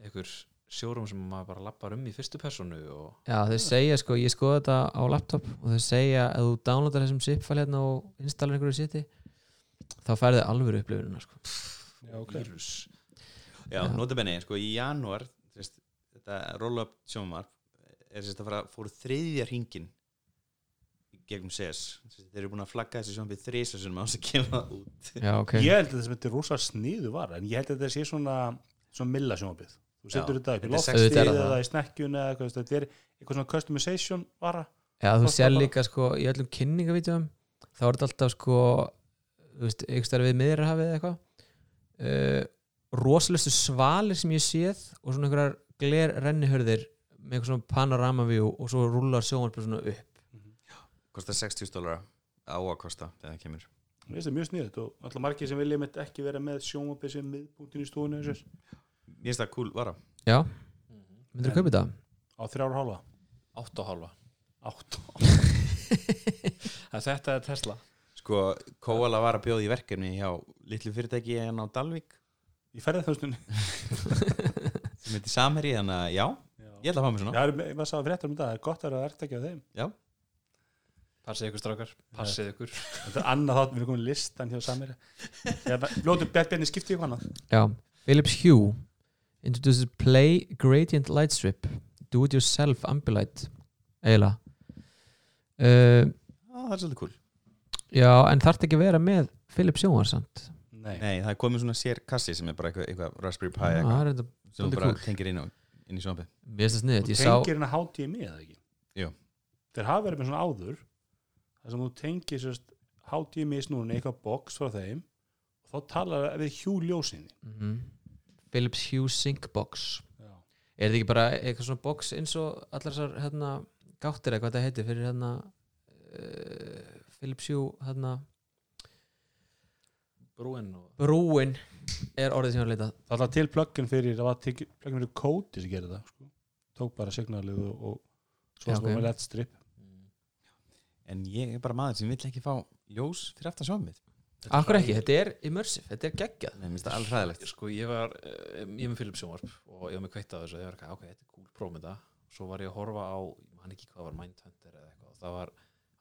S5: einhver sjórum sem maður bara lappar um í fyrstu personu og
S2: Já, þau segja sko, ég skoða þetta á laptop og þau segja að þú downloadar þessum zip-fæl hérna og installar einhverju siti þá færðu alvöru upplifunina sko.
S4: Já, ok.
S5: vírus
S2: Já.
S3: Já, notabenni, sko í janúar sérst, þetta roll-up sjónvarp er sérst að fara, fóru þriðja hringin í gegnum CS sérst, þeir eru búin að flagga þessi sjónvarpi þrisa sem án sem kemur það út
S2: Já, ok
S4: ég held að þetta sem þetta er rosa sniðu var en ég held að þetta sé svona, svona milla sjónabið þú setur
S3: Já,
S4: þetta upp í
S3: þetta er
S4: loftið
S2: 60
S4: eða
S2: það.
S4: í snekkjun eða eitthvað, þetta er eitthvað svona customization vara
S2: Já, þú
S4: Kostar
S2: sér
S4: bara-
S2: líka sko í öllum kynningavítum þá er þetta alltaf sko þú veist, einhvers þar við miðrahafið eða eitthvað uh, rosalestu svalir sem ég séð og svona einhverjar gler rennihörðir með einhver svona panoramavíu og svo rúlar sjónvarpið svona upp
S3: kostar 60 dólar á að kosta þegar það kemur
S4: Mér finnst það mjög sniðut og alltaf margir sem vilja mitt ekki vera með sjónabið sem miðbúntin í stofunni eins og þess.
S3: Mér finnst það cool vara
S2: Já, myndirðu kaupa þetta?
S4: á þrjára hálfa
S5: 8,5
S4: átt
S5: En Þetta er Tesla
S3: Sko, Kóala var að bjóða í verkefni hjá litlu fyrirtæki en á Dalvik
S4: í ferðarþjónustunni.
S3: sem heitir Samherji, þannig að já, ég ætla að fá mér
S4: Já,
S3: svona
S4: það er maður sá fréttar um þetta, það er gott að vera að ekki á þeim
S5: Passið ykkur strákar, passið ykkur
S4: Þetta er annað þátt, við erum komin í listan hjá samir Lótu Bjart Bjarni skipti ykkur annað
S2: Já, Philips Hue introduces Play Gradient Light Strip Do It Yourself Ambilight eiginlega uh,
S3: Já, það er svolítið cool
S2: Já, en þarf ekki að vera með Philips Jóhansamt
S4: Nei,
S3: Nei, það er komið svona sér kassi sem er bara eitthvað, eitthvað Raspberry Pi
S2: Það
S3: eitthvað
S2: er þetta
S3: sem þú
S2: Ah, svolítið
S3: bara
S2: cool.
S3: tengir inn, á, inn í sjónvarpið
S2: Mér finnst það
S4: þú
S2: sniðið, ég sá
S4: tengir hérna hátíði með það ekki
S3: Jú.
S4: Þeir hafa verið með svona áður þar sem þú tengir sérst hátíði með snúrunni í eitthvað box frá þeim og þá talar það við hjú ljósinni
S2: Mhm. Philips Hue Sync Box
S4: Já.
S2: Er þetta ekki bara eitthvað svona box eins og allar þessar hérna gáttir eitthvað þetta heitir fyrir hérna uh, Philips Hue hérna
S5: Brúin og
S2: brúin er orðið sem ég var að leita
S4: Það var til plöggin fyrir, það var til plöggin fyrir kóti sem gerði það sko. Tók bara signalið og, og svo
S2: Já,
S4: sko
S2: ok.
S4: með lett strip
S3: en ég er bara maður sem vill ekki fá ljós fyrir aftan sjónum mitt
S2: Akkur ekki, þetta er immersive, þetta er geggjað
S3: Nei, mér finnst það alveg hræðilegt
S5: Sko ég var, eh, ég er með Philips sjónvarp og ég var með kveitt á þessu og ég var ekki, ok, þetta er cool, prófum þetta Svo var ég að horfa á, ég man ekki hvað var Mindhunter eða eitthvað, það var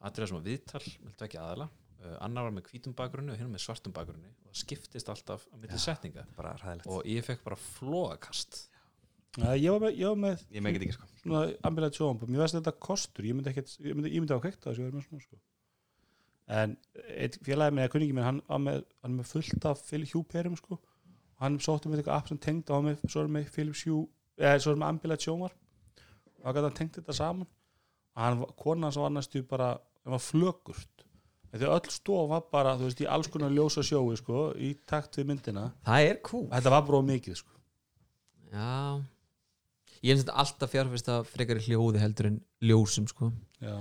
S5: atriða sem var viðtal, með tvekja aðala uh, annar var með hvítum bakgrunni og hinn með svartum bakgrunni og það skiptist alltaf á milli setninga
S3: bara hræðilegt
S5: og ég fekk bara flóakast
S4: Nei, Ég var með, ég var með
S3: ég megin þetta ekki sko
S4: svona ambilætt sjóðan mér veist þetta kostur, ég myndi ekkert ég myndi, ég myndi hafa kveikt á þessu, ég var með svona sko. en eitt félagi með kunningi minn, hann var með, hann er með fullt af Phil- hjúperum sko og hann sótti með eitthvað app sem tengd á með svo er með Philips Hjú, eða svo er með ambilætt sjóðan og hann gæti hann tengt þetta saman og hann, var- konan hans var næstu bara hann var flögurt þegar öll stofa var bara, þú veist, í alls konar ljósa sjói sko, í takt við myndina
S2: Það er cool
S4: þetta var bara of mikið sko
S2: Já Ég finnst þetta alltaf fjárfyrst að frekar í hljóði heldur en ljósum sko
S4: Já.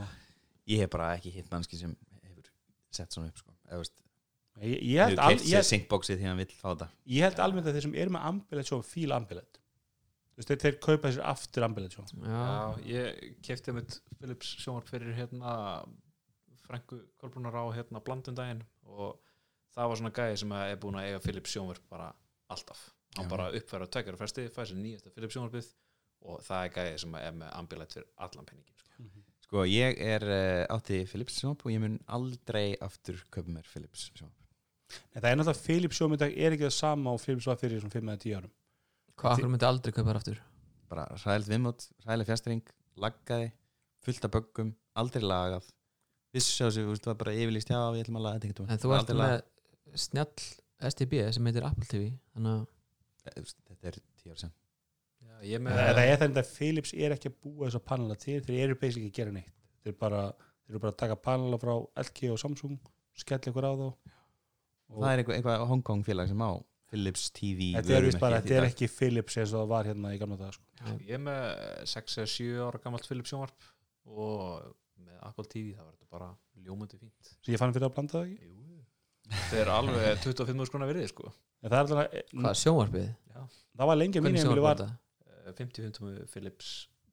S3: ég hef bara ekki hitt mannski sem hefur sett svona upp sko eða veist
S4: ég, ég, held
S3: hefur
S4: al-
S3: keitt
S4: ég,
S3: sér syncboxið því hann vill fá þetta
S4: ég held almennt að þeir sem eru með ambilet sjóðan fíla ambilet Þú veist, þeir, þeir kaupa sér aftur ambulance sjón
S2: já,
S5: Já, ég kefti mitt Philips sjónvarp fyrir hérna Franku Kolbrunar á hérna blandundaginn og það var svona gæði sem er búin að eiga Philips sjónvarp bara alltaf hann
S3: Já.
S5: bara uppfæra tökjara fresti, fæði sér nýjasta Philips sjónvarpið og það er gæði sem er með ambilætt fyrir allan penningin sko.
S3: Sko, ég er uh, átti Philips sjónvarp og ég mun aldrei aftur köpa mér Philips sjónvarp.
S4: En það er náttúrulega Philips sjómið dag er ekki það sama og Philips var fyrir svona 5 eða 10 árum
S2: hvað akkur myndi aldrei kaupa þær aftur
S3: Bara ræðilegt viðmót, ræðileg fjastring, laggaði, fullt af böggum, aldrei lagað. Vissu sjá sig, þú veist, það var bara yfirlýst, já, við ætlum að laga þetta einhvern tímann.
S2: en þú
S3: Bara
S2: ert
S3: aldrei
S2: með snjall STB sem heitir Apple TV þannig að
S3: lagað. Eh, þú veist, Þetta er tíu ára sem.
S5: Já, ég
S4: En
S5: með
S4: Það er þannig að Philips er ekki að búa þess að panela til þeir eru basic ekki að gera neitt þeir eru bara, þeir eru bara að taka panela frá LG og Samsung, skella ykkur á þá og
S3: Það er eitthvað, eitthvað Hong Kong félag sem á Philips TV.
S4: þetta er vist bara,
S3: vörumerki í
S4: þetta er
S3: dag.
S4: ekki Philips eins og það var hérna í gamla dag sko.
S5: ég er með 6 eða 7 ára gamalt Philips sjónvarp og með Apple TV það var þetta bara ljómandi fínt
S4: sem ég fann fyrir að blanda það ekki
S5: Jú. þetta er alveg 25 skrona virði sko
S4: en það, er alveg,
S2: hvað, sjónvarpið?
S4: það var lengi að mín
S2: Hvernig
S4: heimili
S2: sjónvarp var
S4: var
S2: þetta?
S5: Eh, 50-50 Philips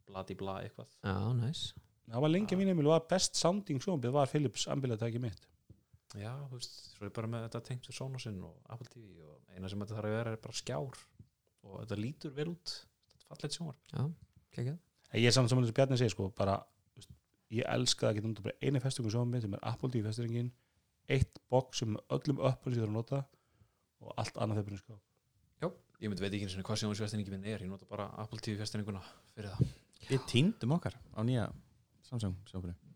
S5: bladibla eitthvað
S2: Já, næs
S4: það var lengi að mín heimili var best sounding sjómið var Philips ambulatæki mitt
S5: já, þú veist, svo er bara með þetta tengt við Sonosinn og Apple TV og eina sem þetta þarf að vera er bara skjár og þetta lítur vel út þetta er fallet sjónvarp
S2: Já, kekja
S4: en ég er samt saman eins og Bjarni segir sko bara, þú veist, ég elska það að geta notað bara einu festingu sjómið sem er Apple TV festingin eitt box sem með öllum öppun sem ég þarf að nota og allt annað þeir byrjum sko
S5: ég myndi veit ekki einu sinni hvað sjónvarsfjastinningi minn er ég nota bara Apple TV fjastinninguna fyrir það
S3: Við týndum okkar á nýja Samsung sjónvarpinu.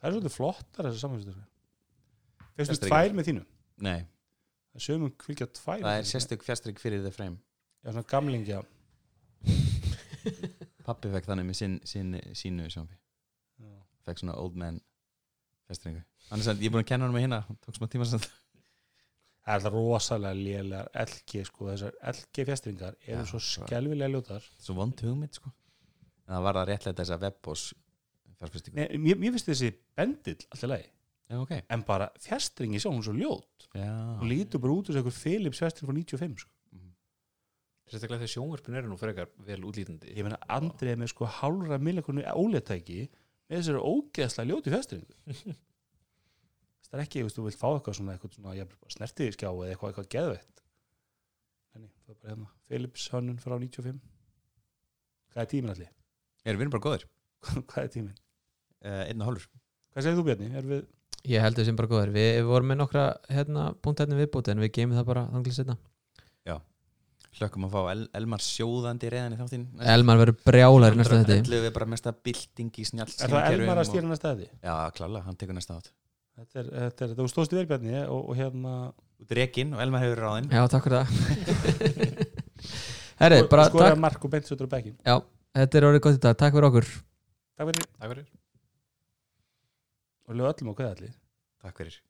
S4: það er svolítið flottar þessar samfélagsfestingar fyrstu
S3: Festingar.
S4: tvær með þínu
S3: Nei,
S4: það sögum um fylgja tvær
S3: það
S4: með
S3: er
S4: þínu.
S3: sérstök fjastring fyrir The Frame.
S4: Já, svona gamlingja
S3: Pappi fekk þannig með sinn, sinn, sínu sjónvarpi.
S4: Já.
S3: fekk svona old man festringu annars að ég er búin að kenna hann með hérna tók smá tíma samt
S4: það er alltaf rosalega lélegar LG sko, þessar LG fjastringar eru
S3: Já,
S4: svo
S3: það-
S4: skelvilega ljótar
S3: svo vond hugmynd sko en það var að réttlega þess að webbos fjárfestingu
S4: Nei, mér, mér finnst þessi bendill alltaf leið,
S3: já ok
S4: en bara fjastringi sjá hún er svo ljót, hún
S3: já.
S4: lítur bara út þessi einhver Philips fjastring frá 95 sko.
S5: sérstaklega þegar sjónvarpin eru nú frekar vel útlítandi
S4: ég meina Andrið er með sko hálfra millikonu óleitæki með þessari ógeðslega ljóti fjastringu það er ekki, þú veist, þú vilt fá eitthvað svona, eitthvað svona jafnvel bara snertiðskjá eða eitthvað, eitthvað geðveitt Nei, nei, það er bara hérna Philips hönnun frá 95 hvað er tíminn allir?
S3: er við erum bara góðir
S4: hvað er tíminn?
S3: uh, einn og hálfur
S4: Hvað segir þú Bjarni? Er við...
S2: Ég held þessum bara góður Við, við vorum með nokkra hérna, punktarnir viðbúti en við geymum það bara þanglið setna
S3: hlökkum að fá El Elmar sjóðandi reðan í þáttinn
S2: Elmar verður brjálar í næsta
S3: Eh, Elmar
S2: þetta
S3: Ellu er bara mesta bylting í snjall
S4: Er það Elmar að stýra næsta stæði?
S3: já klála hann tekur næsta átt
S4: Þetta er, þetta er, þú stóðst í vel Bjarni og, og hérna
S3: út rekinn og Elmar hefur ráðinn
S2: Já, takk fyrir það Herri, bara
S4: skoraði
S2: takk
S4: mark og beint sötur á bekkin
S2: Já, þetta er orðið gott í dag, takk fyrir okkur
S4: Takk fyrir
S5: Takk fyrir
S4: og lög öllum á hvað allir
S3: takk fyrir